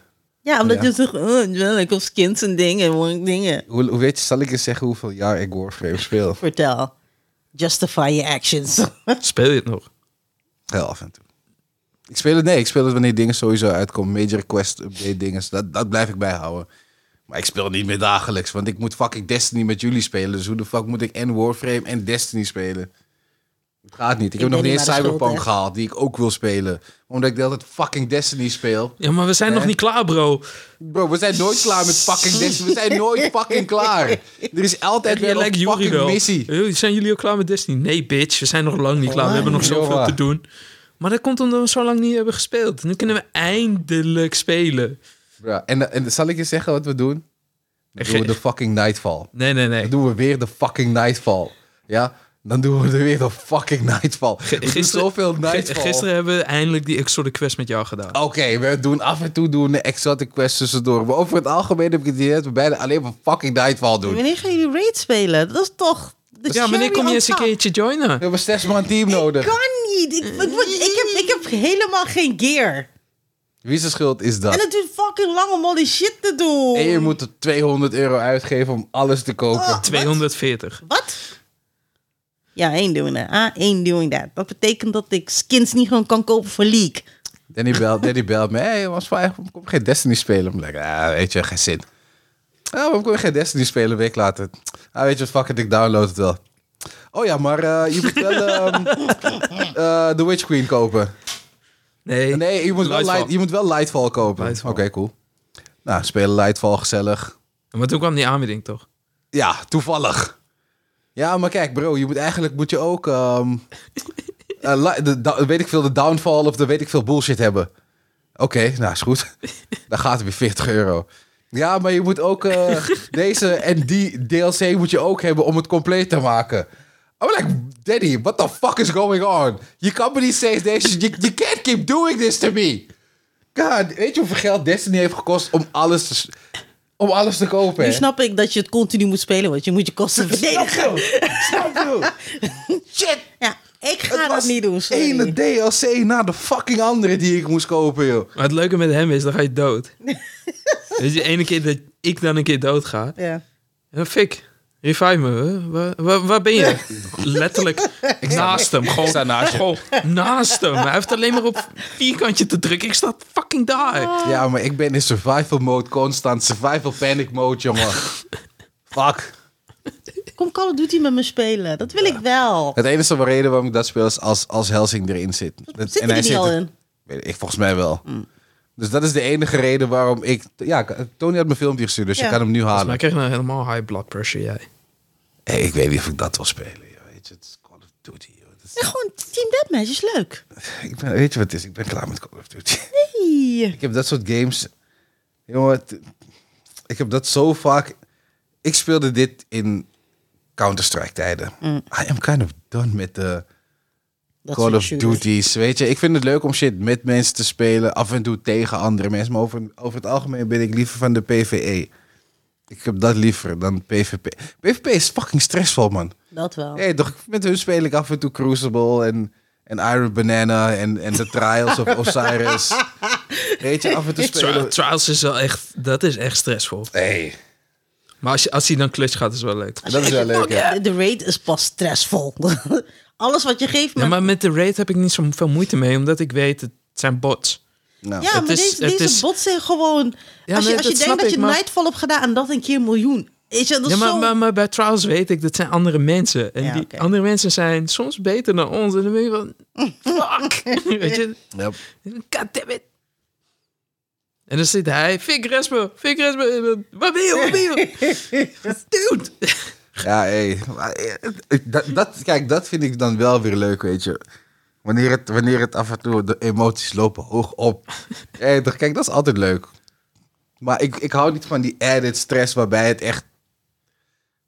S1: Ja, omdat
S3: Ja.
S1: je zegt, oh, ja, ik koop skins en dingen, mooie dingen.
S3: hoe, hoe weet je, zal ik eens zeggen hoeveel jaar ik Warframe speel?
S1: Vertel. Justify your actions.
S2: Speel je het nog?
S3: Heel af en toe. Ik speel het, nee, ik speel het wanneer dingen sowieso uitkomen. Major quest update dingen, dat, dat blijf ik bijhouden. Maar ik speel niet meer dagelijks, want ik moet fucking Destiny met jullie spelen. Dus hoe de fuck moet ik en Warframe en Destiny spelen? Het gaat niet. Ik, heb
S1: ben
S3: nog niet
S1: niet
S3: eens
S1: waar de schuld,
S3: Cyberpunk
S1: hè?
S3: gehaald, die ik ook wil spelen. Omdat ik de hele tijd fucking Destiny speel.
S2: Ja, maar we zijn nog niet klaar, bro.
S3: Bro, we zijn nooit klaar met fucking Destiny. We zijn nooit fucking klaar. Er is altijd weer
S2: Jij
S3: een
S2: lijkt Yuri
S3: fucking
S2: wel.
S3: missie.
S2: Eh, Zijn jullie al klaar met Destiny? Nee, bitch. We zijn nog lang
S3: Oh
S2: niet klaar. We hebben nog zoveel
S3: jongen.
S2: te doen. Maar dat komt omdat we zo lang niet hebben gespeeld. Nu kunnen we eindelijk spelen.
S3: Bro, en, en zal ik je zeggen wat we doen? Dan
S2: Echt-
S3: doen we de fucking Nightfall.
S2: Nee, nee, nee.
S3: Dan doen we weer de fucking Nightfall. Ja? Dan doen we er weer de fucking Nightfall. We doen zoveel
S2: ge-
S3: Nightfall. Oh,
S2: gisteren hebben we eindelijk die Exotic Quest met jou gedaan.
S3: Oké, we doen af en toe doen de exotic quests tussendoor. Maar over het algemeen heb ik het idee dat we bijna alleen maar fucking Nightfall doen.
S1: Wanneer gaan jullie raid spelen? Dat is toch... de
S2: ja, wanneer
S1: cherry
S2: kom je
S1: on
S2: eens een
S1: top.
S2: keertje joinen?
S3: We hebben zes man team nodig.
S1: Kan niet. Ik, ik, word- ik, heb, ik heb helemaal geen gear.
S3: Wie zijn schuld is
S1: En
S3: dat?
S1: het duurt fucking lang om al die shit te doen.
S3: En je moet er 200 euro uitgeven om alles te kopen.
S1: Oh.
S2: 240.
S1: Wat? Ja, één doing that. Ah, één doing that. Dat betekent dat ik skins niet gewoon kan kopen voor League.
S3: Danny belt, Danny belt me. Hé, hey, was vijf, waarom kom je geen Destiny spelen? Ik like, ah, weet je, geen zin. Ah, waarom kom je geen Destiny spelen? Een week later. Ah, weet je wat, fuck it, ik download het wel. Oh ja, maar eh, je moet wel ehm, eh, The Witch Queen kopen.
S2: Nee.
S3: Nee, je moet, wel,
S2: Lightfall.
S3: Light- je moet wel Lightfall kopen.
S2: Lightfall.
S3: Oké, cool. Nou, spelen Lightfall, gezellig.
S2: Maar toen kwam die aanbieding toch?
S3: Ja, toevallig. Ja, maar kijk bro, je moet eigenlijk moet je ook... ehm, eh, li- de, da- weet ik veel, de downfall of de weet ik veel bullshit hebben. Oké, nou is goed. Dan gaat het weer 40 euro. Ja, maar je moet ook eh, deze en die DLC moet je ook hebben om het compleet te maken. I'm like, Daddy, what the fuck is going on? Je kan me niet steeds deze... You, you can't keep doing this to me. God, weet je hoeveel geld Destiny heeft gekost om alles te, s- om alles te kopen?
S1: Nu
S3: hè?
S1: snap ik dat je het continu moet spelen, want je moet je kosten verdedigen.
S3: Shit!
S1: Ja, ik
S3: Het
S1: ga dat
S3: was
S1: niet doen.
S3: de ene
S1: Sorry.
S3: DLC na de fucking andere die ik moest kopen, joh.
S2: Maar het leuke met hem is, dan ga je dood. dus de ene keer dat ik dan een keer dood ga,
S1: Ja.
S2: Ja, Fik, revive me. hè? Waar, waar, waar ben je? Letterlijk naast hem. Gewoon, naast, gewoon naast hem. Hij heeft alleen maar op vierkantje te drukken. Ik sta fucking
S1: Ah.
S2: daar.
S3: Ja, maar ik ben in survival mode constant. Survival panic mode, jongen. Fuck.
S1: Kom Call of Duty met me spelen. Dat wil ik wel.
S3: Het enige reden waarom ik dat speel is als, als Helsing erin zit. Dat-
S1: Zit
S3: en
S1: er
S3: hij
S1: niet al
S3: er-
S1: in? Mm.
S3: Weet ik, volgens mij wel. Dus dat is de enige reden waarom ik... Ja, Tony had mijn filmpje gestuurd, dus
S1: Ja.
S3: je kan hem nu
S2: Maar
S3: halen.
S2: ik kreeg nou helemaal high blood pressure, jij.
S3: Hey, ik weet niet of ik dat wil spelen, joh. Weet je, het is Call of Duty, joh.
S1: Ja, gewoon Team Deathmatch is leuk.
S3: Ik ben, weet je wat het is? Ik ben klaar met Call of Duty.
S1: Hey.
S3: Ik heb dat soort games. Jongen, t- ik heb dat zo vaak. Ik speelde dit in Counter-Strike tijden. I am kind of done met de
S1: Dat
S3: Call
S1: soort
S3: of
S1: shooters.
S3: Duties. Weet je, ik vind het leuk om shit met mensen te spelen. Af en toe tegen andere mensen. Maar over, over het algemeen ben ik liever van de PvE. Ik heb dat liever dan PvP. PvP is fucking stressvol, man.
S1: Dat wel.
S3: Hey, toch, met hun speel ik af en toe Crucible en, en Iron Banana en, en The Trials of Osiris. Weet je, af en toe spelen
S2: Tri-
S3: we-
S2: Dus Trials is wel echt, dat is echt stressvol.
S3: Hey,
S2: Maar als, je, als hij dan clutch gaat, is wel leuk.
S3: dat is wel leuk, hè?
S1: De- De raid is pas stressvol. Alles wat je geeft,
S2: Ja,
S1: maar...
S2: maar met de raid heb ik niet zoveel moeite mee, omdat ik weet, het zijn bots.
S3: Nou.
S1: Ja, maar
S2: Het is-
S1: deze,
S2: het
S1: deze
S2: is-
S1: bots zijn gewoon... als
S2: Ja,
S1: je,
S2: nee,
S1: als je
S2: dat
S1: denkt
S2: snap
S1: dat
S2: ik,
S1: je
S2: maar-
S1: Nightfall hebt gedaan en dat een keer miljoen. Is je, dat
S2: Ja,
S1: is
S2: maar,
S1: zo...
S2: maar, maar bij Trials weet ik, dat zijn andere mensen. En
S1: Ja,
S2: die
S1: oké.
S2: andere mensen zijn soms beter dan ons. En dan ben je van, fuck. Weet je,
S3: Yep.
S2: goddammit. En dan zit hij, fik resme, fik eh, resme. Waar ben je, waar ben je? Dude.
S3: Ja, hey. Maar, eh, Dat, dat, kijk, dat vind ik dan wel weer leuk, weet je. Wanneer het, wanneer het af en toe de emoties lopen hoog op. Hey, toch, kijk, dat is altijd leuk. Maar ik, ik hou niet van die added stress waarbij het echt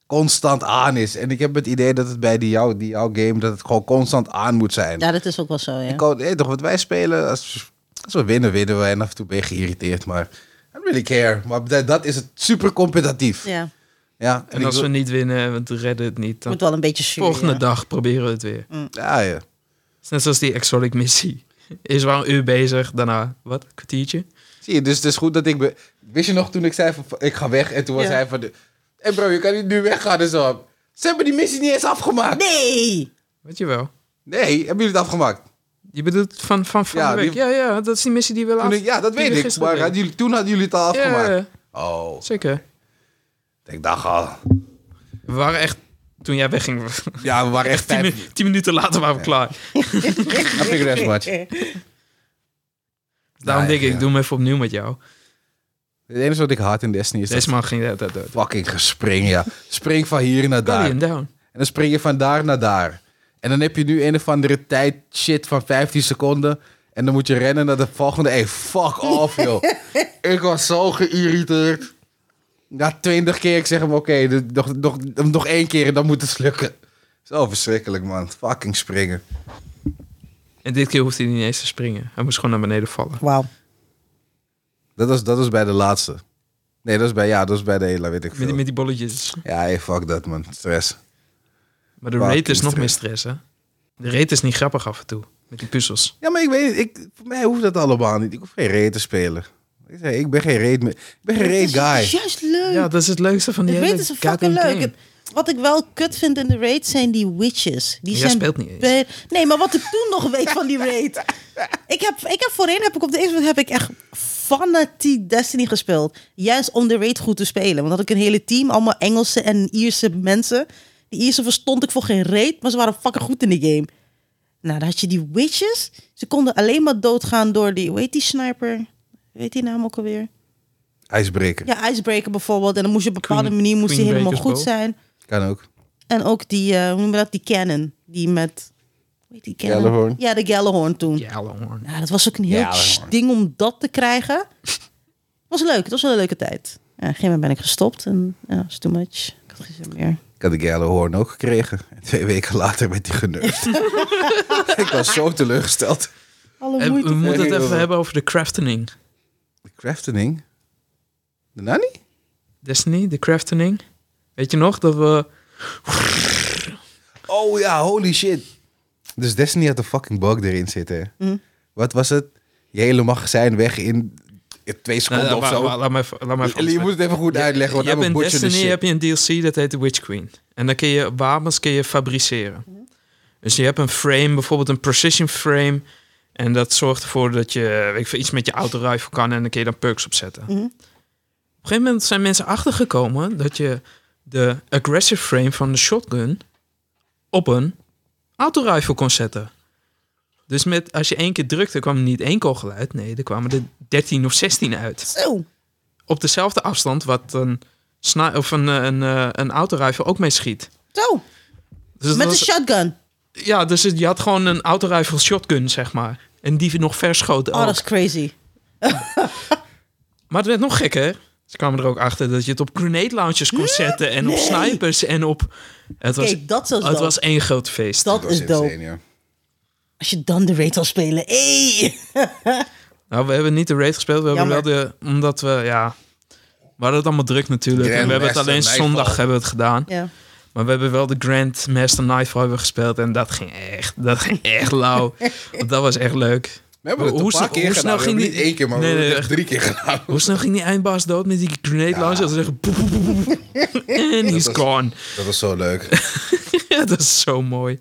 S3: constant aan is. En ik heb het idee dat het bij die jou, die jouw game dat het gewoon constant aan moet zijn.
S1: Ja, dat is ook wel zo, ja.
S3: Ik hou- hey, toch, wat wij spelen, als, als we winnen, winnen we. En af en toe ben je geïrriteerd, maar I don't really care. Maar dat, dat is het super competitief. Ja.
S1: Ja,
S3: en
S2: En
S3: ik
S2: als
S3: wil-
S2: we niet winnen, want we redden het niet, dan
S1: moet wel een beetje zuur.
S2: volgende
S1: ja.
S2: dag proberen we het weer.
S3: ja, ja.
S2: Het is Net zoals die Exotic missie. Is wel een uur bezig, daarna, wat, een kwartiertje?
S3: Zie je, dus het is goed dat ik... Be... Wist je nog toen ik zei van, van, ik ga weg? En toen was
S1: Ja.
S3: hij van... de- Hé bro, je kan niet nu weggaan en zo. Ze hebben die missie niet eens afgemaakt.
S1: Nee!
S2: Weet je wel.
S3: Nee, hebben jullie het afgemaakt?
S2: Je bedoelt van, van, van
S3: Ja,
S2: de week.
S3: die-
S2: Ja, ja, dat is die missie die we
S3: Toen
S2: laatst...
S3: ik, ja, dat
S2: die
S3: weet
S2: we
S3: ik.
S2: gisteren
S3: Maar
S2: deden.
S3: hadden jullie, toen hadden jullie het al
S2: Ja,
S3: afgemaakt.
S2: ja,
S3: Oh,
S2: zeker.
S3: ik dacht al.
S2: We waren echt... Toen jij wegging,
S3: Ja, we waren echt
S2: tien,
S3: vijf...
S2: minu- tien minuten later waren we klaar.
S3: I think that's much.
S2: Daarom
S3: Ja,
S2: denk ik,
S3: ja.
S2: doe hem even opnieuw met jou.
S3: Het enige wat ik had in Destiny is dat
S2: Deze man ging de hele tijd dood.
S3: fucking gespring, ja. Spring van hier naar daar.
S2: Guardian down.
S3: En dan spring je van daar naar daar. En dan heb je nu een of andere tijd shit van 15 seconden. En dan moet je rennen naar de volgende. Hey, fuck off, joh. ik was zo geïrriteerd. Na 20 keer, ik zeg hem, oké, dit- nog, nog, nog één keer en dan moet het lukken. Zo verschrikkelijk, man. Fucking springen.
S2: En dit keer hoeft hij niet eens te springen. Hij moest gewoon naar beneden vallen.
S1: Wauw.
S3: Dat was, dat was bij de laatste. Nee, dat is bij, ja, dat is bij de hele, weet ik
S2: Met, die-
S3: veel.
S2: met die bolletjes.
S3: Ja, hey, fuck dat, man. Stress.
S2: Maar de
S3: Waar
S2: raid is
S3: klinkt
S2: nog
S3: het?
S2: meer stress, hè? De raid is niet grappig af en toe. Met die puzzels.
S3: Ja, maar ik weet niet, ik, voor mij hoeft dat allemaal niet. Ik hoef geen raid te spelen. Ik, zei, ik ben geen raid meer. Ik ben geen raid
S1: Dat
S3: guy.
S1: is juist leuk.
S2: Ja, dat is het leukste van die
S1: de
S2: hele
S1: raid is fucking
S2: goddamn
S1: leuk.
S2: game.
S1: Het- Wat ik wel kut vind in de raid zijn die witches. Die
S2: Jij
S1: zijn
S2: speelt niet eens.
S1: be- Nee, maar wat ik toen nog weet van die raid. Ik heb, ik heb voorheen, heb ik op de Xbox heb ik echt fanatiek Destiny gespeeld. Juist om de raid goed te spelen. Want dan had ik een hele team, allemaal Engelse en Ierse mensen. Die Ierse verstond ik voor geen reet, maar ze waren fucking goed in de game. Nou, dan had je die witches. Ze konden alleen maar doodgaan door die, hoe heet die sniper? Weet die naam ook alweer?
S3: IJsbreker.
S1: Ja, icebreaker bijvoorbeeld. En dan moest je op een bepaalde
S2: Queen-
S1: manier moest die
S2: Queen
S1: helemaal
S2: Breaker's
S1: goed
S2: Bow.
S1: zijn.
S3: Kan ook.
S1: En ook die, eh, hoe noem je dat, die cannon. Die met, hoe heet die cannon?
S3: Gjallarhorn.
S1: Ja, de Gjallarhorn toen. Ja.
S2: Ja, hoor.
S1: dat was ook een heel
S3: Gjallarhorn.
S1: ding om dat te krijgen. was leuk, het was wel een leuke tijd. Ja, op een gegeven moment ben ik gestopt en ja, is too much. Ik had geen zin meer.
S3: Ik had de gele hoorn ook gekregen. En twee weken later werd die geneukt. ik was zo teleurgesteld.
S1: Alle
S2: En
S1: moeite.
S2: we moeten het
S3: Heel
S2: even
S3: veel.
S2: hebben over de craftening.
S3: De craftening? De nanny?
S2: Destiny, de craftening. Weet je nog dat we...
S3: Oh ja, holy shit. Dus Destiny had een fucking bug erin zitten.
S1: Mm.
S3: Wat was het? Je hele magazijn weg in in twee
S2: Nou,
S3: seconden
S2: la-
S3: of
S2: la-
S3: zo.
S2: la- laat maar even- laat maar even
S3: je
S2: afsluiten.
S3: moet het even goed uitleggen, want
S2: je
S3: I'm
S2: hebt
S3: a
S2: in
S3: butcher the
S2: Destiny
S3: shit.
S2: heb je een DLC dat heet de Witch Queen. En dan kun je wapens kun je fabriceren. Dus je hebt een frame, bijvoorbeeld een precision frame. En dat zorgt ervoor dat je weet ik, veel, iets met je auto rifle kan. En dan kun je dan perks opzetten.
S1: Mhm.
S2: Op een gegeven moment zijn mensen achtergekomen dat je de aggressive frame van de shotgun op een auto rifle kon zetten. Dus met, als je één keer drukte, kwam er niet één kogel uit. Nee, er kwamen er 13 of 16 uit
S1: Zo.
S2: op dezelfde afstand wat een, sni- of een, eh, een, eh, een autoruiver ook mee schiet.
S1: Zo.
S2: Dus dat
S1: Met een
S2: was-
S1: shotgun.
S2: ja, dus het- je had gewoon een autorifle shotgun, zeg maar. En die nog verschoten
S1: Oh,
S2: ook.
S1: dat is crazy.
S2: Maar het werd nog gekker. Ze kwamen er ook achter dat je het op grenade launchers kon zetten. En op
S1: Nee.
S2: snipers en op... Het was, oh,
S1: Kijk, dat is
S2: het
S1: dope.
S2: was één groot feest.
S1: Dat
S3: was
S1: is dope.
S3: insane, ja.
S1: Als je dan de raid wil spelen. Hey!
S2: Nou, we hebben niet de raid gespeeld. We hebben wel
S1: Jammer.
S2: de... Omdat we, ja... We hadden het allemaal druk natuurlijk.
S3: Grand
S2: en we hebben het
S3: Master
S2: alleen
S3: Nightfall.
S2: zondag hebben we het gedaan.
S1: Ja.
S2: Maar we hebben wel de Grand Master Knife hebben we gespeeld. En dat ging echt, dat ging echt lauw. Want dat was echt leuk.
S3: We hebben het
S2: Hoe
S3: een
S2: snel-
S3: paar keer
S2: hoe
S3: gedaan.
S2: snel ging
S3: We hebben
S2: die-
S3: niet één keer, maar
S2: Nee,
S3: we hebben
S2: nee,
S3: het echt drie keer gedaan.
S2: Hoe snel ging die eindbaas dood met die grenade launcher? Dat is echt... poep, poep, poep, poep. En he's
S3: was-
S2: gone.
S3: Dat was zo leuk.
S2: Ja, dat is zo mooi.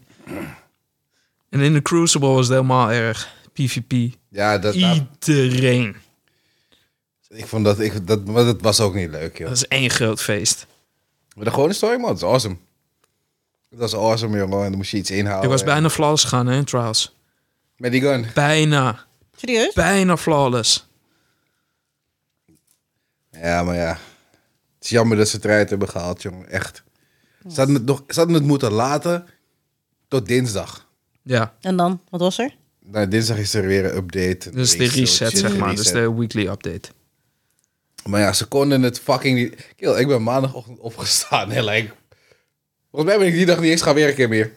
S2: En in de Crucible was het helemaal erg. PvP.
S3: Ja, dat, daar-
S2: Iedereen.
S3: ik vond dat, ik, dat, maar dat was ook niet leuk, joh.
S2: Dat is één groot feest.
S3: Oh, Maar de gewone story, man, dat is awesome. Dat was awesome, jongen. En dan moest je iets inhalen.
S2: Ik was
S3: en-
S2: bijna flawless gegaan hè, in Trials.
S3: Met die gun.
S2: Bijna.
S1: Serieus?
S2: Bijna flawless.
S3: Ja, maar ja. Het is jammer dat ze het eruit hebben gehaald, jongen. Echt. Ze hadden het, nog, ze hadden het moeten laten tot dinsdag.
S2: Ja,
S1: En dan? Wat was er?
S3: Nou, dinsdag is er weer een update.
S2: dus de reset, zeg maar. Dus
S3: Reset.
S2: de weekly update.
S3: Maar ja, ze konden het fucking niet. Kill, ik ben maandagochtend opgestaan. En like, volgens mij ben ik die dag niet eens gaan werken meer.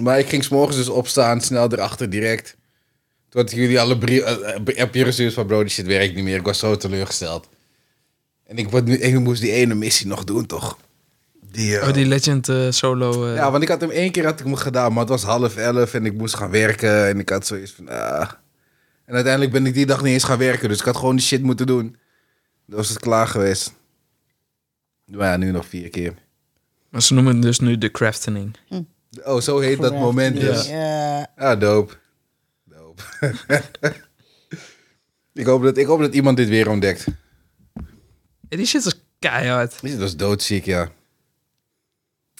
S3: Maar ik ging s'morgens dus opstaan, snel erachter direct. Toen had ik jullie alle brie- eh, eh, appjes gestuurd van bro, die shit werkt niet meer. Ik was zo teleurgesteld. En ik, word nu, ik moest die ene missie nog doen, toch? Die, eh,
S2: Oh, die Legend eh, solo. eh,
S3: Ja, want ik had hem één keer had ik hem gedaan, maar het was half elf en ik moest gaan werken. En ik had zoiets van, ah. En uiteindelijk ben ik die dag niet eens gaan werken, dus ik had gewoon die shit moeten doen. Dan was het klaar geweest. Maar ja, nu nog vier keer.
S2: maar ze noemen het dus nu de craftening.
S3: Oh, zo heet dat moment dus.
S1: Ja.
S3: Ah, dope. Dope. ik, hoop dat, ik hoop dat iemand dit weer ontdekt.
S2: En die shit is keihard.
S3: Dit was doodziek, ja.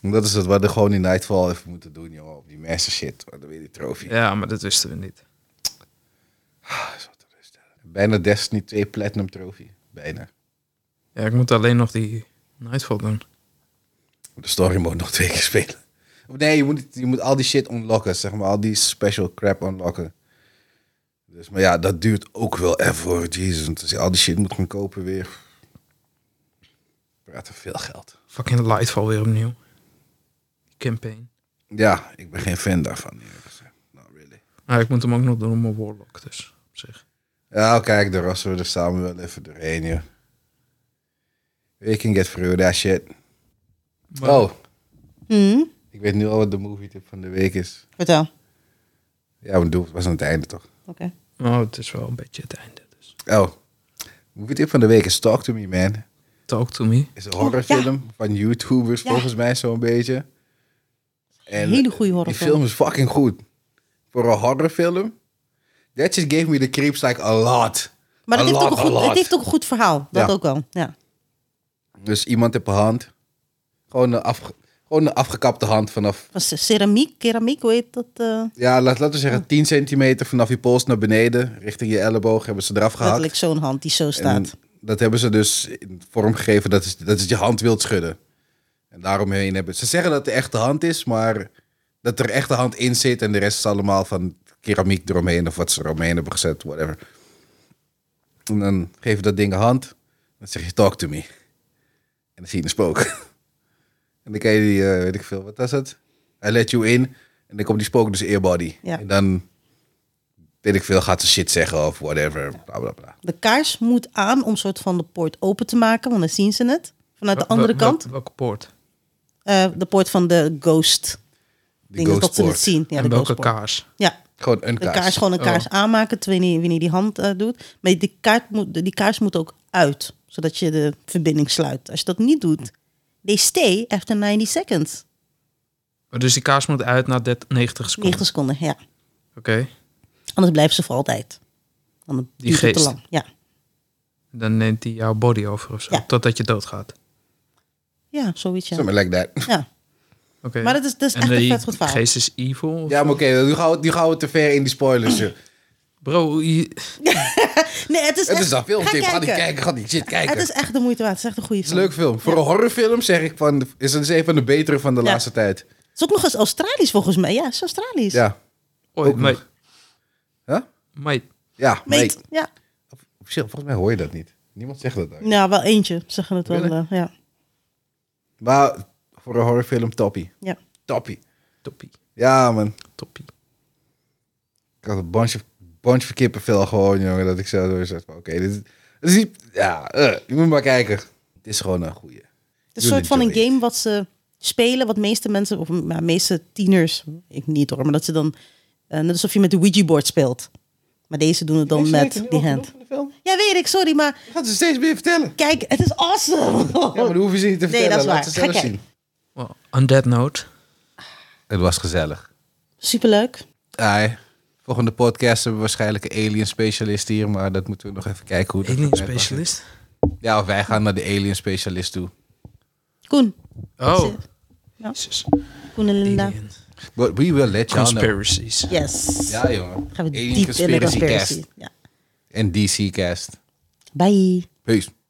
S3: En Dat is het wat we gewoon die Nightfall even moeten doen, joh. Op die master shit, dan weer die trofee.
S2: Ja, maar dat wisten we niet.
S3: Bijna Destiny 2 Platinum Trophy. Bijna.
S2: Ja, ik moet alleen nog die Nightfall doen.
S3: De story mode nog twee keer spelen. Of Nee, je moet, niet- je moet al die shit unlocken, zeg maar. Al die special crap unlocken. Dus, maar ja, dat duurt ook wel even hoor. Jezus, want als je al die shit moet gaan kopen weer. Praat er veel geld.
S2: Fucking Lightfall weer opnieuw. Campaign.
S3: Ja, ik ben geen fan daarvan. eerlijk gezegd. Not really.
S2: Ah, ik moet hem ook nog doen op mijn Warlock, dus op zich.
S3: Ja, kijk, daar rassen we er samen wel even doorheen, joh. We can get through that shit.
S2: Maar-
S3: Oh,
S1: Hm?
S3: ik weet nu al wat de movie tip van de week is.
S1: Vertel. Oké.
S3: Ja, want het was aan het einde toch?
S2: Oh, het is wel een beetje het einde. Dus.
S3: Oh. Movie tip van de week is Talk To Me Man.
S2: Talk to me.
S3: Is een horrorfilm van YouTubers
S1: Oh, Ja.
S3: volgens mij zo'n beetje. En
S1: Hele goede
S3: die
S1: horrorfilm.
S3: film is fucking goed. Voor een horrorfilm. That shit gave me the creeps like a lot.
S1: Maar het
S3: A
S1: heeft,
S3: lot,
S1: ook
S3: a
S1: een goed,
S3: lot.
S1: het heeft ook een goed verhaal. Dat
S3: Ja.
S1: ook wel. Ja.
S3: Dus iemand heeft een hand. Gewoon een, afge- gewoon een afgekapte hand vanaf...
S1: Was het ceramiek, keramiek, hoe heet dat? eh,
S3: Ja, laat, laten we zeggen 10 centimeter vanaf je pols naar beneden. Richting je elleboog hebben ze eraf gehakt.
S1: letterlijk zo'n hand die zo
S3: En
S1: staat.
S3: dat hebben ze dus in vorm gegeven dat, is, dat het je hand wilt schudden. En daaromheen hebben ze zeggen dat het de echte hand is, maar dat er echte hand in zit en de rest is allemaal van keramiek eromheen of wat ze eromheen hebben gezet, whatever. En dan geef je dat ding een hand, dan zeg je talk to me. En dan zie je een spook. En dan kan je die, eh, weet ik veel, wat was het? Hij let you in en dan komt die spook dus in je body.
S1: Ja.
S3: En dan, weet ik veel, gaat ze shit zeggen of whatever, bla bla bla.
S1: De kaars moet aan om soort van de poort open te maken, want dan zien ze het. Vanuit de
S2: Wel-
S1: andere
S2: wel-
S1: kant,
S2: wel- welke poort?
S1: eh, de poort van de ghost.
S3: Die
S1: Dingen,
S3: ghost
S1: dat ze het
S3: poort.
S1: zien. Ja,
S2: en
S1: de
S2: welke
S1: ghost poort.
S2: kaars?
S1: Ja,
S3: Gewoon een
S1: de
S3: kaars.
S1: kaars gewoon een
S2: Oh.
S1: kaars aanmaken, terwijl je wanneer die hand eh, doet. Maar die, kaart moet, die kaars moet ook uit, zodat je de verbinding sluit. Als je dat niet doet, they stay after 90 seconds.
S2: Oh, Dus die kaars moet uit na 30 90 seconden.
S1: 90 seconden, ja.
S2: Oké.
S1: Anders blijven ze voor altijd. Dan
S2: Die
S1: duurt het te
S2: geest.
S1: lang. Ja.
S2: Dan neemt hij jouw body over of zo.
S1: Ja.
S2: Totdat je doodgaat.
S1: ja, zoiets. Ja.
S3: Something like that.
S1: Ja.
S2: Oké.
S1: Maar dat is, dat is
S2: en
S1: echt een
S2: die
S1: vet goed verhaal.
S2: geest is evil?
S3: Ja, maar oké, nu, gaan we, nu gaan we te ver in die spoilers. joh.
S2: Bro, je-
S1: Nee, het is,
S3: Het
S1: echt,
S3: is een filmtip.
S1: Ga
S3: Ga die
S1: kijken.
S3: kijken, ga die shit kijken.
S1: Het is echt de moeite waard. Het is echt een goede
S3: Het
S1: film.
S3: is een leuk film. Voor een horrorfilm zeg ik van, is het een van de betere van de
S1: Ja.
S3: laatste tijd.
S1: is ook nog eens Australisch volgens mij. Ja, is Australisch.
S3: Ja,
S2: Ooit,
S3: Ook
S2: mate.
S3: Huh?
S2: Mate.
S3: ja
S1: Mate,
S3: nee.
S1: ja.
S3: Officieel, volgens mij hoor je dat niet. Niemand zegt dat daar.
S1: Nou, wel eentje, zeggen het wel.
S3: Really?
S1: eh, ja.
S3: Maar voor een horrorfilm, toppie.
S1: Ja.
S3: Toppie.
S2: Toppie.
S3: Ja, man.
S2: Toppie.
S3: Ik had een bunch, of, bunch van kippenvel gewoon, jongen. Dat ik zo door zat van, oké, dit, is- dit is niet... Ja, eh, je moet maar kijken. Het is gewoon een goeie.
S1: Het is
S3: You'll
S1: een soort van een
S3: enjoy it.
S1: game wat ze spelen, wat meeste mensen, of maar meeste tieners, ik niet hoor, maar dat ze dan, eh, net alsof je met de Ouija-board speelt. Maar deze doen het dan met die hand. Ja, weet ik, sorry, maar
S3: Ik ga ze steeds meer vertellen.
S1: kijk, het is awesome!
S3: Ja, maar dat hoeven ze niet te
S1: Nee,
S3: vertellen.
S1: dat is
S3: Laat
S1: waar.
S3: ze
S1: Ga
S3: zelf
S1: kijken.
S3: zien.
S2: Well, on that note.
S3: Het was gezellig.
S1: Superleuk.
S3: Ai. Volgende podcast hebben we waarschijnlijk een alien specialist hier, maar dat moeten we nog even kijken hoe dat
S2: Alien
S3: net was.
S2: specialist.
S3: Ja, of wij gaan naar de alien specialist toe.
S1: Koen,
S2: Oh.
S1: Ja.
S2: Jezus.
S1: Koen en Linda.
S2: Alien.
S3: But we will let you know.
S2: Conspiracies.
S1: Yes.
S3: Ja, jongen.
S1: Gaan we
S3: Alien
S1: diep in de
S3: conspiracy
S1: conspiracy.
S3: cast.
S1: Ja.
S3: En DC cast.
S1: Bye.
S3: Peace.